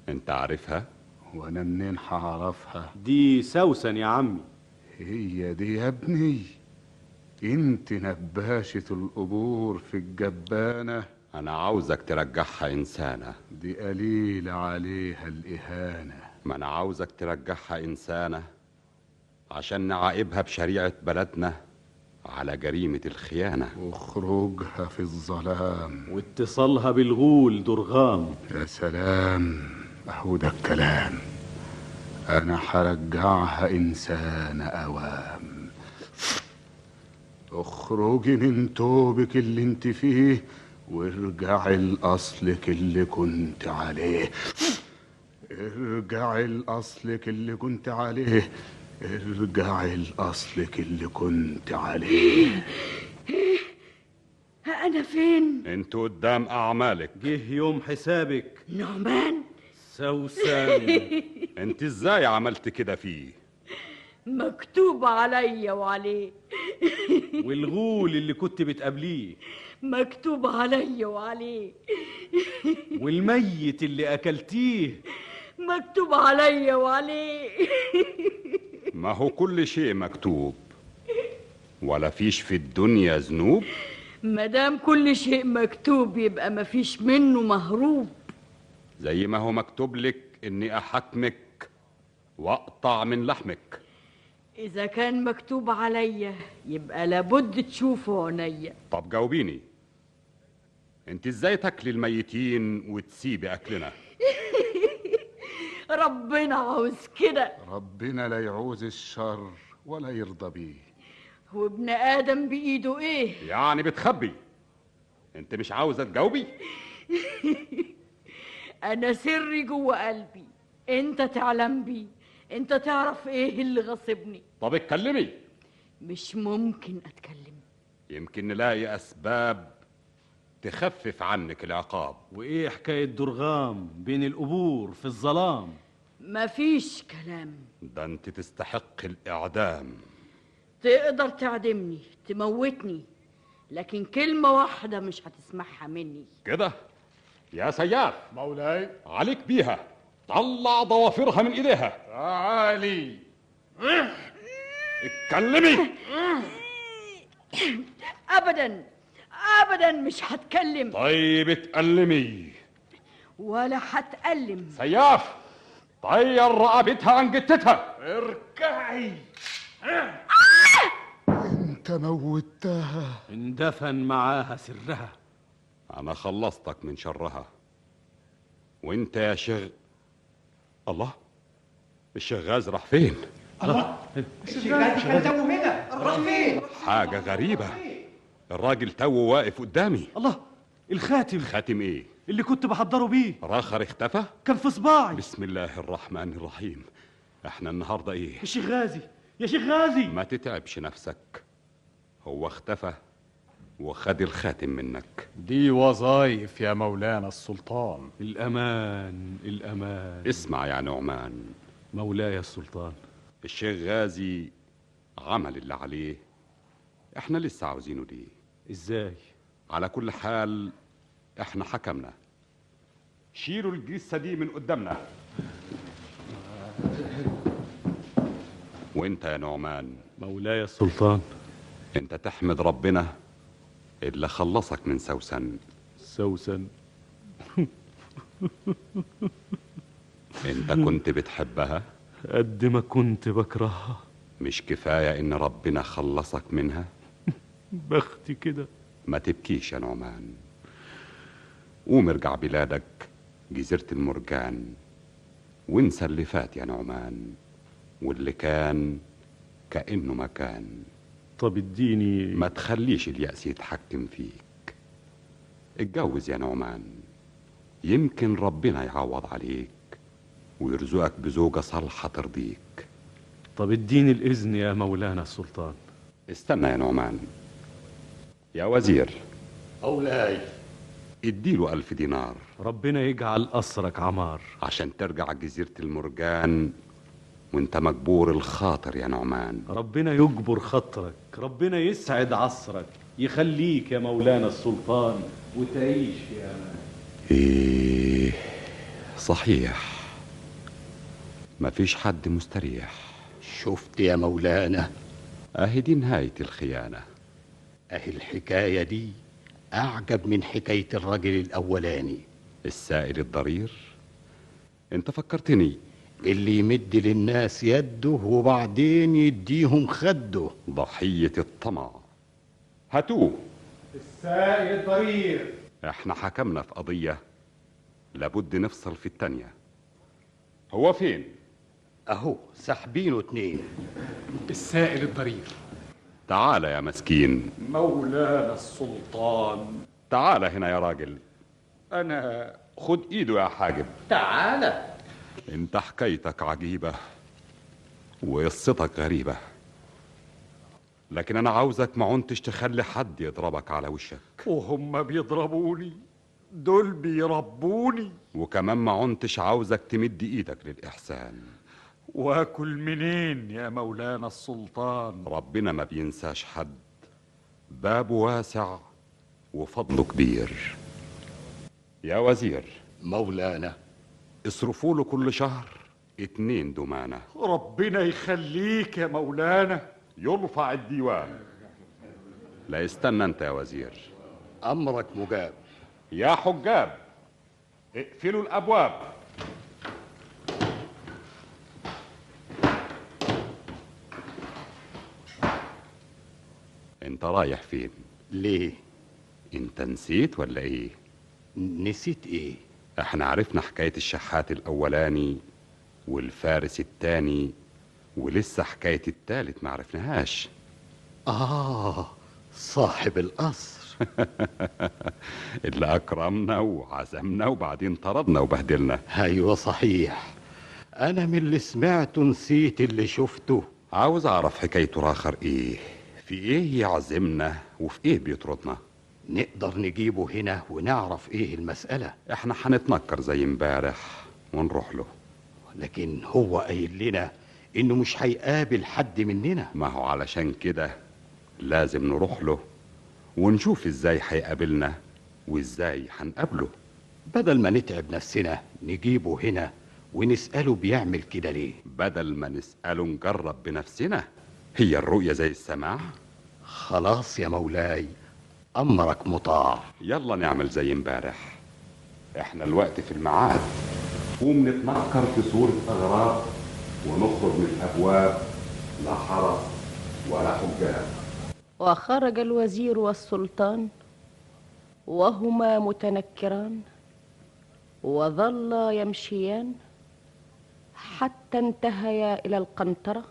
Speaker 4: أنت عارفها؟
Speaker 20: وانا منين هعرفها
Speaker 15: دي سوسن يا عمي
Speaker 20: هي دي يا ابني انت نباشة القبور في الجبانة
Speaker 4: أنا عاوزك ترجعها إنسانة
Speaker 20: دي قليل عليها الإهانة
Speaker 4: ما أنا عاوزك ترجعها إنسانة عشان نعاقبها بشريعة بلدنا على جريمة الخيانة
Speaker 20: واخرجها في الظلام
Speaker 15: واتصالها بالغول درغام
Speaker 20: يا سلام اهو ده الكلام انا هرجعها انسان اوام اخرجي من توبك اللي انت فيه وارجعي لاصلك اللي كنت عليه ارجعي لاصلك اللي كنت عليه ارجعي لاصلك اللي كنت عليه
Speaker 18: أنا فين؟
Speaker 4: أنتوا قدام أعمالك
Speaker 15: جه يوم حسابك
Speaker 18: نعمان
Speaker 4: سوسن أنت إزاي عملت كده فيه؟
Speaker 18: مكتوب عليا وعليه
Speaker 15: والغول اللي كنت بتقابليه
Speaker 18: مكتوب عليا وعليه
Speaker 15: والميت اللي أكلتيه
Speaker 18: مكتوب عليا وعليه
Speaker 4: ما هو كل شيء مكتوب ولا فيش في الدنيا ذنوب
Speaker 18: مادام كل شيء مكتوب يبقى مفيش منه مهروب
Speaker 4: زي ما هو مكتوب لك إني أحكمك وأقطع من لحمك
Speaker 18: إذا كان مكتوب عليا يبقى لابد تشوفه عينيا
Speaker 4: طب جاوبيني أنت إزاي تاكلي الميتين وتسيبي أكلنا؟
Speaker 18: ربنا عاوز كده
Speaker 20: ربنا لا يعوز الشر ولا يرضى بيه
Speaker 18: وابن آدم بإيده إيه
Speaker 4: يعني بتخبي أنت مش عاوزة تجاوبي؟
Speaker 18: أنا سري جوه قلبي أنت تعلم بيه أنت تعرف إيه اللي غاصبني
Speaker 4: طب اتكلمي
Speaker 18: مش ممكن أتكلم
Speaker 4: يمكن نلاقي أسباب تخفف عنك العقاب
Speaker 15: وإيه حكاية درغام بين القبور في الظلام
Speaker 18: مفيش كلام
Speaker 4: ده أنت تستحق الإعدام
Speaker 18: تقدر تعدمني تموتني لكن كلمة واحدة مش هتسمعها مني
Speaker 4: كده يا سياف
Speaker 23: مولاي
Speaker 4: عليك بيها طلع ضوافرها من ايديها
Speaker 23: تعالي
Speaker 4: اتكلمي
Speaker 18: أبدا أبدا مش هتكلم
Speaker 4: طيب اتكلمي
Speaker 18: ولا هتألم
Speaker 4: سياف طير رقبتها عن جتتها
Speaker 23: اركعي
Speaker 7: آه!
Speaker 20: انت موتها
Speaker 15: اندفن معاها سرها
Speaker 4: انا خلصتك من شرها وانت يا شيخ الله الشغاز راح فين
Speaker 7: الشغال ده هنا راح فين
Speaker 4: حاجه غريبه الراجل تو واقف قدامي
Speaker 15: الله الخاتم
Speaker 4: خاتم ايه
Speaker 15: اللي كنت بحضره بيه
Speaker 4: راخر اختفى
Speaker 15: كان في صباعي
Speaker 4: بسم الله الرحمن الرحيم احنا النهارده ايه
Speaker 7: يا شيخ غازي يا شيخ غازي
Speaker 4: ما تتعبش نفسك هو اختفى وخد الخاتم منك
Speaker 1: دي وظايف يا مولانا السلطان
Speaker 24: الأمان الأمان
Speaker 4: اسمع يا نعمان
Speaker 24: مولاي السلطان
Speaker 4: الشيخ غازي عمل اللي عليه احنا لسه عاوزينه ليه
Speaker 24: ازاي
Speaker 4: على كل حال احنا حكمنا شيلوا الجثه دي من قدامنا وانت يا نعمان
Speaker 24: مولاي السلطان
Speaker 4: انت تحمد ربنا اللي خلصك من سوسن
Speaker 24: سوسن
Speaker 4: انت كنت بتحبها
Speaker 24: قد ما كنت بكرهها
Speaker 4: مش كفايه ان ربنا خلصك منها
Speaker 24: بختي كده
Speaker 4: ما تبكيش يا نعمان قوم ارجع بلادك جزيرة المرجان وانسى اللي فات يا نعمان واللي كان كأنه ما كان
Speaker 24: طب اديني
Speaker 4: ما تخليش اليأس يتحكم فيك اتجوز يا نعمان يمكن ربنا يعوض عليك ويرزقك بزوجة صالحة ترضيك
Speaker 24: طب اديني الإذن يا مولانا السلطان
Speaker 4: استنى يا نعمان يا وزير
Speaker 8: مولاي
Speaker 4: اديله ألف دينار
Speaker 24: ربنا يجعل قصرك عمار
Speaker 4: عشان ترجع جزيرة المرجان وانت مجبور الخاطر يا نعمان
Speaker 24: ربنا يجبر خاطرك ربنا يسعد عصرك يخليك يا مولانا السلطان وتعيش في امان
Speaker 4: ايه صحيح مفيش حد مستريح
Speaker 5: شفت يا مولانا
Speaker 4: اهي دي نهاية الخيانة
Speaker 5: اهي الحكاية دي أعجب من حكاية الرجل الأولاني
Speaker 4: السائل الضرير أنت فكرتني
Speaker 5: اللي يمد للناس يده وبعدين يديهم خده
Speaker 4: ضحية الطمع هاتوه
Speaker 2: السائل الضرير
Speaker 4: احنا حكمنا في قضية لابد نفصل في التانية هو فين؟
Speaker 5: أهو ساحبينه اتنين
Speaker 6: السائل الضرير
Speaker 4: تعال يا مسكين
Speaker 6: مولانا السلطان
Speaker 4: تعال هنا يا راجل
Speaker 6: أنا
Speaker 4: خد ايده يا حاجب
Speaker 5: تعالى
Speaker 4: انت حكايتك عجيبة وقصتك غريبة لكن انا عاوزك ما عنتش تخلي حد يضربك على وشك
Speaker 8: وهم بيضربوني دول بيربوني
Speaker 4: وكمان ما عنتش عاوزك تمد ايدك للاحسان
Speaker 8: واكل منين يا مولانا السلطان
Speaker 4: ربنا ما بينساش حد بابه واسع وفضله كبير يا وزير
Speaker 5: مولانا
Speaker 4: اصرفوا له كل شهر اتنين دمانة
Speaker 8: ربنا يخليك يا مولانا
Speaker 4: يرفع الديوان لا استنى انت يا وزير
Speaker 5: امرك مجاب
Speaker 4: يا حجاب اقفلوا الابواب انت رايح فين
Speaker 5: ليه
Speaker 4: انت نسيت ولا ايه
Speaker 5: نسيت ايه
Speaker 4: احنا عرفنا حكاية الشحات الاولاني والفارس التاني ولسه حكاية التالت ما عرفناهاش
Speaker 5: اه صاحب القصر
Speaker 4: اللي اكرمنا وعزمنا وبعدين طردنا وبهدلنا
Speaker 5: ايوه صحيح انا من اللي سمعته نسيت اللي شفته
Speaker 4: عاوز اعرف حكايته راخر ايه في ايه يعزمنا وفي ايه بيطردنا
Speaker 5: نقدر نجيبه هنا ونعرف ايه المسألة
Speaker 4: احنا هنتنكر زي امبارح ونروح له
Speaker 5: لكن هو قايل لنا انه مش هيقابل حد مننا
Speaker 4: ما هو علشان كده لازم نروح له ونشوف ازاي هيقابلنا وازاي هنقابله
Speaker 5: بدل ما نتعب نفسنا نجيبه هنا ونسأله بيعمل كده ليه
Speaker 4: بدل ما نسأله نجرب بنفسنا هي الرؤية زي السماع
Speaker 5: خلاص يا مولاي أمرك مطاع
Speaker 4: يلا نعمل زي امبارح احنا الوقت في الميعاد قوم نتنكر في صورة أغراب ونخرج من الأبواب لا حرس ولا حجاب
Speaker 3: وخرج الوزير والسلطان وهما متنكران وظلا يمشيان حتى انتهيا إلى القنطرة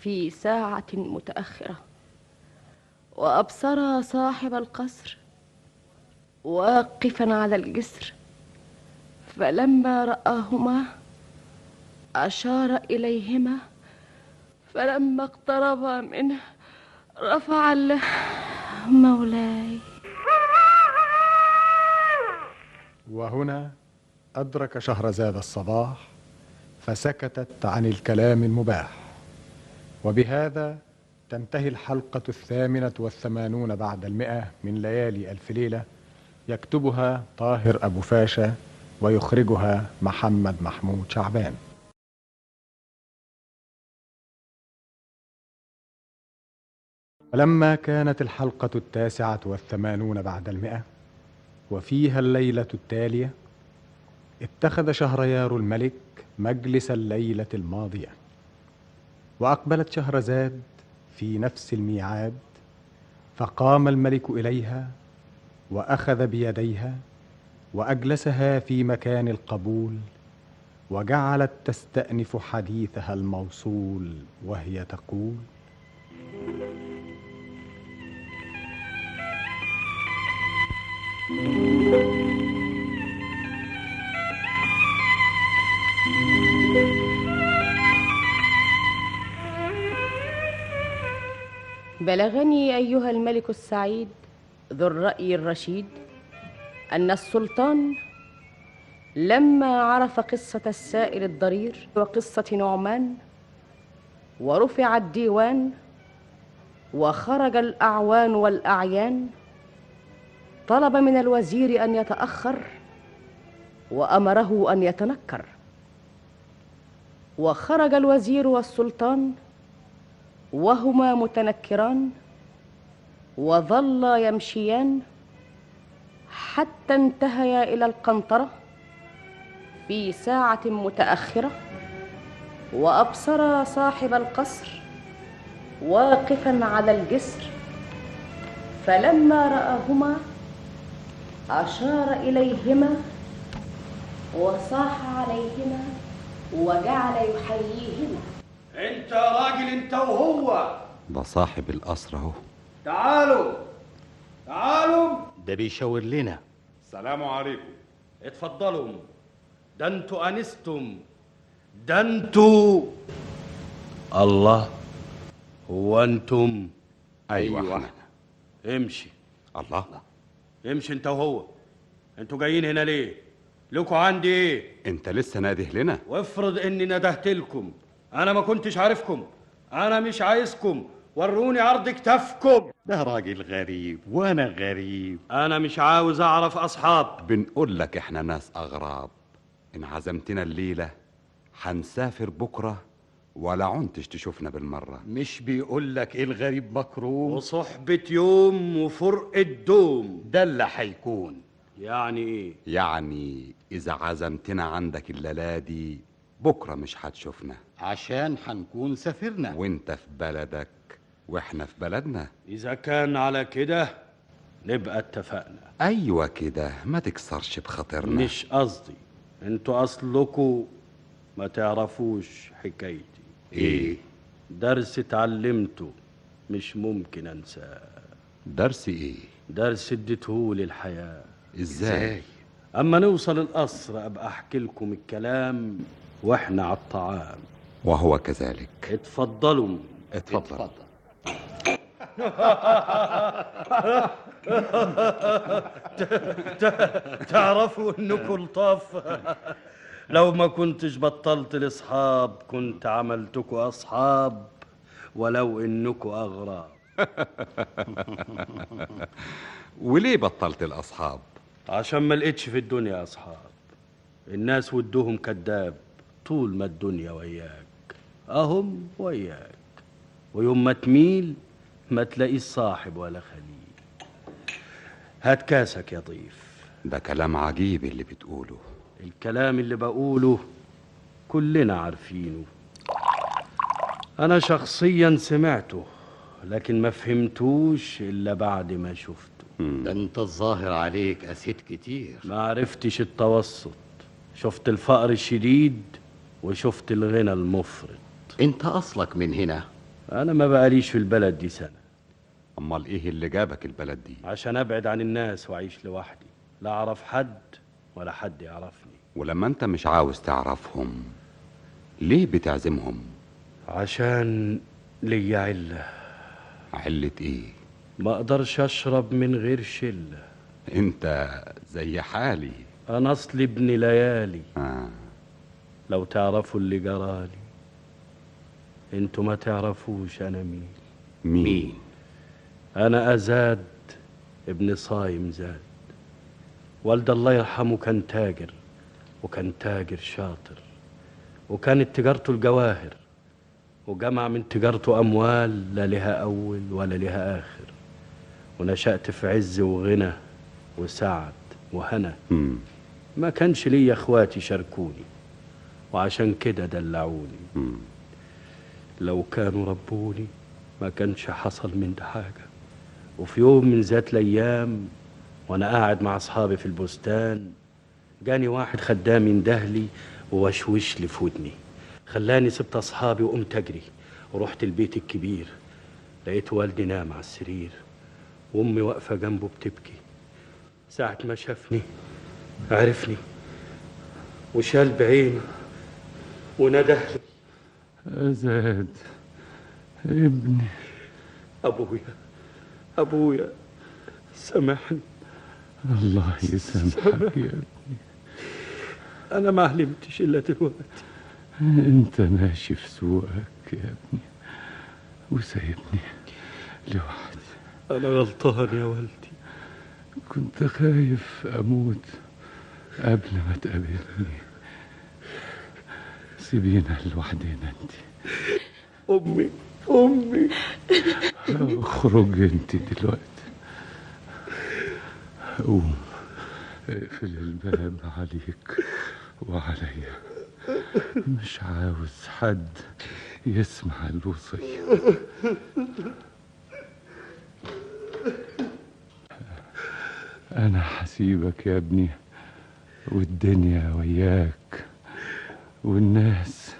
Speaker 3: في ساعة متأخرة وأبصرا صاحب القصر واقفا على الجسر فلما رآهما أشار إليهما فلما اقتربا منه رفع ال- مولاي
Speaker 1: وهنا أدرك شهرزاد الصباح فسكتت عن الكلام المباح وبهذا تنتهي الحلقة الثامنة والثمانون بعد المئة من ليالي ألف ليلة يكتبها طاهر أبو فاشا ويخرجها محمد محمود شعبان لما كانت الحلقة التاسعة والثمانون بعد المئة وفيها الليلة التالية اتخذ شهريار الملك مجلس الليلة الماضية وأقبلت شهرزاد في نفس الميعاد فقام الملك إليها وأخذ بيديها وأجلسها في مكان القبول وجعلت تستأنف حديثها الموصول وهي تقول
Speaker 3: بلغني أيها الملك السعيد ذو الرأي الرشيد أن السلطان لما عرف قصة السائل الضرير وقصة نعمان ورفع الديوان وخرج الأعوان والأعيان طلب من الوزير أن يتأخر وأمره أن يتنكر وخرج الوزير والسلطان وهما متنكران وظلا يمشيان حتى انتهيا الى القنطره في ساعه متاخره وابصرا صاحب القصر واقفا على الجسر فلما راهما اشار اليهما وصاح عليهما وجعل يحييهما
Speaker 25: انت يا راجل انت وهو
Speaker 4: ده صاحب القصر اهو
Speaker 25: تعالوا تعالوا
Speaker 5: ده بيشاور لنا
Speaker 9: السلام عليكم اتفضلوا ده انتوا انستم ده انتوا الله هو انتم
Speaker 4: ايوه,
Speaker 9: أيوة.
Speaker 4: احنا
Speaker 9: امشي
Speaker 4: الله
Speaker 9: امشي انت وهو انتوا جايين هنا ليه لكوا عندي ايه
Speaker 4: انت لسه ناده لنا
Speaker 9: وافرض اني ندهت لكم انا ما كنتش عارفكم انا مش عايزكم وروني عرض كتافكم
Speaker 5: ده راجل غريب وانا غريب
Speaker 9: انا مش عاوز اعرف اصحاب
Speaker 4: طيب. بنقول لك احنا ناس اغراب ان عزمتنا الليله هنسافر بكره ولا عنتش تشوفنا بالمره
Speaker 5: مش بيقول لك ايه الغريب مكروه
Speaker 9: وصحبة يوم وفرقة دوم
Speaker 5: ده اللي هيكون
Speaker 9: يعني ايه
Speaker 4: يعني اذا عزمتنا عندك الليله دي بكره مش هتشوفنا
Speaker 5: عشان هنكون سافرنا
Speaker 4: وانت في بلدك واحنا في بلدنا
Speaker 9: اذا كان على كده نبقى اتفقنا
Speaker 4: ايوه كده ما تكسرش بخاطرنا
Speaker 9: مش قصدي انتوا اصلكوا ما تعرفوش حكايتي
Speaker 4: ايه
Speaker 9: درس اتعلمته مش ممكن انساه
Speaker 4: درس ايه
Speaker 9: درس اديتهولي الحياه
Speaker 4: ازاي
Speaker 9: اما نوصل القصر ابقى احكي لكم الكلام واحنا على الطعام
Speaker 4: وهو كذلك
Speaker 9: اتفضلوا
Speaker 4: اتفضل
Speaker 9: ت- تعرفوا انكم لطاف لو ما كنتش بطلت الاصحاب كنت عملتكم اصحاب ولو انكم اغراب
Speaker 4: وليه بطلت الاصحاب
Speaker 9: عشان ما لقيتش في الدنيا اصحاب الناس ودهم كذاب طول ما الدنيا وياك اهم وياك ويوم ما تميل ما تلاقيش صاحب ولا خليل هات كاسك يا ضيف
Speaker 4: ده كلام عجيب اللي بتقوله
Speaker 9: الكلام اللي بقوله كلنا عارفينه انا شخصيا سمعته لكن ما فهمتوش الا بعد ما شفته
Speaker 5: ده انت الظاهر عليك قسيت كتير
Speaker 9: ما عرفتش التوسط شفت الفقر الشديد وشفت الغنى المفرط
Speaker 5: انت اصلك من هنا
Speaker 9: انا ما بقاليش في البلد دي سنه
Speaker 4: امال ايه اللي جابك البلد دي
Speaker 9: عشان ابعد عن الناس واعيش لوحدي لا اعرف حد ولا حد يعرفني
Speaker 4: ولما انت مش عاوز تعرفهم ليه بتعزمهم
Speaker 9: عشان ليا علة
Speaker 4: علة ايه
Speaker 9: ما اقدرش اشرب من غير شلة
Speaker 4: انت زي حالي
Speaker 9: انا اصلي ابن ليالي
Speaker 4: آه.
Speaker 9: لو تعرفوا اللي جرالي انتوا ما تعرفوش انا مين
Speaker 4: مين,
Speaker 9: انا ازاد ابن صايم زاد والد الله يرحمه كان تاجر وكان تاجر شاطر وكانت تجارته الجواهر وجمع من تجارته اموال لا لها اول ولا لها اخر ونشات في عز وغنى وسعد وهنا
Speaker 4: مم.
Speaker 9: ما كانش ليا اخواتي شاركوني وعشان كده دلعوني
Speaker 4: مم.
Speaker 9: لو كانوا ربوني ما كانش حصل من ده حاجة وفي يوم من ذات الأيام وأنا قاعد مع أصحابي في البستان جاني واحد خدام من دهلي ووشوش لي في ودني خلاني سبت أصحابي وقمت أجري ورحت البيت الكبير لقيت والدي نام على السرير وأمي واقفة جنبه بتبكي ساعة ما شافني عرفني وشال بعينه ونادى
Speaker 26: أزاد ابني
Speaker 9: أبويا أبويا سامحني
Speaker 26: الله يسامحك يا ابني.
Speaker 9: أنا ما علمتش إلا دلوقتي
Speaker 26: انت ماشي في سوقك يا ابني وسايبني لوحدي
Speaker 9: أنا غلطان يا والدي
Speaker 26: كنت خايف اموت قبل ما تقابلني سيبينا لوحدنا انت
Speaker 9: أمي أمي
Speaker 26: اخرج انت دلوقتي قوم اقفل الباب عليك وعليا مش عاوز حد يسمع الوصية أنا حسيبك يا ابني والدنيا وياك والناس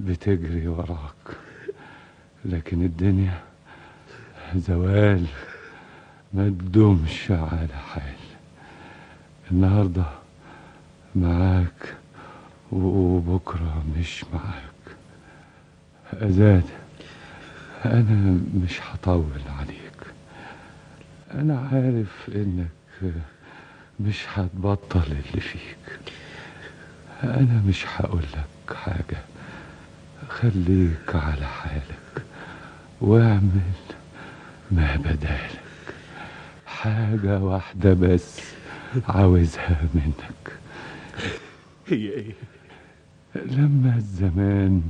Speaker 26: بتجري وراك لكن الدنيا زوال ما تدومش على حال النهارده معاك وبكره مش معاك أزاد أنا مش هطول عليك أنا عارف إنك مش هتبطل اللي فيك أنا مش هقولك حاجة خليك على حالك واعمل ما بدالك حاجة واحدة بس عاوزها منك
Speaker 9: هي إيه؟
Speaker 26: لما الزمان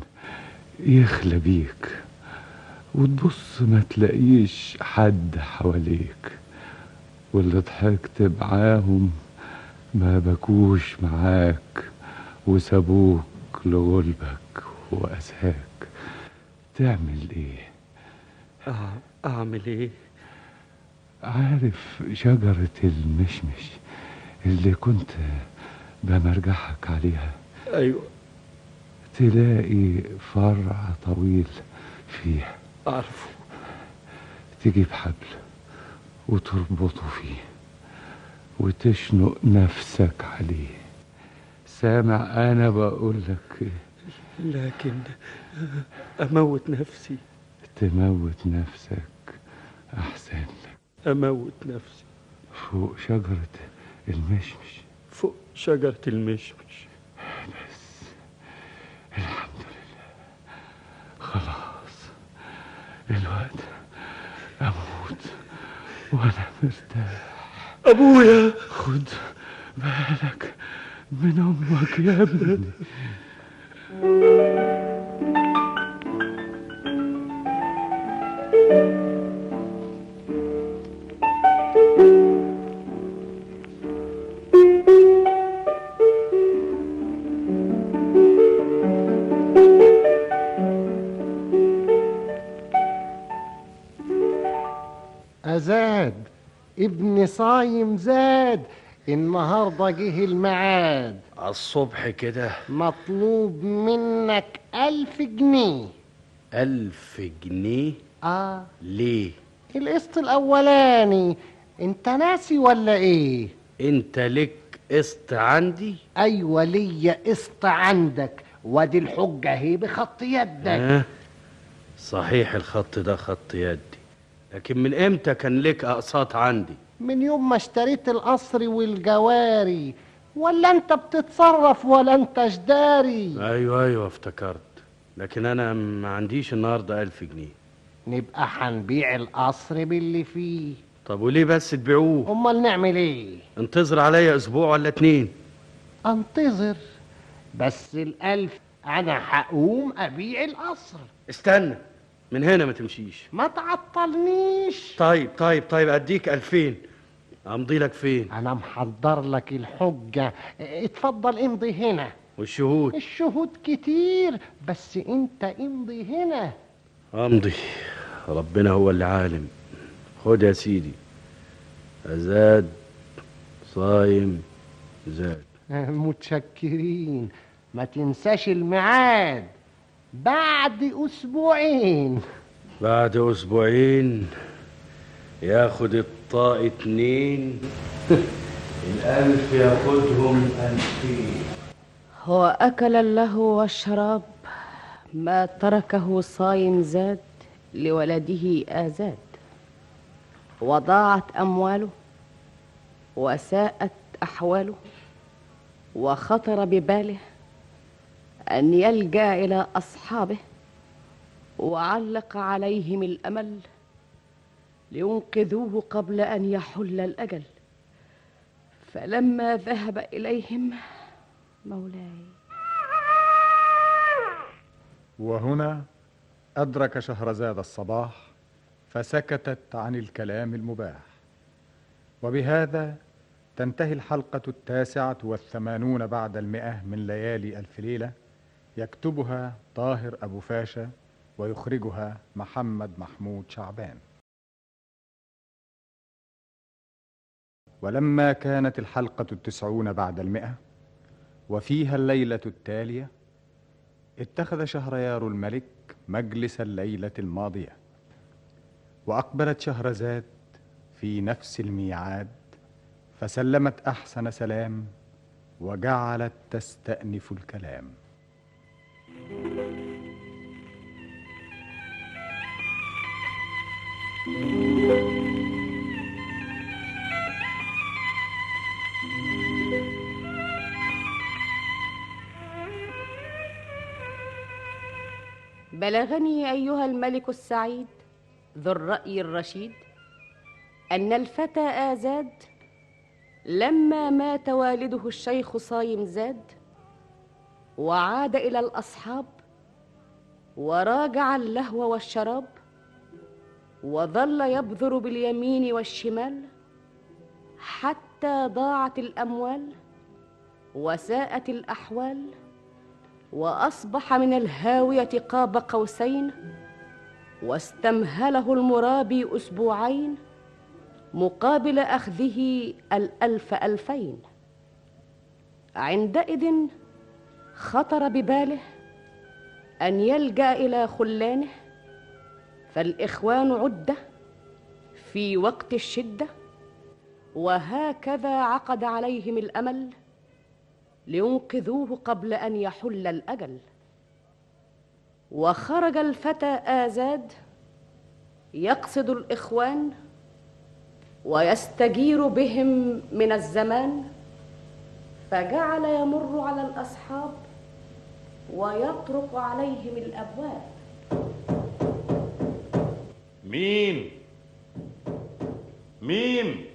Speaker 26: يخلى بيك وتبص ما تلاقيش حد حواليك واللي ضحكت معاهم ما بكوش معاك وسابوك لغلبك وأساك تعمل ايه
Speaker 9: أع- أعمل إيه؟
Speaker 26: عارف شجرة المشمش اللي كنت بمرجحك عليها
Speaker 9: أيوه
Speaker 26: تلاقي فرع طويل فيه
Speaker 9: أعرفه
Speaker 26: تجيب حبل وتربطه فيه وتشنق نفسك عليه سامع انا بقولك إيه؟
Speaker 9: لكن أموت نفسي
Speaker 26: تموت نفسك احسن
Speaker 9: أموت نفسي
Speaker 26: فوق شجرة المشمش
Speaker 9: فوق شجرة المشمش
Speaker 26: خلاص الوقت اموت وانا مرتاح
Speaker 9: أبويا
Speaker 26: خد بالك من امك يا ابني
Speaker 10: أزاد ابن صايم زاد النهارده جه الميعاد
Speaker 9: الصبح كده
Speaker 10: مطلوب منك ألف جنيه
Speaker 9: ألف جنيه
Speaker 10: آه
Speaker 9: ليه؟
Speaker 10: القسط الأولاني أنت ناسي ولا إيه؟
Speaker 9: أنت لك قسط عندي؟
Speaker 10: أيوة ليا قسط عندك وادي الحجة اهي بخط يدك
Speaker 9: آه. صحيح الخط ده خط يدي لكن من امتى كان لك اقساط عندي
Speaker 10: من يوم ما اشتريت القصر والجواري ولا انت بتتصرف ولا انت جداري
Speaker 9: ايوه ايوه افتكرت لكن انا ما عنديش النهارده ألف جنيه
Speaker 10: نبقى هنبيع القصر باللي فيه
Speaker 9: طب وليه بس تبيعوه
Speaker 10: امال نعمل ايه
Speaker 9: انتظر عليا اسبوع ولا اتنين
Speaker 10: انتظر بس الالف انا هقوم ابيع القصر
Speaker 9: استنى من هنا ما تمشيش
Speaker 10: ما تعطلنيش
Speaker 9: طيب طيب طيب اديك ألفين امضي لك فين
Speaker 10: انا محضر لك الحجة اتفضل امضي هنا
Speaker 9: والشهود
Speaker 10: الشهود كتير بس انت امضي هنا
Speaker 9: امضي ربنا هو اللي عالم خد يا سيدي ازاد صايم زاد
Speaker 10: متشكرين ما تنساش الميعاد بعد اسبوعين
Speaker 9: بعد اسبوعين ياخد الطاق اتنين الالف ياخدهم الفين
Speaker 3: وأكل اللهو والشراب ما تركه صايم زاد لولده آزاد وضاعت أمواله وساءت أحواله وخطر بباله أن يلجأ إلى أصحابه وعلق عليهم الأمل لينقذوه قبل أن يحل الأجل فلما ذهب إليهم مولاي
Speaker 1: وهنا أدرك شهرزاد الصباح فسكتت عن الكلام المباح وبهذا تنتهي الحلقة التاسعة والثمانون بعد المئة من ليالي ألف ليلة يكتبها طاهر أبو فاشا ويخرجها محمد محمود شعبان ولما كانت الحلقة التسعون بعد المئة وفيها الليلة التالية اتخذ شهريار الملك مجلس الليلة الماضية وأقبلت شهرزاد في نفس الميعاد فسلمت أحسن سلام وجعلت تستأنف الكلام
Speaker 3: بلغني أيها الملك السعيد ذو الرأي الرشيد أن الفتى آزاد لما مات والده الشيخ صايم زاد وعاد إلى الأصحاب وراجع اللهو والشراب وظل يبذر باليمين والشمال حتى ضاعت الأموال وساءت الأحوال واصبح من الهاويه قاب قوسين واستمهله المرابي اسبوعين مقابل اخذه الالف الفين عندئذ خطر بباله ان يلجا الى خلانه فالاخوان عده في وقت الشده وهكذا عقد عليهم الامل لينقذوه قبل ان يحل الاجل وخرج الفتى ازاد يقصد الاخوان ويستجير بهم من الزمان فجعل يمر على الاصحاب ويطرق عليهم الابواب
Speaker 11: مين مين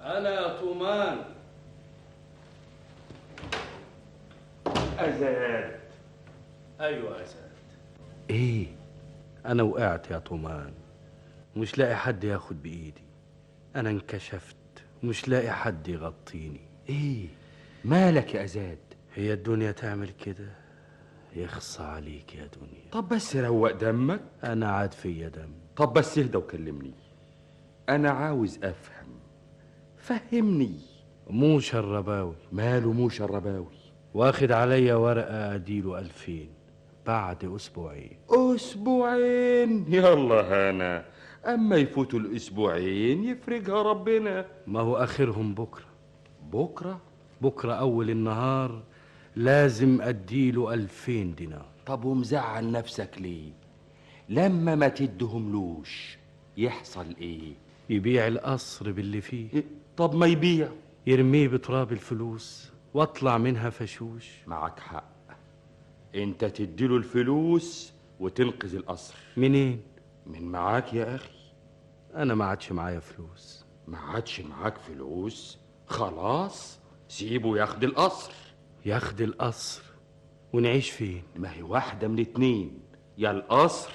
Speaker 9: انا طومان
Speaker 11: أزاد
Speaker 9: ايوه يا سعد ايه انا وقعت يا طومان مش لاقي حد ياخد بايدي انا انكشفت مش لاقي حد يغطيني
Speaker 11: إيه مالك يا أزاد
Speaker 9: هي الدنيا تعمل كده يخص عليك يا دنيا
Speaker 11: طب بس روق دمك
Speaker 9: انا عاد فيا دم
Speaker 11: طب بس اهدى وكلمني أنا عاوز أفهم فهمني
Speaker 9: مو شرباوي
Speaker 11: ماله مو شرباوي
Speaker 9: واخد عليا ورقه اديله ألفين بعد اسبوعين
Speaker 11: أسبوعين يلا هنا أما يفوتوا الأسبوعين يفرجها ربنا
Speaker 9: ما هو اخرهم بكره
Speaker 11: بكرة
Speaker 9: بكره اول النهار لازم أديله ألفين دينار
Speaker 4: طب ومزعل نفسك ليه لما ما تدهملوش يحصل ايه
Speaker 9: يبيع القصر باللي فيه
Speaker 4: طب ما يبيع
Speaker 9: يرميه بتراب الفلوس واطلع منها فشوش
Speaker 4: معك حق انت تديله الفلوس وتنقذ القصر
Speaker 9: منين
Speaker 4: من معاك يا اخي
Speaker 9: انا ما عادش معايا فلوس
Speaker 4: ما عادش معاك فلوس خلاص سيبه ياخد القصر
Speaker 9: ياخد القصر ونعيش فين
Speaker 4: ما هي واحدة من اتنين يا القصر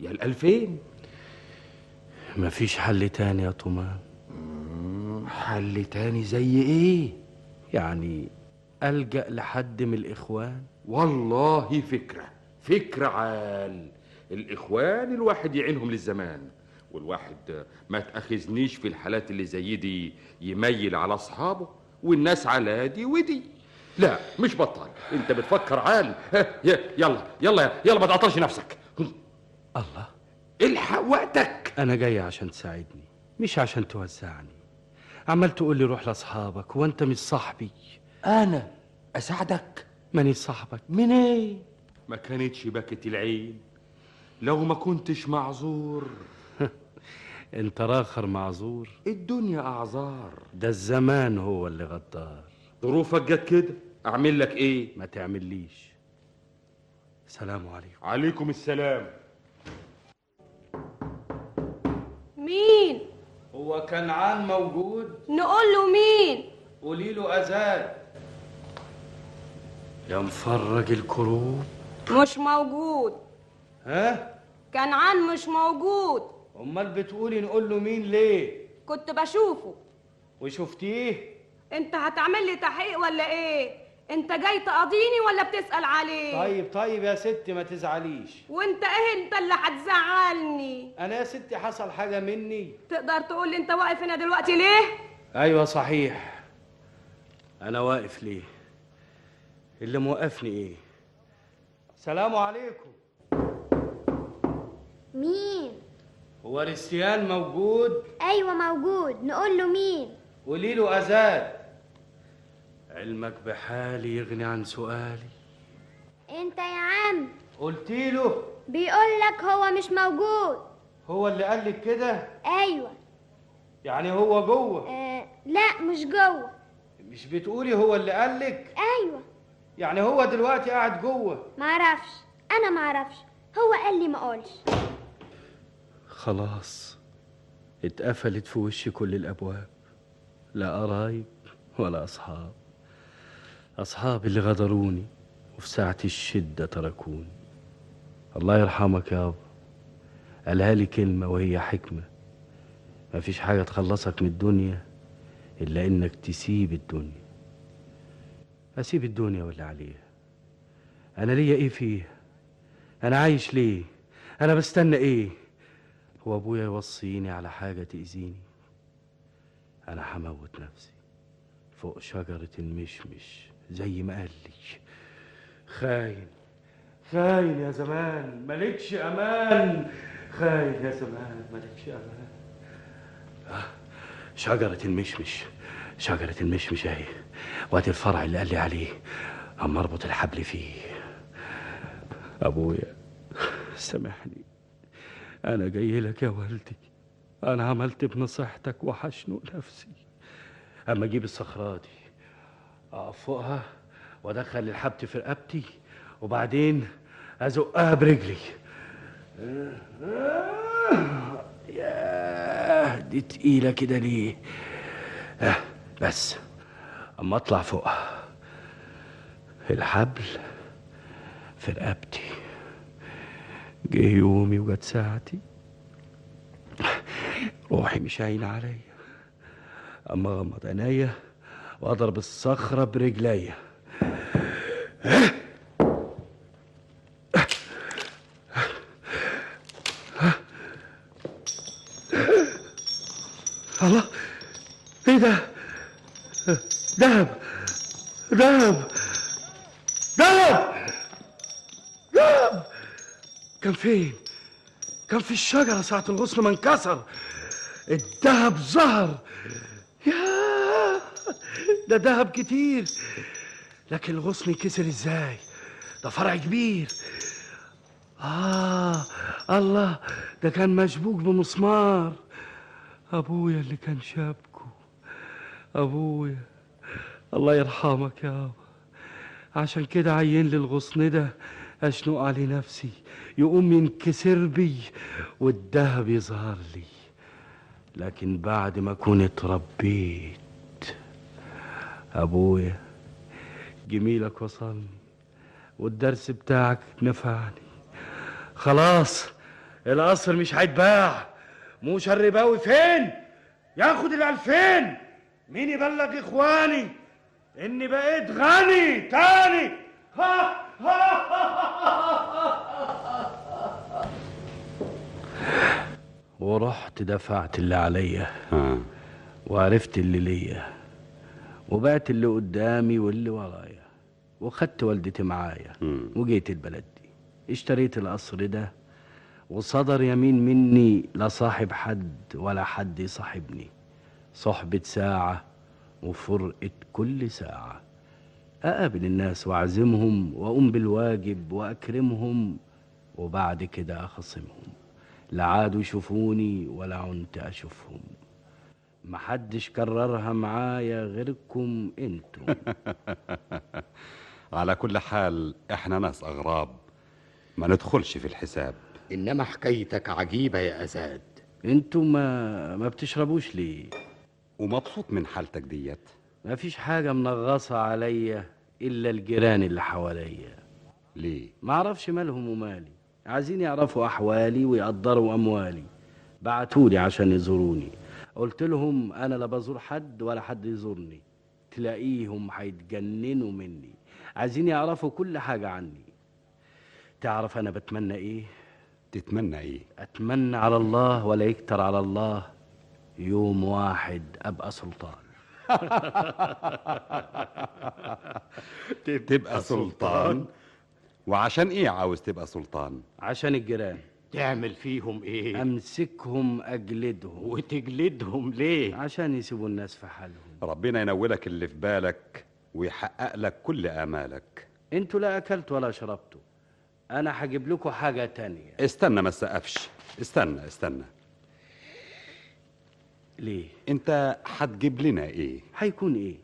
Speaker 4: يا الألفين
Speaker 9: مفيش حل تاني يا طمان
Speaker 4: حل تاني زي ايه
Speaker 9: يعني ألجأ لحد من الإخوان
Speaker 4: والله فكرة فكرة عال الإخوان الواحد يعينهم للزمان والواحد ما تأخذنيش في الحالات اللي زي دي يميل على أصحابه والناس على دي ودي لا مش بطال انت بتفكر عال ها، ي- يلا يلا يلا ما تعطلش نفسك
Speaker 9: الله
Speaker 4: الحق وقتك
Speaker 9: أنا جاي عشان تساعدني مش عشان توزعني عمال تقول لي روح لأصحابك وأنت مش صاحبي
Speaker 4: انا اساعدك
Speaker 9: ماني صاحبك
Speaker 5: إيه؟
Speaker 4: منين ما كانتش باكة العين لو ما كنتش معذور
Speaker 9: أنت راخر معذور
Speaker 4: الدنيا اعذار
Speaker 9: ده الزمان هو اللي غدار
Speaker 4: ظروفك جت كده اعمل لك ايه
Speaker 9: ما تعمليش سلام عليكم
Speaker 4: عليكم السلام
Speaker 6: مين
Speaker 5: هو كنعان موجود
Speaker 6: نقول له مين
Speaker 5: قولي له اذان
Speaker 9: يا مفرج الكروب
Speaker 6: مش موجود
Speaker 5: ها
Speaker 6: كنعان مش موجود
Speaker 5: امال بتقولي نقول له مين ليه
Speaker 6: كنت بشوفه
Speaker 5: وشفتيه
Speaker 6: انت هتعمل لي تحقيق ولا ايه انت جاي تقاضيني ولا بتسأل عليه
Speaker 5: طيب طيب يا ستي ما تزعليش
Speaker 6: وانت ايه انت اللي هتزعلني
Speaker 5: انا يا ستي حصل حاجه مني
Speaker 6: تقدر تقول لي انت واقف هنا دلوقتي ليه
Speaker 9: ايوه صحيح انا واقف ليه اللي موقفني ايه
Speaker 5: سلام عليكم
Speaker 27: مين
Speaker 5: هو ريستيان موجود
Speaker 27: ايوه موجود نقول له مين
Speaker 5: قولي له اذان
Speaker 9: علمك بحالي يغني عن سؤالي
Speaker 27: انت يا عم
Speaker 5: قلت له
Speaker 27: بيقول لك هو مش موجود
Speaker 5: هو اللي قال لك كده
Speaker 27: ايوه
Speaker 5: يعني هو جوه
Speaker 27: آه لا مش جوه
Speaker 5: مش بتقولي هو اللي قال لك
Speaker 27: ايوه
Speaker 5: يعني هو دلوقتي قاعد جوه
Speaker 27: معرفش انا معرفش هو قال لي ما اقولش
Speaker 9: خلاص اتقفلت في وشي كل الابواب لا قرايب ولا اصحاب اصحابي اللي غدروني وفي ساعة الشدة تركوني الله يرحمك يابا قالها لي كلمة وهي حكمة مفيش حاجة تخلصك من الدنيا إلا إنك تسيب الدنيا أسيب الدنيا واللي عليها أنا ليا إيه فيها أنا عايش ليه أنا بستنى إيه هو أبويا يوصيني على حاجة تأذيني أنا هموت نفسي فوق شجرة المشمش زي ما قال لي خاين
Speaker 5: خاين يا زمان مالكش امان خاين يا زمان مالكش امان
Speaker 9: شجرة المشمش شجرة المشمش اهي وادي الفرع اللي قال لي عليه اما اربط الحبل فيه ابويا سامحني انا جاي لك يا والدي انا عملت بنصيحتك وحشنق نفسي اما اجيب الصخرة دي اقف فوقها وادخل الحبل في رقبتي وبعدين ازقها برجلي ياه دي تقيلة كده ليه آه بس أما أطلع فوق الحبل في رقبتي جه يومي وجت ساعتي روحي مش عايلة عليا أما أغمض عينيا وأضرب الصخرة برجليا الله ايه ده دهب دهب دهب دهب كان فين كان في الشجره ساعه الغصن ما انكسر الدهب ظهر يا ده دهب كتير
Speaker 5: لكن الغصن كسر ازاي ده فرع كبير آه الله ده كان مشبوك بمسمار أبويا اللي كان شابكه أبويا الله يرحمك يا أبا عشان كده عين لي الغصن ده أشنق عليه نفسي يقوم ينكسر بي والدهب يظهر لي لكن بعد ما أكون اتربيت أبويا جميلك وصلني والدرس بتاعك نفعني خلاص القصر مش هيتباع مو شرباوي فين ياخد الألفين مين يبلغ إخواني إني بقيت غني تاني ها
Speaker 9: ورحت دفعت اللي عليا وعرفت اللي ليا وبعت اللي قدامي واللي ورايا وخدت والدتي معايا وجيت البلد دي اشتريت القصر ده وصدر يمين مني لا صاحب حد ولا حد يصاحبني صحبة ساعة وفرقة كل ساعة أقابل الناس وأعزمهم وأقوم بالواجب وأكرمهم وبعد كده أخصمهم لا عادوا يشوفوني ولا عنت أشوفهم محدش كررها معايا غيركم انتم
Speaker 4: على كل حال احنا ناس اغراب ما ندخلش في الحساب
Speaker 28: انما حكايتك عجيبه يا اساد
Speaker 9: انتوا ما ما بتشربوش ليه
Speaker 4: ومبسوط من حالتك ديت
Speaker 9: ما فيش حاجه منغصه عليا الا الجيران اللي حواليا
Speaker 4: ليه
Speaker 9: ما اعرفش مالهم ومالي عايزين يعرفوا احوالي ويقدروا اموالي بعتولي عشان يزوروني قلت لهم انا لا بزور حد ولا حد يزورني تلاقيهم هيتجننوا مني عايزين يعرفوا كل حاجه عني تعرف انا بتمنى ايه
Speaker 4: تتمنى
Speaker 28: إيه؟
Speaker 4: ايه
Speaker 9: اتمنى على الله ولا يكتر على الله يوم واحد ابقى سلطان
Speaker 4: تبقى سلطان وعشان ايه عاوز تبقى سلطان
Speaker 9: عشان الجيران
Speaker 28: تعمل فيهم ايه
Speaker 9: امسكهم اجلدهم
Speaker 28: وتجلدهم ليه
Speaker 9: عشان يسيبوا الناس في حالهم
Speaker 4: ربنا ينولك اللي في بالك ويحقق لك كل امالك
Speaker 9: انتوا لا اكلتوا ولا شربتوا انا هجيب لكم حاجه تانية
Speaker 4: استنى ما تسقفش استنى استنى
Speaker 9: ليه
Speaker 4: انت هتجيب لنا ايه
Speaker 9: هيكون ايه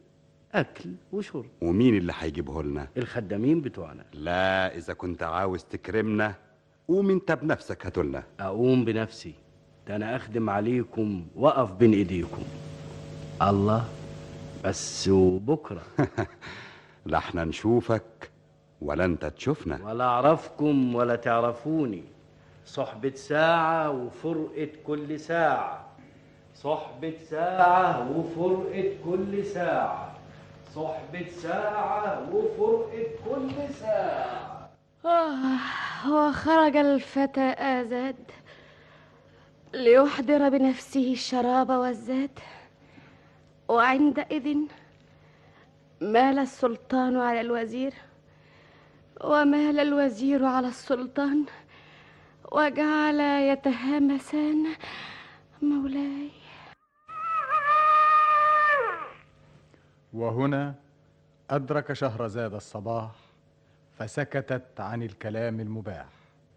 Speaker 9: اكل وشرب
Speaker 4: ومين اللي هيجيبه لنا
Speaker 9: الخدامين بتوعنا
Speaker 4: لا اذا كنت عاوز تكرمنا قوم انت بنفسك هاتولنا
Speaker 9: اقوم بنفسي ده انا اخدم عليكم واقف بين ايديكم الله بس وبكره
Speaker 4: لا احنا نشوفك ولا انت تشوفنا
Speaker 9: ولا اعرفكم ولا تعرفوني صحبة ساعة وفرقة كل ساعة صحبة ساعة وفرقة كل ساعة صحبة ساعة وفرقة كل ساعة
Speaker 3: آه، وخرج الفتى آزاد ليحضر بنفسه الشراب والزاد وعندئذ مال السلطان على الوزير ومال الوزير على السلطان وجعلا يتهامسان مولاي
Speaker 1: وهنا أدرك شهرزاد الصباح فسكتت عن الكلام المباح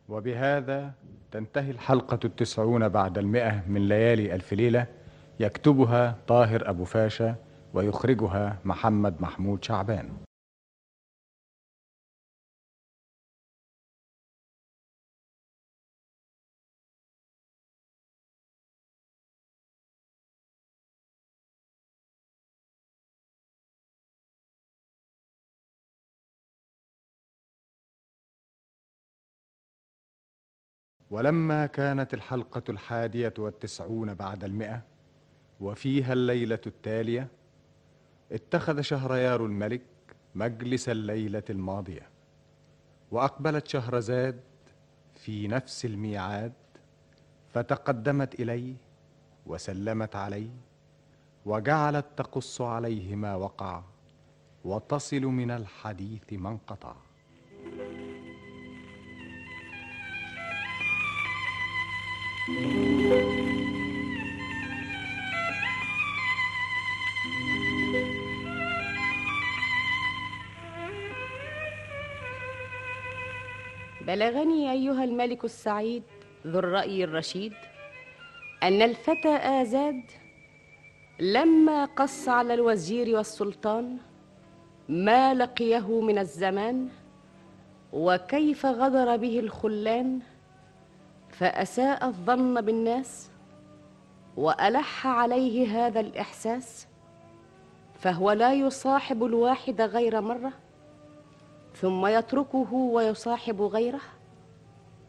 Speaker 1: وبهذا تنتهي الحلقة التسعون بعد المئة من ليالي ألف ليلة يكتبها طاهر أبو فاشا ويخرجها محمد محمود شعبان ولما كانت الحلقة الحادية والتسعون بعد المئة وفيها الليلة التالية اتخذ شهريار الملك مجلس الليلة الماضية وأقبلت شهرزاد في نفس الميعاد فتقدمت إليه وسلمت عليه وجعلت تقص عليه ما وقع وتصل من الحديث ما انقطع
Speaker 3: بلغني أيها الملك السعيد ذو الرأي الرشيد أن الفتى آزاد لما قص على الوزير والسلطان ما لقيه من الزمان وكيف غدر به الخلان فأساء الظن بالناس وألح عليه هذا الإحساس فهو لا يصاحب الواحد غير مرة ثم يتركه ويصاحب غيره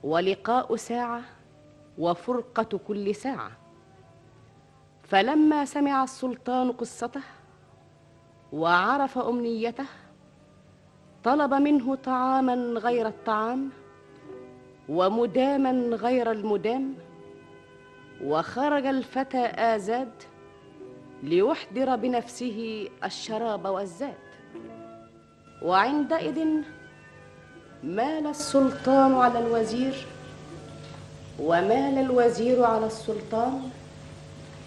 Speaker 3: ولقاء ساعة وفرقة كل ساعة فلما سمع السلطان قصته وعرف أمنيته طلب منه طعاما غير الطعام ومداما غير المدام وخرج الفتى آزاد ليحضر بنفسه الشراب والزاد وعندئذ مال السلطان على الوزير ومال الوزير على السلطان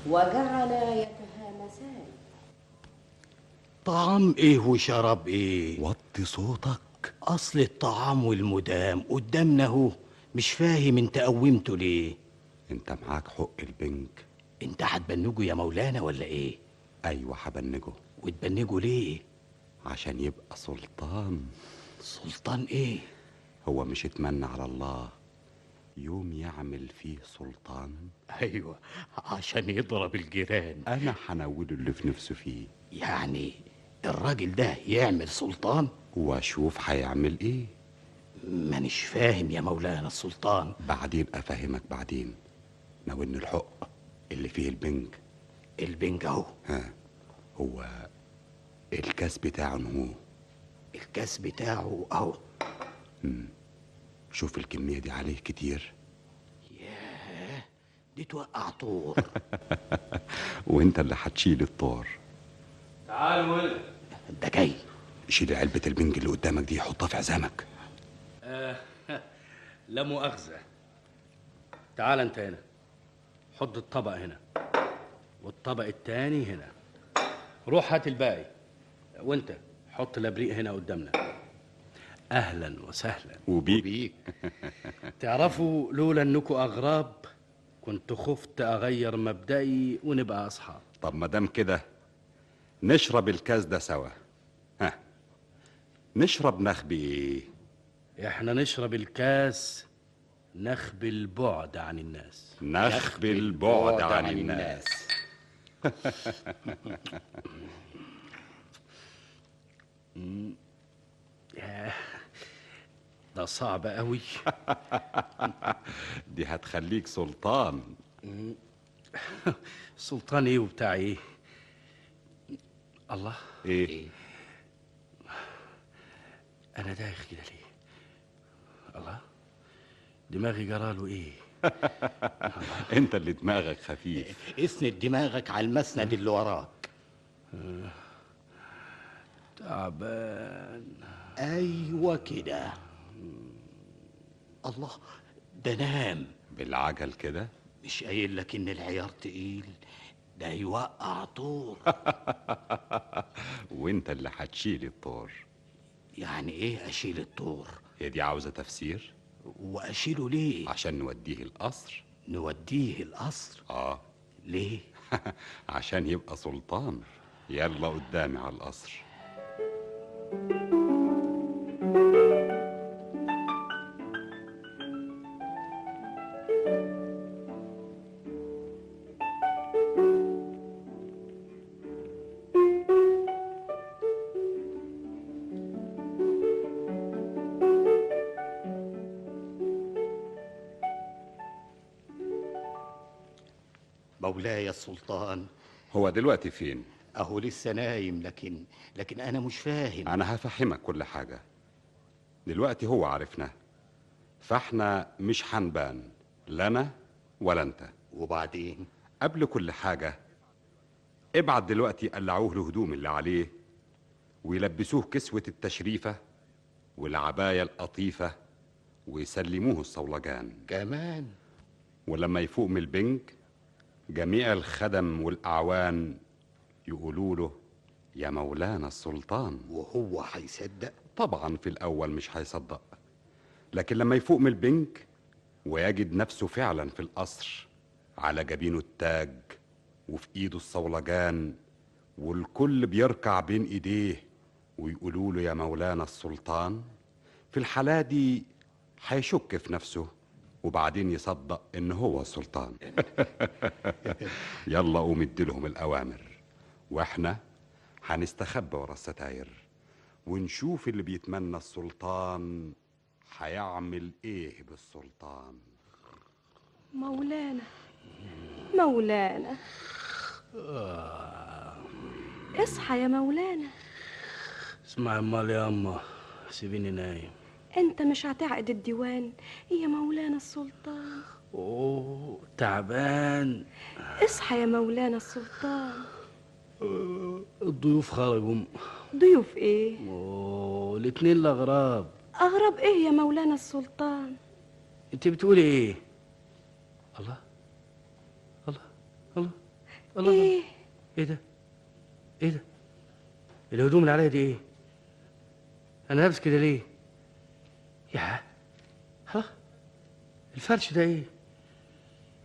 Speaker 3: وجعلا يتهامسان
Speaker 5: طعام ايه وشراب ايه وطي صوتك اصل الطعام والمدام قدامنا اهو مش فاهم انت قومته ليه
Speaker 4: انت معاك حق البنك
Speaker 5: انت هتبنجه يا مولانا ولا ايه
Speaker 4: ايوه هبنجه
Speaker 5: وتبنجه ليه
Speaker 4: عشان يبقى سلطان
Speaker 5: سلطان ايه
Speaker 4: هو مش اتمنى على الله يوم يعمل فيه سلطان
Speaker 5: ايوه عشان يضرب الجيران
Speaker 4: انا هنوله اللي في نفسه فيه
Speaker 5: يعني الراجل ده يعمل سلطان
Speaker 4: واشوف هيعمل ايه
Speaker 5: مانيش فاهم يا مولانا السلطان
Speaker 4: بعدين افهمك بعدين ناولني الحق اللي فيه البنج
Speaker 5: البنج اهو
Speaker 4: ها هو الكاس بتاعه هو
Speaker 5: الكاس بتاعه اهو
Speaker 4: مم. شوف الكمية دي عليه كتير
Speaker 5: ياه دي توقع طور
Speaker 4: وانت اللي هتشيل الطار
Speaker 9: تعال ولد
Speaker 5: ده جاي
Speaker 4: شيل علبة البنج اللي قدامك دي حطها في عزامك
Speaker 9: آه، لا مؤاخذة تعال انت هنا حط الطبق هنا والطبق التاني هنا روح هات الباقي وانت حط الابريق هنا قدامنا اهلا وسهلا
Speaker 4: وبيك
Speaker 9: تعرفوا لولا انكم اغراب كنت خفت اغير مبدئي ونبقى اصحاب
Speaker 4: طب ما دام كده نشرب الكاس ده سوا ها نشرب نخبي ايه
Speaker 9: احنا نشرب الكاس نخبي البعد عن الناس
Speaker 4: نخبي البعد عن الناس
Speaker 9: مم. ياه، ده صعب قوي
Speaker 4: دي هتخليك سلطان
Speaker 9: مم. سلطان ايه وبتاع ايه الله
Speaker 4: ايه
Speaker 9: انا دايخ كده ليه الله دماغي جراله ايه
Speaker 4: انت اللي دماغك خفيف
Speaker 5: اسند دماغك على المسند اللي وراك
Speaker 4: آه.
Speaker 9: تعبان أيوة
Speaker 5: ايوه كده الله ده نام
Speaker 4: بالعجل كده
Speaker 5: مش قايل لك ان العيار تقيل ده يوقع طور
Speaker 4: وانت اللي هتشيل الطار
Speaker 5: يعني ايه اشيل الطور
Speaker 4: هي دي عاوزة تفسير
Speaker 5: واشيله ليه
Speaker 4: عشان نوديه القصر
Speaker 5: نوديه القصر
Speaker 4: اه
Speaker 5: ليه
Speaker 4: عشان يبقى سلطان يلا قدامي على القصر
Speaker 5: مولاي السلطان
Speaker 4: هو دلوقتي فين
Speaker 5: اهو لسه نايم لكن لكن انا مش فاهم
Speaker 4: انا هفهمك كل حاجة دلوقتي هو عرفنا فاحنا مش هنبان لا انا ولا انت
Speaker 5: وبعدين
Speaker 4: قبل كل حاجة ابعت دلوقتي قلعوه الهدوم اللي عليه ويلبسوه كسوة التشريفة والعباية القطيفة ويسلموه الصولجان
Speaker 5: كمان
Speaker 4: ولما يفوق من البنك جميع الخدم والأعوان يقولوا له يا مولانا السلطان
Speaker 5: وهو هيصدق
Speaker 4: طبعا في الأول مش هيصدق لكن لما يفوق من البنك ويجد نفسه فعلا في القصر على جبينه التاج وفي ايده الصولجان والكل بيركع بين ايديه ويقولوا له يا مولانا السلطان في الحالة دي هيشك في نفسه وبعدين يصدق ان هو السلطان يلا قوم اديلهم الاوامر واحنا هنستخبى ورا الستاير ونشوف اللي بيتمنى السلطان هيعمل ايه بالسلطان
Speaker 6: مولانا مولانا اصحى يا مولانا
Speaker 9: اسمع امال يا اما سيبيني نايم
Speaker 6: انت مش هتعقد الديوان يا مولانا السلطان
Speaker 9: اوه تعبان
Speaker 6: اصحى يا مولانا السلطان
Speaker 9: آه، الضيوف خرجوا
Speaker 6: ضيوف ايه
Speaker 9: اوه الاتنين الاغراب
Speaker 6: اغرب ايه يا مولانا السلطان
Speaker 9: انت بتقولي ايه الله الله ايه ايه ده ايه ده الهدوم اللي عليا دي ايه انا لابس كده ليه يا الله الفرش ده ايه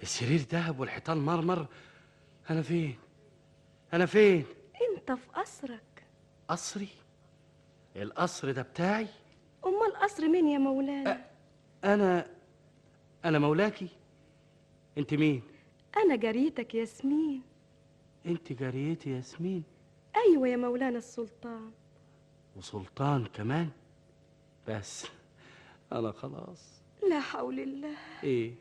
Speaker 9: السرير ذهب والحيطان مرمر انا فين انا فين
Speaker 6: انت في قصرك
Speaker 9: قصري القصر ده بتاعي
Speaker 6: امال قصر مين يا مولانا
Speaker 9: انا انا مولاكي انت مين
Speaker 6: انا جريتك ياسمين
Speaker 9: انت جاريتي ياسمين
Speaker 6: ايوه يا مولانا السلطان
Speaker 9: وسلطان كمان بس انا خلاص
Speaker 6: لا حول الله
Speaker 9: ايه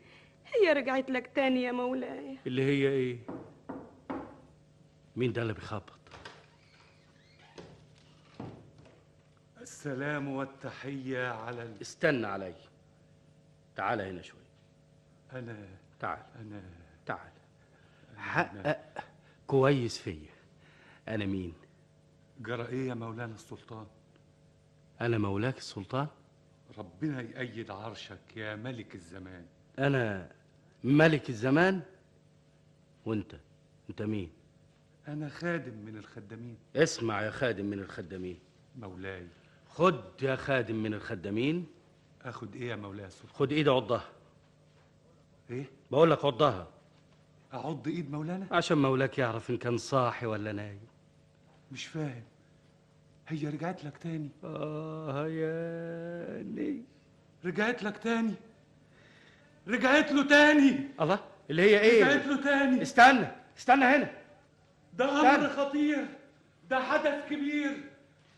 Speaker 6: هي رجعت لك تاني يا مولاي
Speaker 9: اللي هي ايه مين ده اللي بيخبط
Speaker 26: السلام والتحية على ال...
Speaker 9: استنى علي تعال هنا شوي
Speaker 26: أنا
Speaker 9: تعال
Speaker 26: أنا
Speaker 9: تعال حقق كويس فيا انا مين
Speaker 26: جرى إيه يا مولانا السلطان؟
Speaker 9: انا مولاك السلطان
Speaker 26: ربنا يأيد عرشك يا ملك الزمان
Speaker 9: انا ملك الزمان وانت انت مين
Speaker 26: أنا خادم من الخدامين
Speaker 9: اسمع يا خادم من الخدامين
Speaker 26: مولاي
Speaker 9: خد يا خادم من الخدامين
Speaker 26: آخد إيه يا مولاي السلطان؟
Speaker 9: خد ايدي عضها
Speaker 26: إيه؟
Speaker 9: بقول لك عضها
Speaker 26: أعض إيد مولانا؟
Speaker 9: عشان مولاك يعرف ان كان صاحي ولا نايم
Speaker 26: مش فاهم هي رجعت لك تاني
Speaker 9: آه يا
Speaker 26: رجعت لك تاني رجعت له تاني
Speaker 9: الله اللي هي ايه
Speaker 26: رجعت له تاني
Speaker 9: استنى استنى هنا
Speaker 26: ده
Speaker 9: استنى.
Speaker 26: أمر خطير ده حدث كبير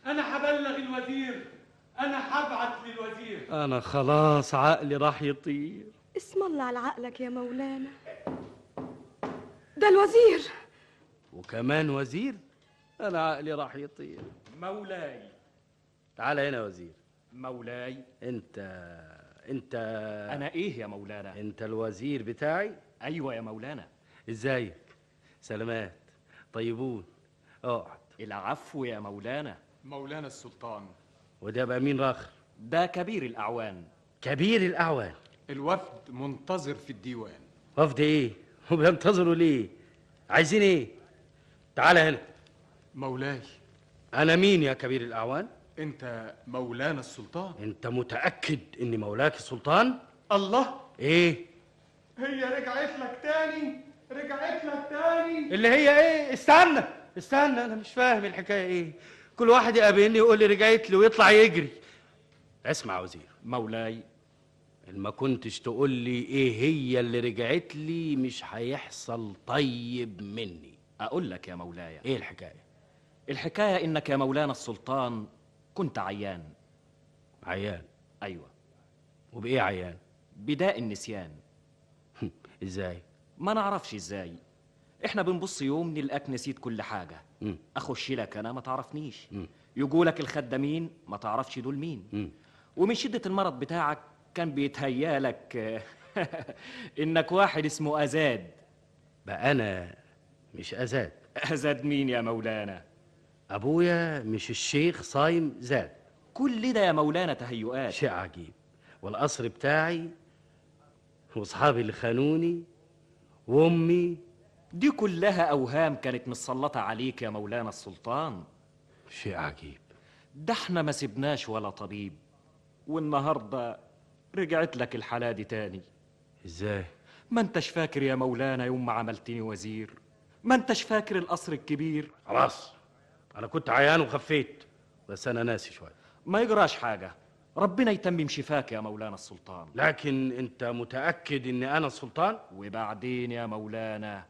Speaker 26: أنا هبلغ الوزير أنا هبعت للوزير
Speaker 9: انا خلاص عقلي راح يطير
Speaker 6: اسم الله على عقلك يا مولانا ده الوزير
Speaker 9: وكمان وزير انا عقلي راح يطير
Speaker 19: مولاي
Speaker 9: تعال هنا يا وزير
Speaker 19: مولاي
Speaker 9: انت انت
Speaker 19: انا ايه يا مولانا
Speaker 9: انت الوزير بتاعي
Speaker 19: ايوه يا مولانا
Speaker 9: ازيك سلامات طيبون اقعد
Speaker 19: العفو يا مولانا
Speaker 26: مولانا السلطان
Speaker 9: وده بقى مين راخر
Speaker 19: ده كبير الاعوان
Speaker 9: كبير الاعوان
Speaker 26: الوفد منتظر في الديوان
Speaker 9: وفد ايه وبينتظروا ليه عايزين ايه تعال هنا
Speaker 26: مولاي
Speaker 9: انا مين يا كبير الاعوان
Speaker 26: أنت مولانا السلطان
Speaker 9: انت متاكد ان مولاك السلطان
Speaker 26: الله
Speaker 9: ايه
Speaker 26: هي رجعت لك تاني رجعت لك تاني
Speaker 9: اللي هي ايه استنى استنى انا مش فاهم الحكايه ايه كل واحد يقابلني يقول لي رجعت له ويطلع يجري اسمع يا وزير
Speaker 19: مولاي
Speaker 9: ما كنتش تقول لي ايه هي اللي رجعت لي مش هيحصل طيب مني
Speaker 19: اقول لك يا مولاي
Speaker 9: ايه الحكايه
Speaker 19: الحكايه انك يا مولانا السلطان كنت عيان
Speaker 9: عيان
Speaker 19: ايوه
Speaker 9: وبايه عيان
Speaker 19: بداء النسيان
Speaker 9: ازاي
Speaker 19: ما نعرفش ازاي احنا بنبص يوم نلقاك نسيت كل حاجه
Speaker 9: مم.
Speaker 19: اخش لك انا ما تعرفنيش
Speaker 9: مم.
Speaker 19: يقولك الخدامين ما تعرفش دول مين
Speaker 9: مم.
Speaker 19: ومن شدة المرض بتاعك كان بيتهيأ لك إنك واحد اسمه أزاد
Speaker 9: بقى انا مش ازاد
Speaker 19: أزاد مين يا مولانا؟
Speaker 9: ابويا مش الشيخ صايم طيب، زاد
Speaker 19: كل ده يا مولانا تهيؤات
Speaker 9: شيء عجيب والقصر بتاعي واصحابي اللي خانوني وامي
Speaker 19: دي كلها أوهام كانت مسلطة عليك يا مولانا السلطان
Speaker 9: شيء عجيب
Speaker 19: ده احنا ما سبناش ولا طبيب والنهاردة رجعت لك الحالة دي تاني
Speaker 29: ازاي
Speaker 19: ما انتش فاكر يا مولانا يوم ما عملتني وزير ما انتش فاكر القصر الكبير
Speaker 29: خلاص انا كنت عيان وخفيت بس انا ناسي شويه
Speaker 19: ما يجراش حاجة ربنا يتمم شفاك يا مولانا السلطان
Speaker 29: لكن انت متاكد اني انا السلطان
Speaker 19: وبعدين يا مولانا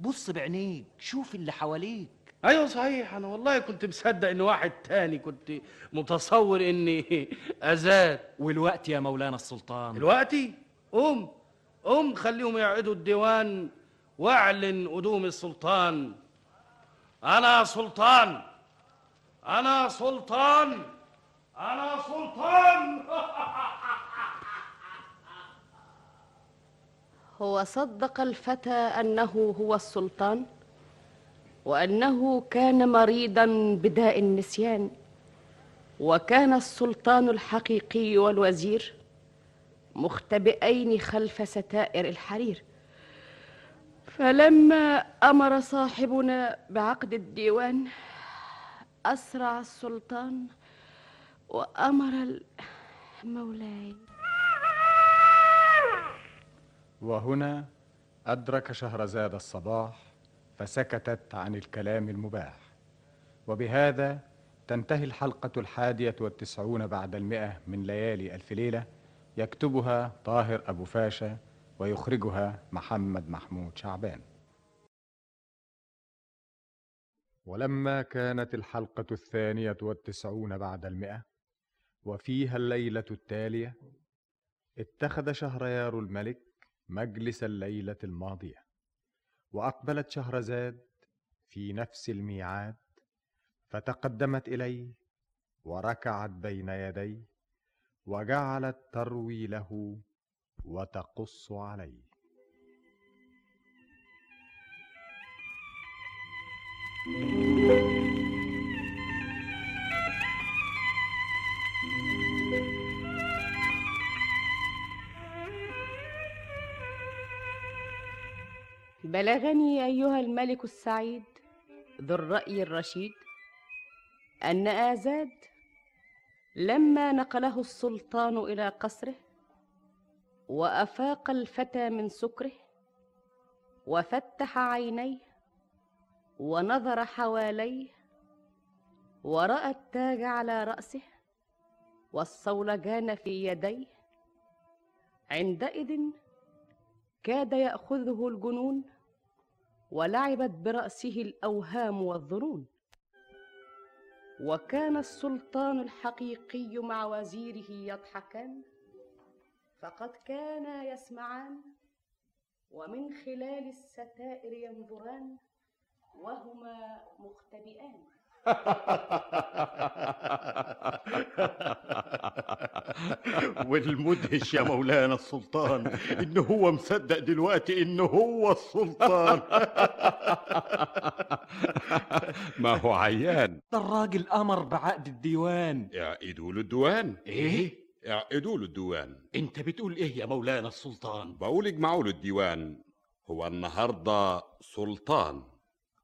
Speaker 19: بص بعينيك شوف اللي حواليك
Speaker 29: ايوه صحيح انا والله كنت مصدق ان واحد تاني كنت متصور اني ازاد
Speaker 19: والوقت يا مولانا السلطان
Speaker 29: دلوقتي قوم قوم خليهم يقعدوا الديوان واعلن قدوم السلطان انا سلطان انا سلطان انا سلطان
Speaker 3: هو صدق الفتى انه هو السلطان وانه كان مريضا بداء النسيان وكان السلطان الحقيقي والوزير مختبئين خلف ستائر الحرير فلما امر صاحبنا بعقد الديوان اسرع السلطان وامر ال- مولاي
Speaker 1: وهنا أدرك شهرزاد الصباح فسكتت عن الكلام المباح وبهذا تنتهي الحلقة الحادية والتسعون بعد المئة من ليالي ألف ليلة يكتبها طاهر أبو فاشا ويخرجها محمد محمود شعبان ولما كانت الحلقة الثانية والتسعون بعد المئة وفيها الليلة التالية اتخذ شهريار الملك مجلس الليلة الماضية وأقبلت شهرزاد في نفس الميعاد فتقدمت إليه وركعت بين يديه وجعلت تروي له وتقص عليه
Speaker 3: بلغني ايها الملك السعيد ذو الراي الرشيد ان ازاد لما نقله السلطان الى قصره وافاق الفتى من سكره وفتح عينيه ونظر حواليه وراى التاج على راسه والصولجان في يديه عندئذ كاد ياخذه الجنون ولعبت براسه الاوهام والظنون وكان السلطان الحقيقي مع وزيره يضحكان فقد كانا يسمعان ومن خلال الستائر ينظران وهما مختبئان
Speaker 7: والمدهش يا مولانا السلطان ان هو مصدق دلوقتي ان هو السلطان
Speaker 20: أه،
Speaker 4: ما هو عيان
Speaker 20: أه،
Speaker 19: ده الراجل امر بعقد الديوان
Speaker 4: اعقدوا له الديوان
Speaker 7: إيه؟
Speaker 4: اعقدوا له الديوان
Speaker 7: انت بتقول ايه يا مولانا السلطان
Speaker 4: بقول اجمعوا له الديوان هو النهارده سلطان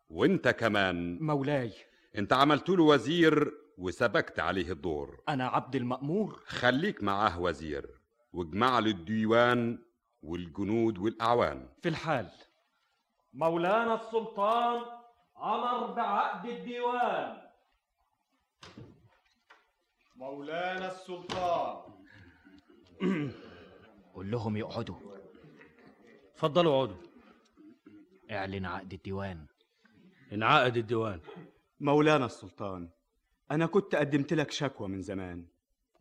Speaker 4: وانت كمان
Speaker 19: مولاي
Speaker 4: انت عملت له وزير وسبكت عليه الدور
Speaker 19: انا عبد المامور
Speaker 4: خليك معاه وزير واجمع له الديوان والجنود والاعوان
Speaker 19: في الحال
Speaker 5: مولانا السلطان امر بعقد الديوان مولانا السلطان
Speaker 19: قول لهم يقعدوا
Speaker 9: اتفضلوا اقعدوا
Speaker 19: اعلن عقد الديوان
Speaker 9: انعقد الديوان
Speaker 8: مولانا السلطان أنا كنت قدمت لك شكوى من زمان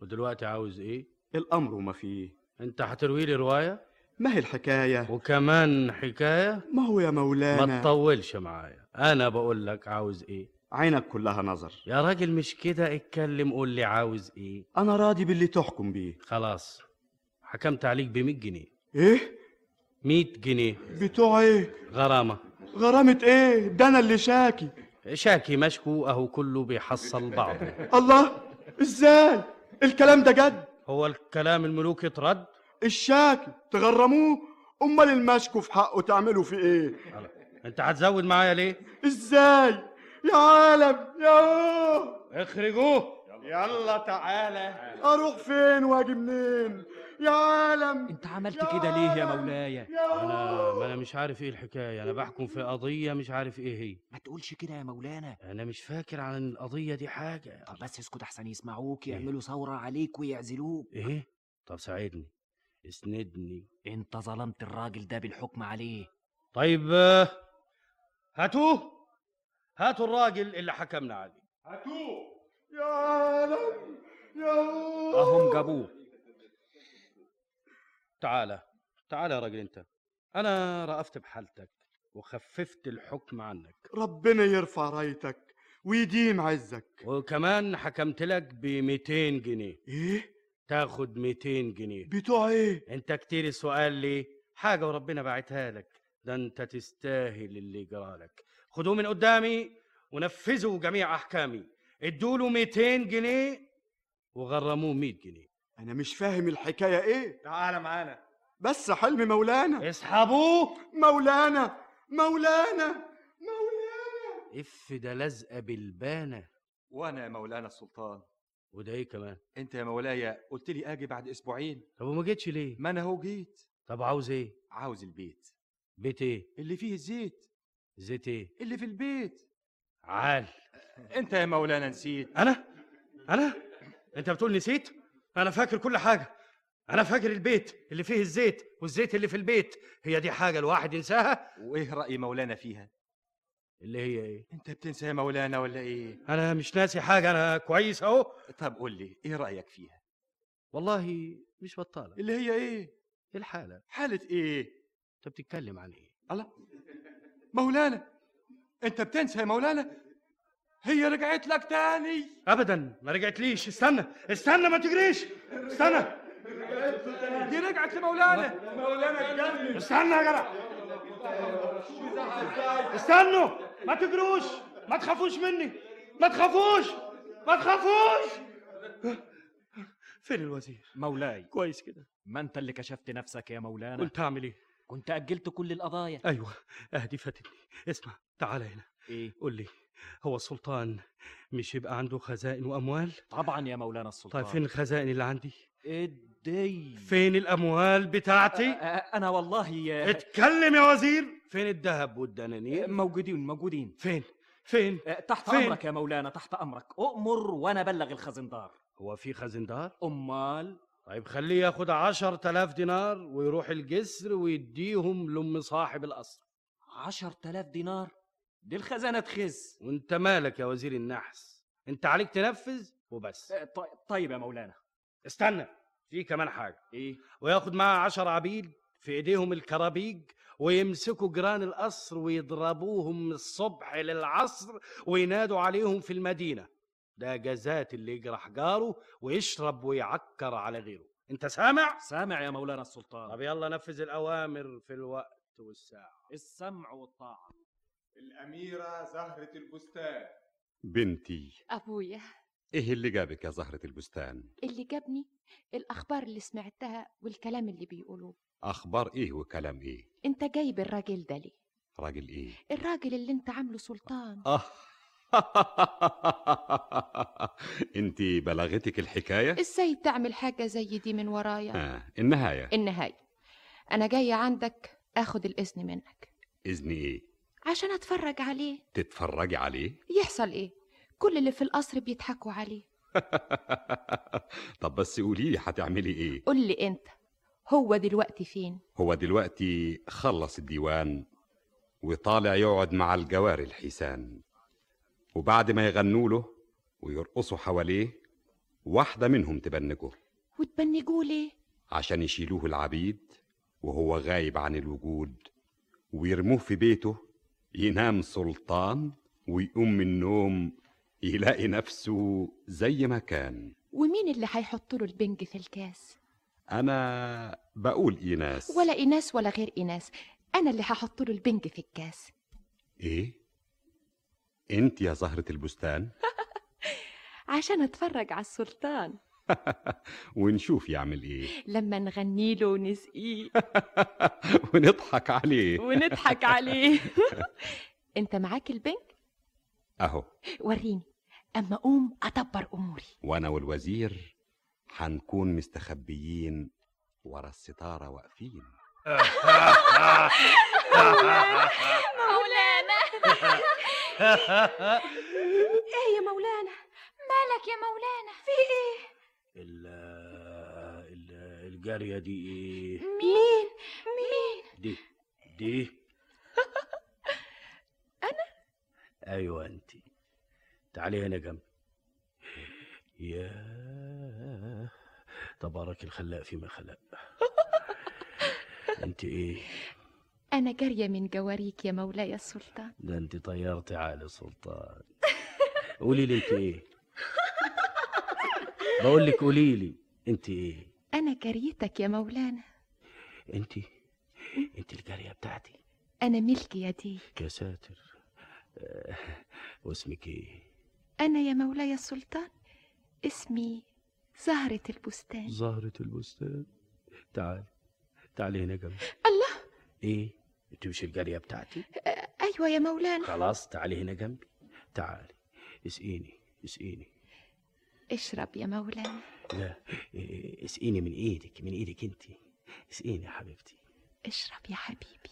Speaker 9: ودلوقتي عاوز ايه
Speaker 8: الأمر ما فيه
Speaker 9: انت هتروي لي روايه
Speaker 8: ما هي الحكايه
Speaker 9: وكمان حكايه
Speaker 8: ما هو يا مولانا
Speaker 9: ما تطولش معايا انا بقول لك عاوز ايه
Speaker 8: عينك كلها نظر
Speaker 9: يا راجل مش كده اتكلم قول لي عاوز ايه
Speaker 8: أنا راضي باللي تحكم بيه
Speaker 9: خلاص حكمت عليك ب 100 جنيه
Speaker 8: إيه
Speaker 9: 100 جنيه
Speaker 8: بتوع إيه
Speaker 9: غرامه
Speaker 8: غرامة إيه ده أنا اللي شاكي
Speaker 9: شاكي مشكو اهو كله بيحصل بعضه
Speaker 8: الله إزاي الكلام ده جد
Speaker 9: هو الكلام الملوك اترد
Speaker 8: الشاكي تغرموه أمال المشكو في حقه تعملوا فيه إيه
Speaker 9: انت هتزود معايا ليه
Speaker 8: إزاي يا عالم يا أوه
Speaker 9: اخرجوه
Speaker 8: يلا تعالى اروح فين واجي منين
Speaker 18: يا عالم
Speaker 19: انت عملت كده ليه يا مولاي
Speaker 9: انا ما انا مش عارف ايه الحكايه انا بحكم في قضيه مش عارف ايه هي
Speaker 19: ما تقولش كده يا مولانا
Speaker 9: انا مش فاكر عن القضيه دي حاجه
Speaker 19: طب بس اسكت احسن يسمعوك يعملوا ثوره عليك ويعزلوك
Speaker 9: ايه طب ساعدني اسندني
Speaker 19: انت ظلمت الراجل ده بالحكم عليه
Speaker 9: طيب آه، هاتوه هاتوا الراجل اللي حكمنا عليه
Speaker 8: هاتوه يا عالم يا
Speaker 9: اهم جابوه تعالى تعالى يا راجل انت انا رأفت بحالتك وخففت الحكم عنك
Speaker 18: ربنا يرفع رايتك ويديم عزك
Speaker 9: وكمان حكمت لك ب 200 جنيه
Speaker 18: ايه
Speaker 9: تاخد 200 جنيه
Speaker 18: بتوع ايه
Speaker 9: انت كتير السؤال ليه حاجه وربنا بعتها لك ده انت تستاهل اللي جرالك خدوه من قدامي ونفذوا جميع احكامي ادوا له 200 جنيه وغرموه 100 جنيه
Speaker 18: انا مش فاهم الحكايه
Speaker 20: إيه.
Speaker 18: ايه
Speaker 2: تعالى معانا
Speaker 18: بس حلم مولانا
Speaker 9: اسحبوه
Speaker 18: مولانا مولانا
Speaker 9: اف ده لزقه بالبانه
Speaker 20: وانا يا مولانا السلطان
Speaker 9: وده ايه كمان
Speaker 20: انت يا مولاي قلت لي اجي بعد اسبوعين
Speaker 9: طب وما جيتش ليه
Speaker 20: ما انا هو جيت
Speaker 9: طب عاوز ايه
Speaker 20: عاوز البيت
Speaker 9: بيت ايه
Speaker 20: اللي فيه الزيت
Speaker 9: زيت ايه
Speaker 20: اللي في البيت
Speaker 9: عال
Speaker 20: انت يا مولانا نسيت
Speaker 9: انا انا انت بتقول نسيت انا فاكر كل حاجه انا فاكر البيت اللي فيه الزيت والزيت اللي في البيت هي دي حاجه الواحد ينساها
Speaker 20: وايه راي مولانا فيها
Speaker 9: اللي هي ايه
Speaker 20: انت بتنسى يا مولانا ولا ايه
Speaker 9: انا مش ناسي حاجه انا كويس اهو
Speaker 20: طب قول لي ايه رايك فيها
Speaker 9: والله مش بطاله
Speaker 20: اللي هي ايه
Speaker 9: الحاله
Speaker 20: حاله ايه
Speaker 9: انت بتتكلم عن ايه
Speaker 20: الله مولانا انت بتنسى يا مولانا هي رجعت لك تاني
Speaker 9: ابدا ما رجعتليش استنى استنى ما تجريش استنى
Speaker 20: دي رجعت لمولانا
Speaker 8: مولانا اتجنن
Speaker 9: استنى يا جدع استنوا ما تجروش ما تخافوش مني ما تخافوش ما تخافوش فين الوزير
Speaker 19: مولاي
Speaker 9: كويس كده
Speaker 19: ما انت اللي كشفت نفسك يا مولانا
Speaker 9: قلت اعمل ايه
Speaker 19: كنت اجلت كل القضايا
Speaker 9: ايوه اهدي فاتتني اسمع تعال هنا
Speaker 19: ايه
Speaker 9: قول لي هو السلطان مش يبقى عنده خزائن واموال
Speaker 19: طبعا يا مولانا السلطان إيه.
Speaker 9: طيب فين الخزائن اللي عندي
Speaker 19: ادي
Speaker 9: فين الاموال بتاعتي
Speaker 19: انا والله آه،
Speaker 9: إيه؟
Speaker 19: يا-
Speaker 9: اتكلم يا وزير فين الذهب والدنانير
Speaker 19: موجودين موجودين آه،
Speaker 9: فين فين
Speaker 19: تحت
Speaker 9: فين؟
Speaker 19: امرك يا مولانا تحت امرك اؤمر وانا ابلغ الخزندار
Speaker 9: هو في خزندار
Speaker 19: امال
Speaker 9: طيب خليه ياخد عشر تلاف دينار ويروح الجسر ويديهم لأم صاحب القصر
Speaker 19: عشر تلاف دينار دي الخزانة تخز
Speaker 9: وانت مالك يا وزير النحس انت عليك تنفذ وبس
Speaker 19: آه، طي- طيب يا مولانا
Speaker 9: استنى في كمان حاجة
Speaker 19: ايه
Speaker 9: وياخد معاه عشر عبيد في ايديهم الكرابيج ويمسكوا جيران القصر ويضربوهم من الصبح للعصر وينادوا عليهم في المدينة ده جزات اللي يجرح جاره ويشرب ويعكر على غيره انت سامع؟
Speaker 19: سامع يا مولانا السلطان
Speaker 9: طب يلا نفذ الأوامر في الوقت والساعة
Speaker 19: السمع والطاعة
Speaker 2: الأميرة زهرة البستان
Speaker 4: بنتي
Speaker 24: أبويا
Speaker 4: ايه اللي جابك يا زهرة البستان
Speaker 24: اللي جابني الأخبار اللي سمعتها والكلام اللي بيقولوه
Speaker 4: اخبار ايه وكلام ايه
Speaker 24: أنت جايب الراجل ده ليه؟
Speaker 4: راجل ايه
Speaker 24: الراجل اللي أنت عامله سلطان
Speaker 4: اه انت بلغتك الحكايه
Speaker 24: إزاي تعمل حاجة زي دي من ورايا؟
Speaker 4: إيه؟ آه. النهايه
Speaker 24: النهاية أنا جاية عندك آخد الإذن منك
Speaker 4: اذن ايه
Speaker 24: عشان أتفرج عليه
Speaker 4: تتفرجي عليه
Speaker 24: يحصل إيه؟ كل اللي في القصر بيضحكوا عليه
Speaker 4: طب بس قولي لي هتعملي ايه
Speaker 24: قول لي أنت هو دلوقتي فين؟
Speaker 4: هو دلوقتي خلص الديوان وطالع يقعد مع الجواري الحيسان وبعد ما يغنوا له ويرقصوا حواليه واحده منهم تبنجه
Speaker 24: وتبنجوه ليه؟
Speaker 4: عشان يشيلوه العبيد وهو غايب عن الوجود ويرموه في بيته ينام سلطان ويقوم من النوم يلاقي نفسه زي ما كان
Speaker 24: ومين اللي هيحط له البنج في الكاس؟
Speaker 4: انا بقول إيه ايناس
Speaker 24: ولا إناس ولا غير إناس أنا اللي هحط له البنج في الكاس
Speaker 4: ايه انت يا زهرة البستان
Speaker 24: عشان اتفرج على السلطان
Speaker 4: ونشوف يعمل ايه
Speaker 24: لما نغني له ونسقيه
Speaker 4: ونضحك عليه
Speaker 24: ونضحك عليه انت معاك البنك
Speaker 4: اهو
Speaker 24: وريني اما اقوم ادبر اموري
Speaker 4: وانا والوزير هنكون مستخبيين ورا الستارة واقفين
Speaker 26: مولانا
Speaker 15: ايه يا مولانا
Speaker 26: مالك يا مولانا
Speaker 15: في ايه
Speaker 9: ال ال الجارية دي ايه؟
Speaker 15: مين مين
Speaker 9: دي دي أنا؟ أيوة أنت تعالي هنا جنبي يا تبارك الخلاق فيما خلق أنت إيه؟
Speaker 26: انا جاريه من جواريك يا مولاي السلطان
Speaker 9: ده أنت طيرتي عقل سلطان قولي لي أنت إيه؟ بقول لك قولي لي أنت إيه؟
Speaker 26: انا جاريتك يا مولانا
Speaker 9: أنت أنت الجارية بتاعتي
Speaker 26: انا ملك يديك
Speaker 9: يا ساتر آه، واسمك إيه؟
Speaker 26: انا يا مولاي السلطان اسمي زهره البستان
Speaker 9: زهرة البستان تعالي تعالي هنا جنبي
Speaker 26: الله
Speaker 9: ايه انت مش الجاريه بتاعتي
Speaker 26: ايوه يا مولانا
Speaker 9: خلاص تعالي هنا جنبي تعالي اسقيني اسقيني
Speaker 26: اشرب يا مولانا
Speaker 9: لا إيه، اسقيني من ايدك من ايدك انت اسقيني يا حبيبتي
Speaker 26: اشرب يا حبيبي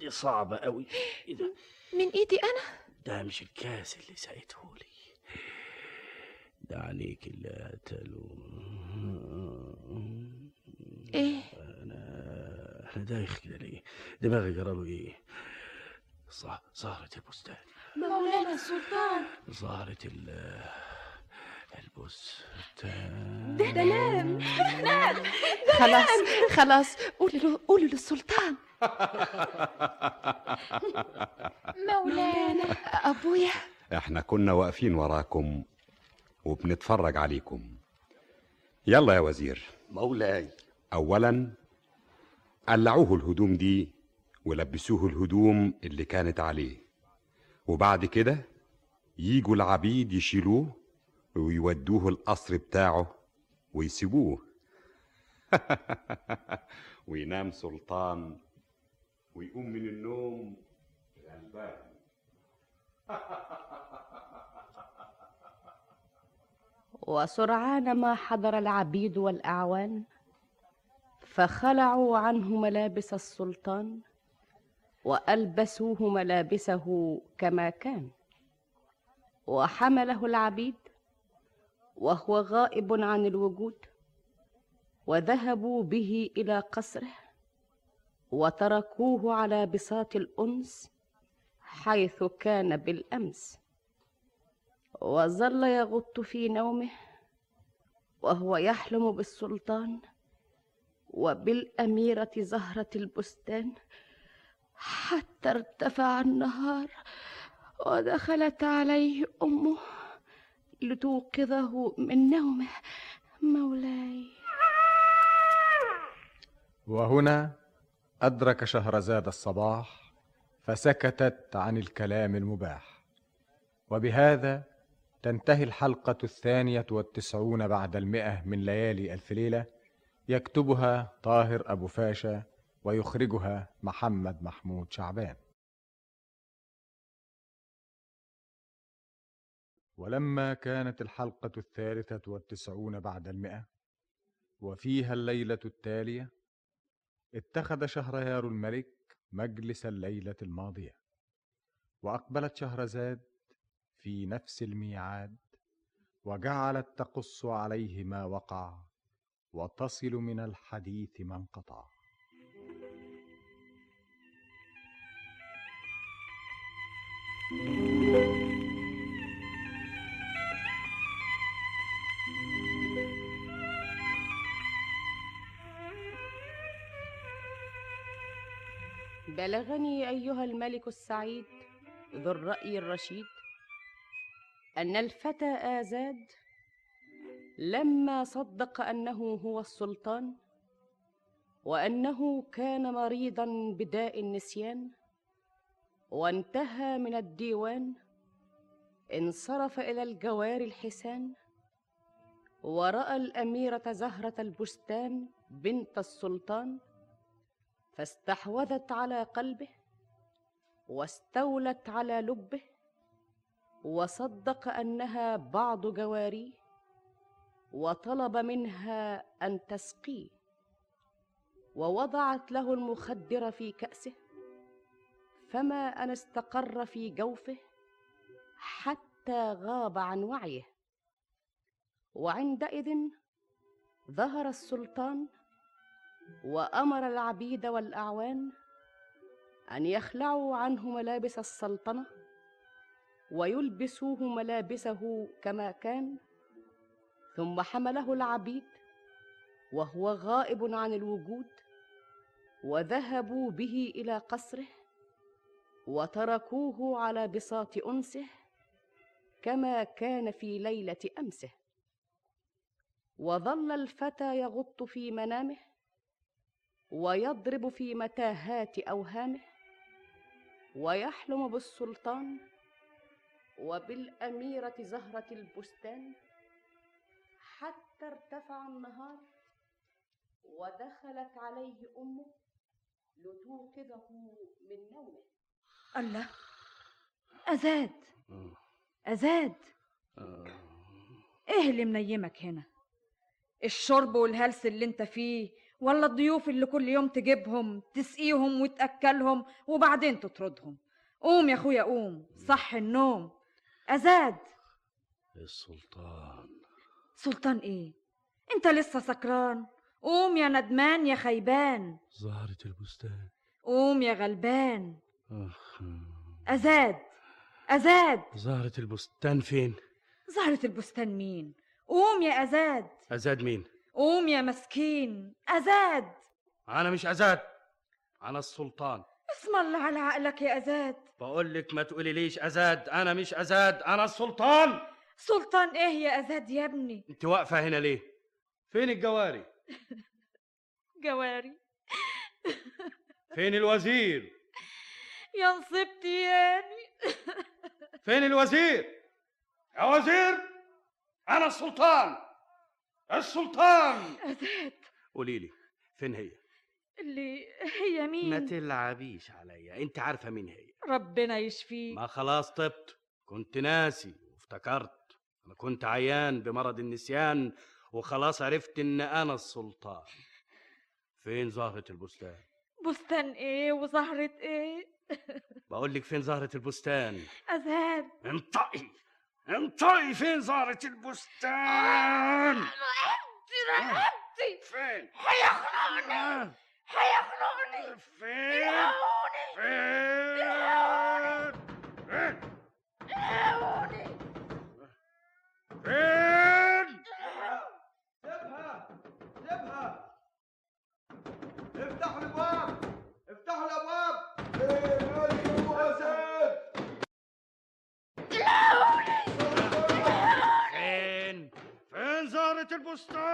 Speaker 9: دي صعبه قوي ايه ده
Speaker 26: من ايدي انا
Speaker 9: ده مش الكاس اللي سقيته لي ده عليك اللي قتلوا
Speaker 26: ايه
Speaker 9: انا انا دايخ كده ليه دماغي جراله ايه صح زهرة البستان
Speaker 15: مولانا السلطان
Speaker 9: زهرة ال البستان
Speaker 15: ده نام نام
Speaker 26: خلاص خلاص قولوا له قولوا للسلطان مولانا ابويا
Speaker 4: احنا كنا واقفين وراكم وبنتفرج عليكم يلا يا وزير
Speaker 5: مولاي
Speaker 4: اولا قلعوه الهدوم دي ولبسوه الهدوم اللي كانت عليه وبعد كده يجوا العبيد يشيلوه ويودوه القصر بتاعه ويسيبوه وينام سلطان ويقوم من النوم غلبان
Speaker 3: وسرعان ما حضر العبيد والاعوان فخلعوا عنه ملابس السلطان والبسوه ملابسه كما كان وحمله العبيد وهو غائب عن الوجود وذهبوا به الى قصره وتركوه على بساط الانس حيث كان بالامس وظل يغط في نومه وهو يحلم بالسلطان وبالأميرة زهرة البستان حتى ارتفع النهار ودخلت عليه أمه لتوقظه من نومه مولاي
Speaker 1: وهنا أدرك شهرزاد الصباح فسكتت عن الكلام المباح وبهذا تنتهي الحلقة الثانية والتسعون بعد المئة من ليالي ألف ليلة يكتبها طاهر أبو فاشا ويخرجها محمد محمود شعبان ولما كانت الحلقة الثالثة والتسعون بعد المئة وفيها الليلة التالية اتخذ شهريار الملك مجلس الليلة الماضية وأقبلت شهرزاد في نفس الميعاد وجعلت تقص عليه ما وقع وتصل من الحديث ما انقطع
Speaker 3: بلغني ايها الملك السعيد ذو الراي الرشيد ان الفتى ازاد لما صدق انه هو السلطان وانه كان مريضا بداء النسيان وانتهى من الديوان انصرف الى الجوار الحسان وراى الاميره زهره البستان بنت السلطان فاستحوذت على قلبه واستولت على لبه وصدق انها بعض جواريه وطلب منها ان تسقيه ووضعت له المخدر في كاسه فما ان استقر في جوفه حتى غاب عن وعيه وعندئذ ظهر السلطان وامر العبيد والاعوان ان يخلعوا عنه ملابس السلطنه ويلبسوه ملابسه كما كان ثم حمله العبيد وهو غائب عن الوجود وذهبوا به الى قصره وتركوه على بساط انسه كما كان في ليله امسه وظل الفتى يغط في منامه ويضرب في متاهات اوهامه ويحلم بالسلطان وبالاميره زهره البستان حتى ارتفع النهار ودخلت عليه امه لتوقظه من نومه
Speaker 30: الله أزاد أزاد إيه اللي منيمك هنا
Speaker 25: الشرب والهلس اللي انت فيه ولا الضيوف اللي كل يوم تجيبهم تسقيهم وتأكلهم وبعدين تطردهم قوم يا أخويا قوم صح النوم أزاد
Speaker 9: السلطان
Speaker 25: سلطان إيه انت لسه سكران قوم يا ندمان يا خيبان
Speaker 9: زهرة البستان
Speaker 25: قوم يا غلبان
Speaker 9: أخ
Speaker 25: أزاد أزاد
Speaker 9: زهرة البستان فين؟
Speaker 25: زهرة البستان مين قوم يا أزاد
Speaker 9: أزاد مين؟
Speaker 25: قوم يا مسكين أزاد
Speaker 9: أنا مش أزاد أنا السلطان
Speaker 25: اسم الله على عقلك يا أزاد
Speaker 9: بقول لك ما تقولي ليش أزاد أنا مش أزاد أنا السلطان
Speaker 25: سلطان إيه يا أزاد يا ابني
Speaker 9: أنت واقفة هنا ليه؟ فين الجواري؟
Speaker 25: جواري
Speaker 9: فين الوزير؟
Speaker 25: يا نصيبتي ياني
Speaker 9: فين الوزير؟
Speaker 8: يا وزير أنا السلطان السلطان
Speaker 25: أزاد
Speaker 9: قولي لي فين هي؟
Speaker 25: اللي هي مين
Speaker 9: ما تلعبيش عليا انت عارفه مين هي
Speaker 25: ربنا يشفيك
Speaker 9: ما خلاص طبت كنت ناسي وافتكرت انا كنت عيان بمرض النسيان وخلاص عرفت ان انا السلطان فين زهره البستان
Speaker 25: بستان ايه وزهرة ايه
Speaker 9: بقول لك فين زهره البستان
Speaker 25: أزهار
Speaker 9: انطقي انطقي فين زهره البستان
Speaker 25: رقبتي
Speaker 9: فين آه.
Speaker 25: هيخنقني هيخنقني
Speaker 9: فين
Speaker 25: فين
Speaker 8: فين جبهة جبهة افتحوا الابواب افتحوا الابواب ايه مالك يا وزير
Speaker 9: فين فين زهره البستان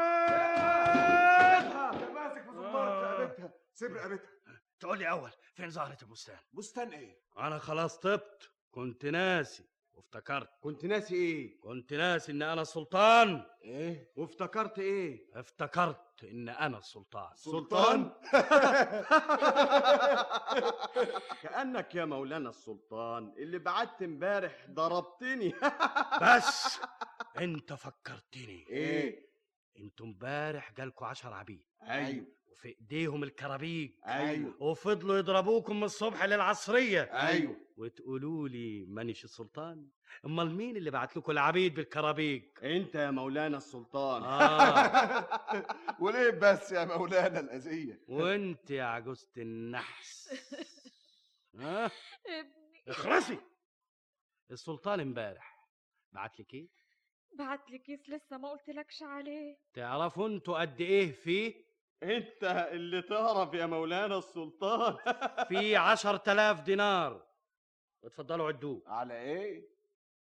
Speaker 8: جبهة ماسك في زمارة رقبتها سيب رقبتها
Speaker 9: تقولي اول فين زهره البستان
Speaker 8: بستان ايه
Speaker 9: انا خلاص طبت كنت ناسي وافتكرت
Speaker 7: كنت ناسي ايه
Speaker 9: كنت ناسي ان انا سلطان
Speaker 7: ايه وافتكرت ايه
Speaker 9: افتكرت ان انا السلطان
Speaker 7: سلطان؟
Speaker 5: كأنك يا مولانا السلطان اللي بعت امبارح ضربتني
Speaker 9: بس انت فكرتني
Speaker 5: إيه؟
Speaker 9: انتوا امبارح جالكوا عشر عبيد
Speaker 5: أيوة.
Speaker 9: وفي ايديهم الكرابيج
Speaker 5: أيوة.
Speaker 9: وفضلوا يضربوكم من الصبح للعصريه
Speaker 5: أيوة.
Speaker 9: وتقولوا لي مانيش السلطان امال مين اللي بعت لكم العبيد بالكرابيج
Speaker 5: انت يا مولانا السلطان
Speaker 9: آه.
Speaker 5: وليه بس يا مولانا الأذية
Speaker 9: وانت يا عجوزه النحس ها
Speaker 25: ابني
Speaker 9: اخرسي السلطان امبارح بعت لك ايه
Speaker 25: بعت لي كيس لسه ما قلتلكش عليه
Speaker 9: تعرفوا انتوا قد ايه فيه
Speaker 5: انت اللي تعرف يا مولانا السلطان
Speaker 9: في عشر تلاف دينار اتفضلوا عدوه
Speaker 5: على ايه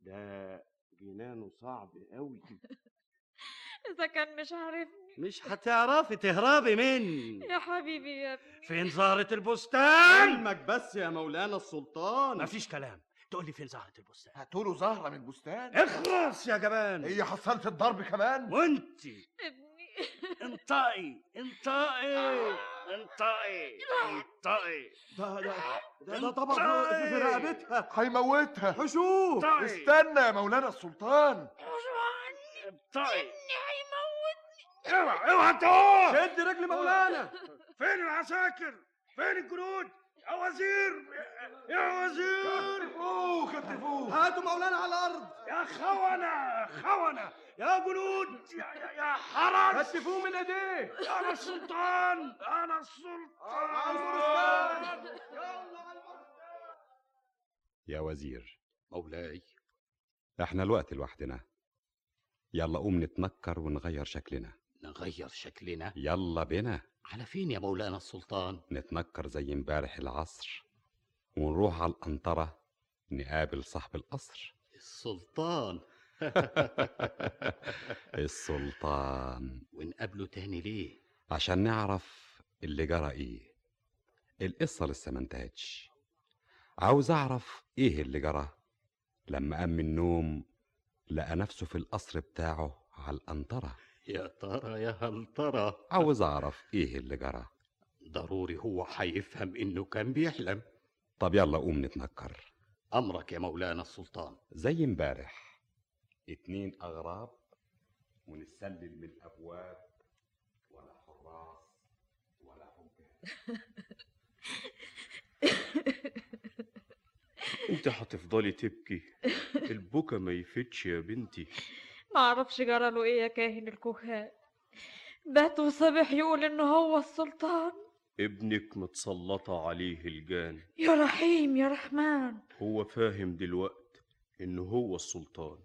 Speaker 5: ده جنانه صعب قوي
Speaker 25: اذا كان مش عارفني
Speaker 9: مش هتعرفي تهربي مني
Speaker 25: يا حبيبي يا ابني
Speaker 9: فين زهرة البستان؟
Speaker 5: علمك بس يا مولانا السلطان
Speaker 9: مفيش كلام تقول لي فين زهرة البستان؟
Speaker 7: هاتوله زهرة من البستان
Speaker 9: اخرس يا جبان
Speaker 7: هي حصلت الضرب كمان
Speaker 9: وانت
Speaker 25: ابني
Speaker 9: انطقي انطقي انطقي انطقي
Speaker 7: ده ده ده, ده
Speaker 9: انت
Speaker 7: طبق
Speaker 9: إيه؟
Speaker 7: في رقبتها هيموتها حشوش
Speaker 9: طيب.
Speaker 7: استنى يا مولانا السلطان
Speaker 8: ابطئي
Speaker 31: هيموتني
Speaker 8: اوعى اوعى تقوم
Speaker 7: شد رجل مولانا
Speaker 8: فين العساكر فين الجنود يا وزير يا وزير
Speaker 7: خطفوه خطفوه هاتوا مولانا على الارض
Speaker 8: يا خونة خونة يا جنود يا, يا, يا حرس
Speaker 7: خطفوه من ايديه
Speaker 8: انا السلطان انا السلطان
Speaker 4: يا وزير
Speaker 32: مولاي
Speaker 4: احنا الوقت لوحدنا يلا قوم نتنكر ونغير شكلنا
Speaker 5: نغير شكلنا
Speaker 4: يلا بينا
Speaker 5: على فين يا مولانا السلطان
Speaker 4: نتنكر زي امبارح العصر ونروح على القنطرة نقابل صاحب القصر
Speaker 5: السلطان
Speaker 4: السلطان
Speaker 5: ونقابله تاني ليه
Speaker 4: عشان نعرف اللي جرى ايه القصة لسه ما انتهتش عاوز اعرف ايه اللي جرى لما قام من النوم لقى نفسه في القصر بتاعه على القنطرة
Speaker 5: يا ترى يا هل ترى
Speaker 4: عاوز اعرف ايه اللي جرى
Speaker 5: ضروري هو هيفهم انه كان بيحلم
Speaker 4: طب يلا قوم نتنكر
Speaker 5: امرك يا مولانا السلطان
Speaker 4: زي امبارح اتنين اغراب ونتسلل من ابواب ولا حراس ولا حجاج
Speaker 33: انت هتفضلي تبكي البكا ما يفتش يا بنتي
Speaker 25: معرفش جراله ايه يا كاهن الكهان بات وصبح يقول ان هو السلطان
Speaker 33: ابنك متسلطة عليه الجان
Speaker 25: يا رحيم يا رحمن
Speaker 33: هو فاهم دلوقت انه هو السلطان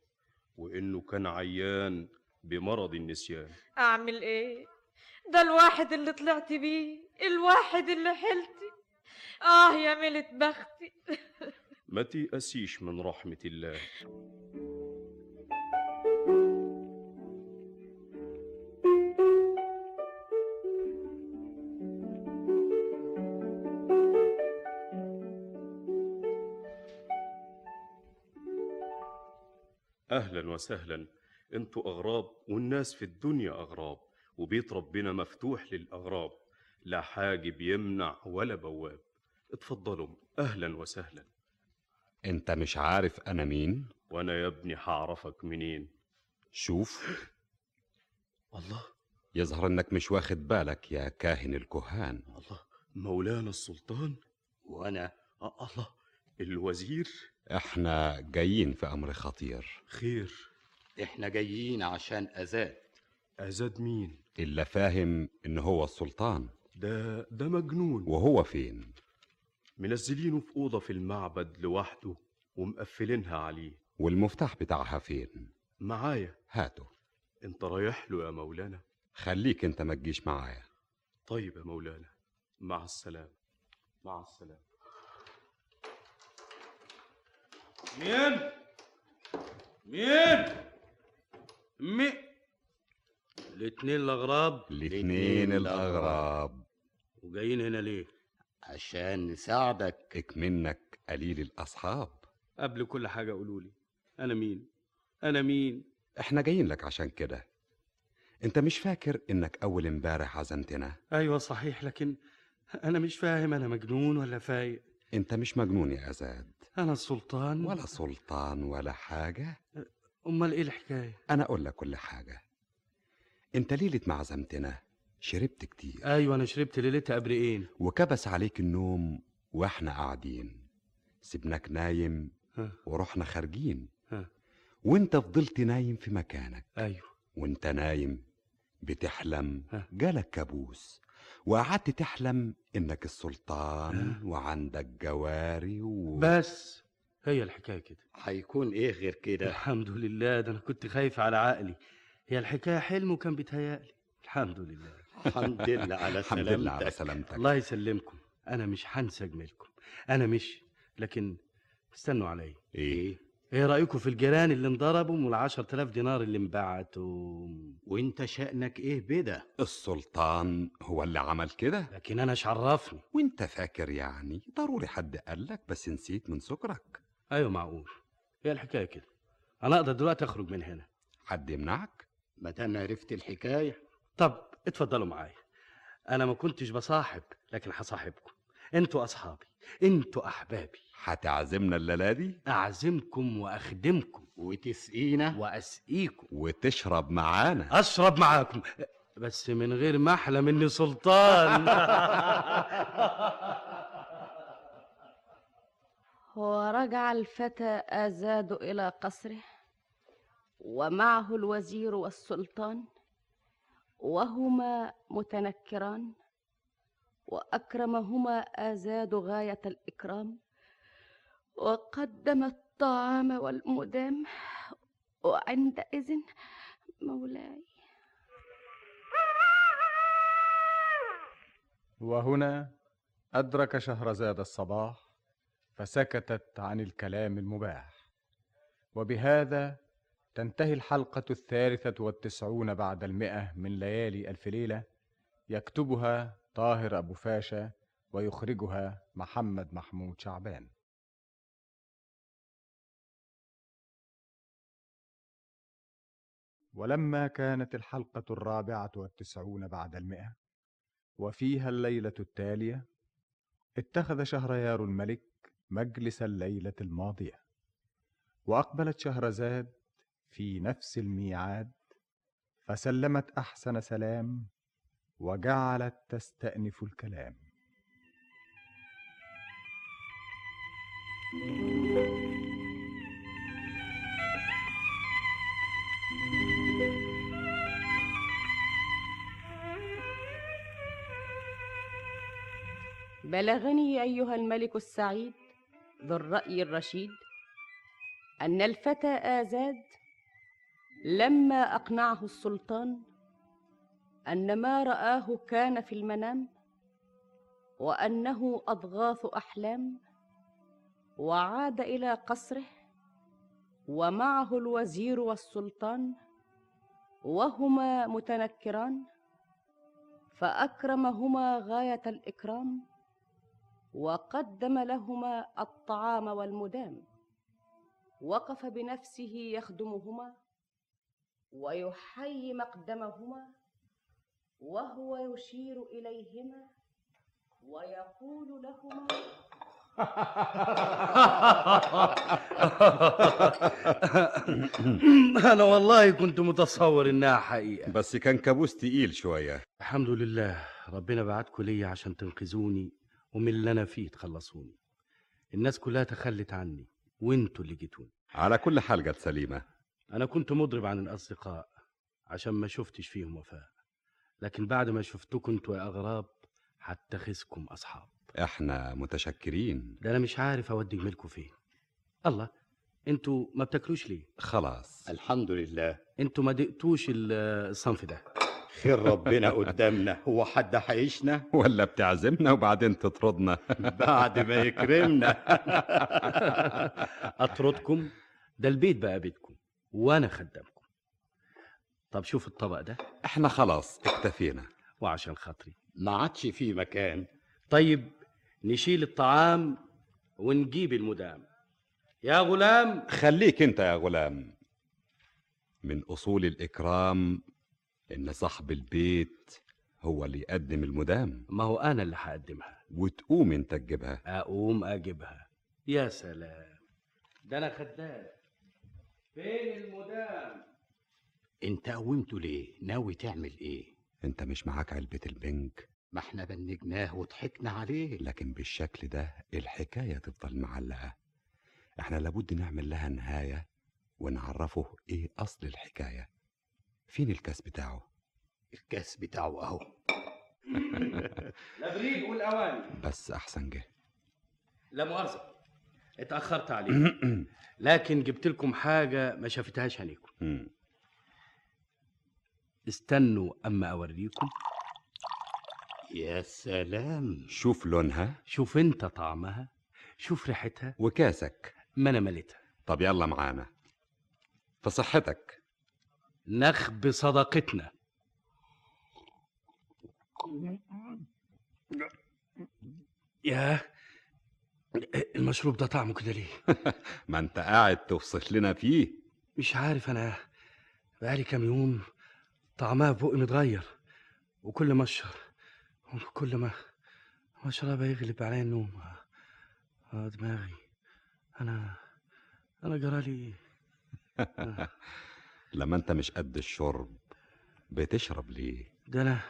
Speaker 33: وانه كان عيان بمرض النسيان
Speaker 25: اعمل ايه ده الواحد اللي طلعت بيه الواحد اللي حلتي اه يا ملت بختي
Speaker 33: ما تيأسيش من رحمة الله أهلا وسهلا انتوا أغراب والناس في الدنيا أغراب وبيت ربنا مفتوح للأغراب لا حاجب يمنع ولا بواب اتفضلوا أهلا وسهلا
Speaker 4: انت مش عارف انا مين
Speaker 33: وأنا يا ابني هعرفك منين
Speaker 4: شوف
Speaker 33: الله
Speaker 4: يظهر انك مش واخد بالك يا كاهن الكهان
Speaker 33: الله مولانا السلطان
Speaker 5: وأنا
Speaker 33: آه الله الوزير
Speaker 4: احنا جايين في امر خطير
Speaker 33: خير
Speaker 5: احنا جايين عشان أزاد
Speaker 33: أزاد مين
Speaker 4: الا فاهم ان هو السلطان
Speaker 33: ده ده مجنون
Speaker 4: وهو فين
Speaker 33: منزلينه في أوضة في المعبد لوحده ومقفلينها عليه
Speaker 4: والمفتاح بتاعها فين
Speaker 33: معايا
Speaker 4: هاته
Speaker 33: انت رايح له يا مولانا
Speaker 4: خليك انت ما تجيش معايا
Speaker 33: طيب يا مولانا مع السلامة مع السلامة
Speaker 34: مين مين مي
Speaker 9: الاتنين الأغراب
Speaker 4: الاتنين الاغراب
Speaker 9: وجايين هنا ليه؟
Speaker 5: عشان نساعدك
Speaker 4: اكمنك قليل الاصحاب
Speaker 9: قبل كل حاجة قولوا لي أنا مين؟ أنا مين؟
Speaker 4: احنا جايين لك عشان كده انت مش فاكر انك اول امبارح عزمتنا
Speaker 9: أيوة صحيح لكن أنا مش فاهم أنا مجنون ولا فايق
Speaker 4: انت مش مجنون يا ازاد
Speaker 9: أنا السلطان
Speaker 4: ولا سلطان ولا حاجة
Speaker 9: أمال إيه الحكاية؟
Speaker 4: انا اقول لك كل حاجة انت ليلة ما عزمتنا شربت كتير
Speaker 9: أيوة أنا شربت ليلتها قبرقين
Speaker 4: وكبس عليك النوم واحنا قاعدين سبناك نايم
Speaker 9: ها.
Speaker 4: ورحنا خارجين
Speaker 9: ها.
Speaker 4: وانت فضلت نايم في مكانك
Speaker 9: أيوة
Speaker 4: وانت نايم بتحلم
Speaker 9: ها.
Speaker 4: جالك كابوس وقعدت تحلم انك السلطان وعندك جواري و...
Speaker 9: بس هي الحكاية كده
Speaker 5: هيكون ايه غير كده
Speaker 9: الحمد لله ده أنا كنت خايف على عقلي هي الحكاية حلم وكان بيتهيألي الحمد لله
Speaker 5: الحمد لله على
Speaker 4: الحمد لله على
Speaker 5: سلامتك
Speaker 4: سلامتك
Speaker 9: الله يسلمكم أنا مش هنسى جميلكم أنا مش لكن استنوا عليا
Speaker 5: إيه؟
Speaker 4: ايه
Speaker 9: ايه رأيكم في الجيران اللي انضربوا والعشر تلاف دينار اللي انبعتوا
Speaker 5: وانت شأنك ايه بده
Speaker 4: السلطان هو اللي عمل كده
Speaker 9: لكن انا ايش عرفني
Speaker 4: وانت فاكر يعني ضروري حد قالك بس نسيت من سكرك
Speaker 9: ايوه معقول هي الحكاية كده انا اقدر دلوقتي اخرج من هنا
Speaker 4: حد يمنعك
Speaker 5: ما دام عرفت الحكاية
Speaker 9: طب اتفضلوا معايا انا ما كنتش بصاحب لكن هصاحبكم انتوا اصحابي انتوا احبابي
Speaker 4: هتعزمنا الليله دي
Speaker 9: أعزمكم وأخدمكم وتسقينا وأسقيكم
Speaker 4: وتشرب معانا
Speaker 9: أشرب معاكم بس من غير ما أحلم إني سلطان
Speaker 3: ورجع الفتى آزاد إلى قصره ومعه الوزير والسلطان وهما متنكران وأكرمهما آزاد غاية الإكرام وقدم الطعام والمدام وعندئذ مولاي
Speaker 1: وهنا أدرك شهرزاد الصباح فسكتت عن الكلام المباح وبهذا تنتهي الحلقة الثالثة والتسعون بعد المئة من ليالي ألف ليلة يكتبها طاهر أبو فاشا ويخرجها محمد محمود شعبان ولما كانت الحلقة الرابعة والتسعون بعد المئة وفيها الليلة التالية اتخذ شهريار الملك مجلس الليلة الماضية وأقبلت شهرزاد في نفس الميعاد فسلمت أحسن سلام وجعلت تستأنف الكلام
Speaker 3: بلغني ايها الملك السعيد ذو الراي الرشيد ان الفتى ازاد لما اقنعه السلطان ان ما راه كان في المنام وانه اضغاث احلام وعاد الى قصره ومعه الوزير والسلطان وهما متنكران فاكرمهما غايه الاكرام وقدم لهما الطعام والمدام وقف بنفسه يخدمهما ويحيي مقدمهما وهو يشير اليهما ويقول لهما
Speaker 9: أنا والله كنت متصور إنها حقيقة
Speaker 4: بس كان كابوس تقيل شويه
Speaker 9: الحمد لله ربنا بعتكم ليا عشان تنقذوني ومن اللي أنا فيه تخلصوني الناس كلها تخلت عني وانتوا اللي جيتوني
Speaker 4: على كل حال جت سليمه
Speaker 9: أنا كنت مضرب عن الأصدقاء عشان ما شفتش فيهم وفاء لكن بعد ما شفتكم انتوا يا أغراب هتخذكم أصحاب
Speaker 4: احنا متشكرين
Speaker 9: ده أنا مش عارف أودي جميلكم فين الله انتوا ما بتاكلوش ليه؟
Speaker 4: خلاص
Speaker 5: الحمد لله
Speaker 9: انتوا ما دقتوش ال- الصنف ده
Speaker 5: خير ربنا قدامنا هو حد هيعيشنا
Speaker 4: ولا بتعزمنا وبعدين تطردنا
Speaker 5: بعد ما يكرمنا
Speaker 9: أطردكم ده البيت بقى بيتكم وأنا خدامكم طب شوف الطبق ده
Speaker 4: احنا خلاص اكتفينا
Speaker 9: وعشان خاطري
Speaker 5: ما عادش فيه مكان
Speaker 9: طيب نشيل الطعام ونجيب المدام يا غلام
Speaker 4: خليك انت يا غلام من اصول الاكرام ان صاحب البيت هو اللي يقدم المدام
Speaker 9: ما هو أنا اللي هقدمها
Speaker 4: وتقوم انت تجيبها
Speaker 9: أقوم أجيبها يا سلام ده أنا خدام فين المدام
Speaker 5: انت قومته ليه ناوي تعمل ايه
Speaker 4: انت مش معاك علبه البنك
Speaker 5: ما احنا بنجناه وضحكنا عليه
Speaker 4: لكن بالشكل ده الحكايه تفضل معلقه احنا لابد نعمل لها نهايه ونعرفه ايه اصل الحكايه فين الكاس بتاعه
Speaker 5: الكاس بتاعه اهو
Speaker 9: لبريد قول أواني
Speaker 4: بس احسن جه
Speaker 9: لا مؤاخذة اتأخرت عليك لكن جبت لكم حاجة ما شافتهاش عينيكم
Speaker 4: مم.
Speaker 9: استنوا أما أوريكم
Speaker 5: يا سلام
Speaker 4: شوف لونها
Speaker 9: شوف أنت طعمها شوف ريحتها
Speaker 4: وكاسك
Speaker 9: ما أنا مليتها
Speaker 4: طب يلا معانا في صحتك
Speaker 9: نخب صداقتنا يا المشروب ده طعمه كده ليه
Speaker 4: ما انت قاعد تفصح لنا فيه
Speaker 9: مش عارف انا بقالي كام يوم طعمها في بقي متغير وكل ما اشرب وكل ما ما اشربها يغلب عليا النوم آه، دماغي انا انا جرالي
Speaker 4: لما انت مش قد الشرب بتشرب ليه
Speaker 9: ده انا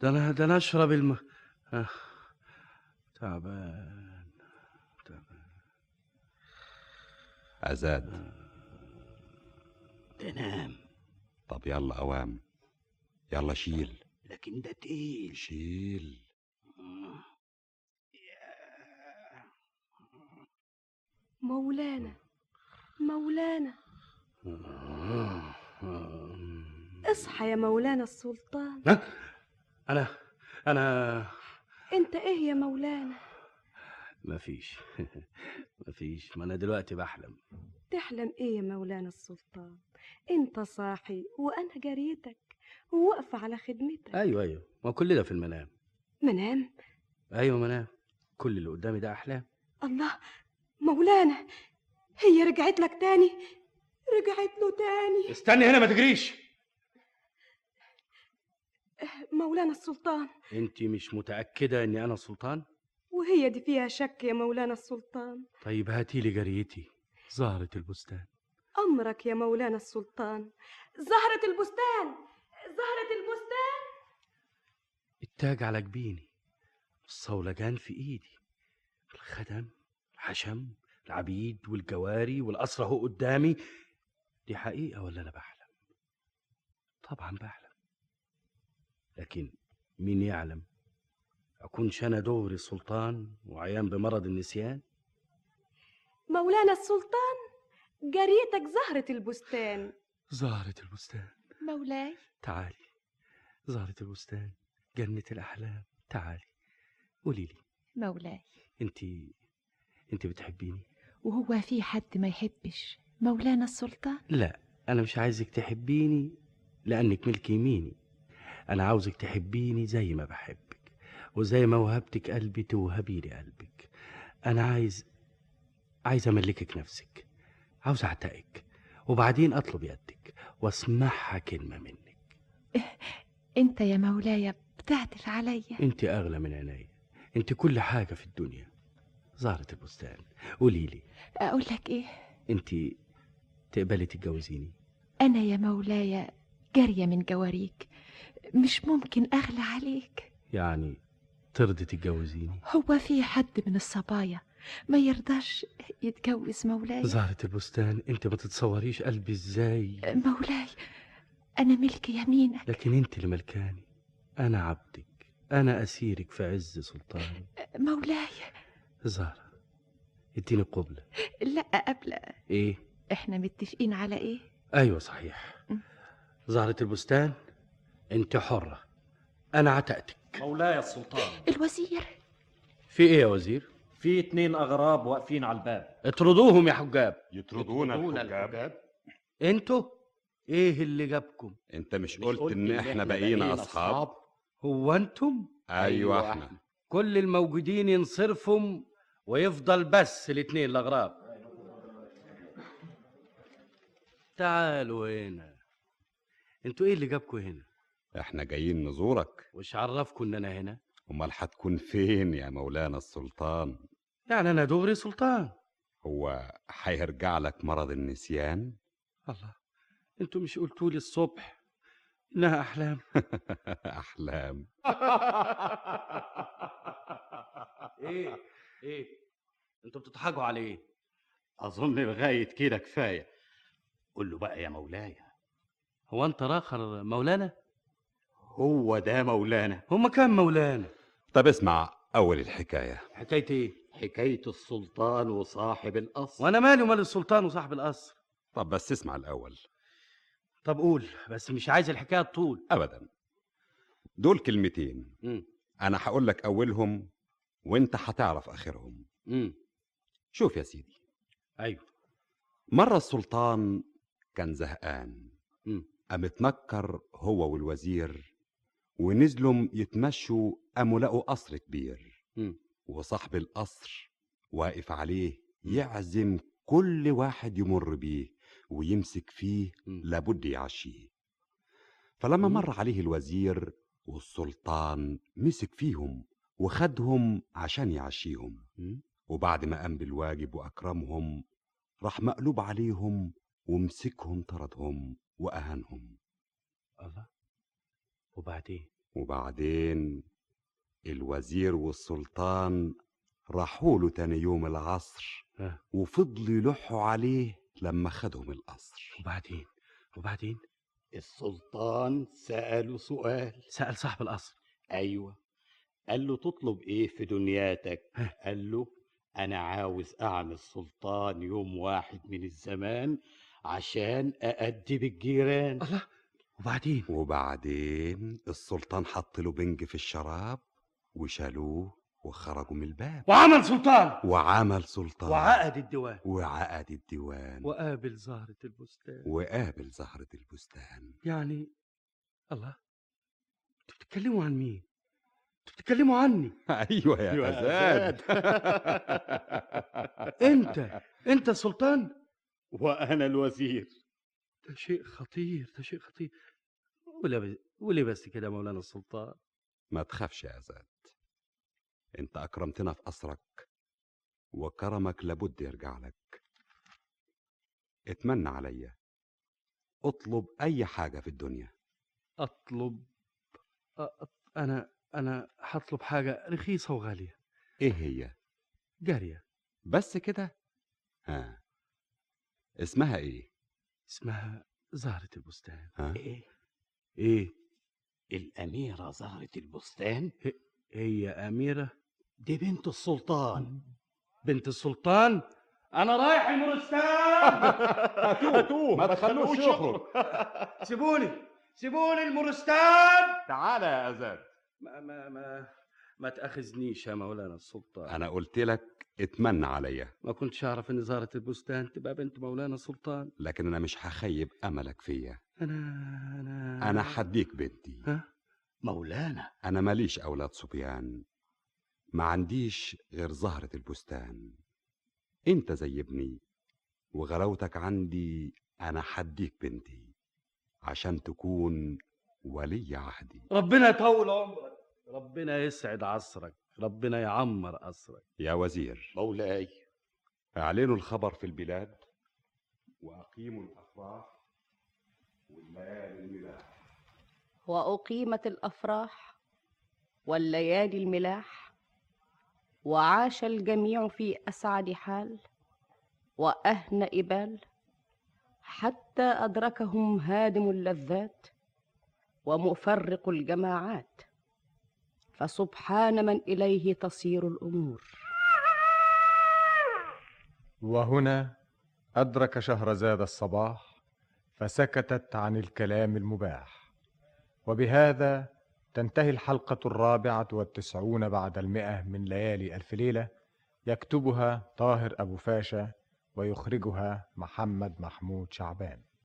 Speaker 9: ده انا ده انا اشرب الم آه. تعبان
Speaker 4: عزاد
Speaker 35: تنام
Speaker 4: طب يلا اوام يلا شيل
Speaker 35: لكن ده تقيل
Speaker 4: شيل
Speaker 6: مولانا مولانا
Speaker 9: آه.
Speaker 6: اصحى يا مولانا السلطان
Speaker 9: انا انا
Speaker 6: انت ايه يا مولانا
Speaker 9: مفيش مفيش ما انا دلوقتي بحلم
Speaker 6: تحلم ايه يا مولانا السلطان انت صاحي وانا جريتك وواقفه على خدمتك
Speaker 9: ايوه ايوه ما كل ده في المنام
Speaker 6: منام
Speaker 9: ايوه منام كل اللي قدامي ده احلام
Speaker 6: الله مولانا هي رجعت لك تاني رجعت له تاني
Speaker 9: استني هنا ما تجريش
Speaker 6: مولانا السلطان
Speaker 9: انت مش متاكده اني انا سلطان
Speaker 6: وهي دي فيها شك يا مولانا السلطان
Speaker 9: طيب هاتي لي جريتي زهره البستان
Speaker 6: امرك يا مولانا السلطان زهره البستان زهره البستان
Speaker 9: التاج على جبيني الصولجان في ايدي الخدم الحشم العبيد والجواري والأسرة هو قدامي دي حقيقة ولا أنا بحلم طبعا بحلم لكن مين يعلم أكونش أنا دغري سلطان وعيان بمرض النسيان
Speaker 6: مولانا السلطان جريتك زهرة البستان
Speaker 9: زهرة البستان
Speaker 24: مولاي
Speaker 9: تعالي زهرة البستان جنة الأحلام تعالي قولي لي
Speaker 24: مولاي
Speaker 9: انتي انت بتحبيني
Speaker 24: وهو في حد ما يحبش مولانا السلطان
Speaker 9: لا انا مش عايزك تحبيني لانك ملك يميني انا عاوزك تحبيني زي ما بحبك وزي ما وهبتك قلبي توهبي لي قلبك انا عايز عايز املكك نفسك عاوز اعتقك وبعدين اطلب يدك واسمعها كلمه منك
Speaker 24: انت يا مولاي بتعطف عليا
Speaker 9: انت اغلى من عينيا انت كل حاجه في الدنيا زهرة البستان قولي لي
Speaker 24: اقول لك ايه
Speaker 9: انت تقبلي تتجوزيني
Speaker 24: انا يا مولاي جاريه من جواريك مش ممكن اغلى عليك
Speaker 9: يعني ترضي تتجوزيني
Speaker 24: هو في حد من الصبايا ما يرضاش يتجوز مولاي
Speaker 9: زهرة البستان انت ما تتصوريش قلبي ازاي
Speaker 24: مولاي انا ملك يمينك
Speaker 9: لكن انت اللي ملكاني انا عبدك انا اسيرك في عز سلطاني
Speaker 24: مولاي
Speaker 9: زهرة اديني قبلة
Speaker 24: لا قبلة
Speaker 9: ايه
Speaker 24: احنا متفقين على ايه
Speaker 9: ايوه صحيح زهرة البستان انت حرة انا عتقتك
Speaker 19: مولاي السلطان
Speaker 24: الوزير
Speaker 9: في ايه يا وزير
Speaker 19: في اتنين اغراب واقفين على الباب
Speaker 9: اطردوهم يا حجاب
Speaker 4: يطردونا الحجاب
Speaker 9: انتوا ايه اللي جابكم
Speaker 4: انت مش قلت, قلت ان احنا بقينا اصحاب
Speaker 9: هو انتم
Speaker 4: ايوه
Speaker 19: أيوة.
Speaker 4: احنا
Speaker 9: كل الموجودين ينصرفهم ويفضل بس الاتنين الاغراب تعالوا هنا انتوا ايه اللي جابكوا هنا
Speaker 4: احنا جايين نزورك
Speaker 9: وش عرفكوا ان انا هنا
Speaker 4: امال هتكون فين يا مولانا السلطان
Speaker 9: يعني انا دغري سلطان
Speaker 4: هو هيرجع لك مرض النسيان
Speaker 9: الله انتوا مش قلتولي الصبح انها احلام
Speaker 4: احلام
Speaker 7: ايه ايه انتوا بتضحكوا على
Speaker 9: إيه؟
Speaker 7: ايه
Speaker 35: اظن لغايه كده كفايه قول له بقى يا مولاي
Speaker 9: هو انت راخر مولانا
Speaker 35: هو ده مولانا
Speaker 9: هما كام مولانا
Speaker 4: طب اسمع اول الحكايه
Speaker 9: حكايه ايه
Speaker 35: حكايه السلطان وصاحب القصر
Speaker 9: وانا مالي ومال السلطان وصاحب القصر
Speaker 4: طب بس اسمع الاول
Speaker 9: طب قول بس مش عايز الحكايه طول
Speaker 4: ابدا دول كلمتين
Speaker 9: م.
Speaker 4: انا هقول لك اولهم وانت هتعرف اخرهم
Speaker 9: م.
Speaker 4: شوف يا سيدي
Speaker 9: ايوه
Speaker 4: مره السلطان كان زهقان
Speaker 9: م.
Speaker 4: قام اتنكر هو والوزير ونزلوا يتمشوا قاموا لقوا قصر كبير
Speaker 9: م.
Speaker 4: وصاحب القصر واقف عليه يعزم كل واحد يمر بيه ويمسك فيه لابد يعشيه فلما مر عليه الوزير والسلطان مسك فيهم وخدهم عشان يعشيهم وبعد ما قام بالواجب وأكرمهم راح مقلوب عليهم ومسكهم طردهم وأهانهم
Speaker 9: الله وبعدين
Speaker 4: وبعدين الوزير والسلطان راحوا له تاني يوم العصر
Speaker 9: ها.
Speaker 4: وفضلوا يلحوا عليه لما خدهم القصر
Speaker 9: وبعدين وبعدين
Speaker 5: السلطان سأله سؤال
Speaker 9: سأل صاحب القصر
Speaker 5: أيوة قال له تطلب إيه في دنياتك قال له أنا عاوز أعمل سلطان يوم واحد من الزمان عشان أأدب الجيران الله
Speaker 9: وبعدين
Speaker 4: وبعدين السلطان حط له بنج في الشراب وشالوه وخرجوا من الباب
Speaker 9: وعمل سلطان
Speaker 4: وعمل سلطان
Speaker 9: وعقد الديوان
Speaker 4: وعقد الديوان
Speaker 9: وقابل زهرة البستان
Speaker 4: وقابل زهرة البستان
Speaker 9: يعني الله انتوا بتتكلموا عن مين؟ انتوا بتتكلموا عني أيوة
Speaker 4: ايوه يا
Speaker 9: يا
Speaker 4: أزاد
Speaker 9: انت انت سلطان
Speaker 5: وأنا الوزير
Speaker 9: ده شيء خطير ده شيء خطير ولبس ولبس كده مولانا السلطان
Speaker 4: ما تخافش يا أزاد انت أكرمتنا في قصرك وكرمك لابد يرجع لك اتمنى عليا اطلب أي حاجة في الدنيا
Speaker 9: اطلب أ- أط- انا انا هطلب حاجه رخيصه وغاليه
Speaker 4: ايه هي
Speaker 9: جاريه
Speaker 4: بس كده ها اسمها ايه
Speaker 9: اسمها زهره البستان
Speaker 4: ها إيه؟
Speaker 5: إيه
Speaker 9: ايه
Speaker 5: الأميرة زهرة البستان
Speaker 9: هي اميره
Speaker 5: دي بنت السلطان
Speaker 9: بنت السلطان انا رايح المرستان هاتوه
Speaker 4: ما تخلوش يخرج
Speaker 9: سيبوني سيبوني المرستان
Speaker 11: تعالى يا أزاد
Speaker 9: ما ما ما ما تاخذنيش يا مولانا السلطان
Speaker 4: أنا قلت لك اتمنى عليا
Speaker 9: ما كنتش اعرف ان زهره البستان تبقى بنت مولانا سلطان
Speaker 4: لكن أنا مش هخيب أملك فيا
Speaker 9: انا انا
Speaker 5: آه.
Speaker 4: أنا حديك بنتي
Speaker 5: مولانا
Speaker 4: أنا ماليش أولاد صبيان ما عنديش غير زهرة البستان أنت زي ابني وغلاوتك عندي أنا حديك بنتي عشان تكون ولي عهدي
Speaker 9: ربنا يطول عمرك ربنا يسعد عصرك ربنا يعمر قصرك
Speaker 4: يا وزير
Speaker 5: مولاي
Speaker 4: أعلنوا الخبر في البلاد وأقيموا الأفراح والليالي الملاح
Speaker 3: واقيمت الافراح والليالي الملاح وعاش الجميع في اسعد حال واهنئ بال حتى ادركهم هادم اللذات ومفرق الجماعات فسبحان من اليه تصير الامور
Speaker 1: وهنا أدرك شهرزاد الصباح فسكتت عن الكلام المباح وبهذا تنتهي الحلقة الرابعة والتسعون بعد المئة من ليالي ألف ليلة يكتبها طاهر أبو فاشا ويخرجها محمد محمود شعبان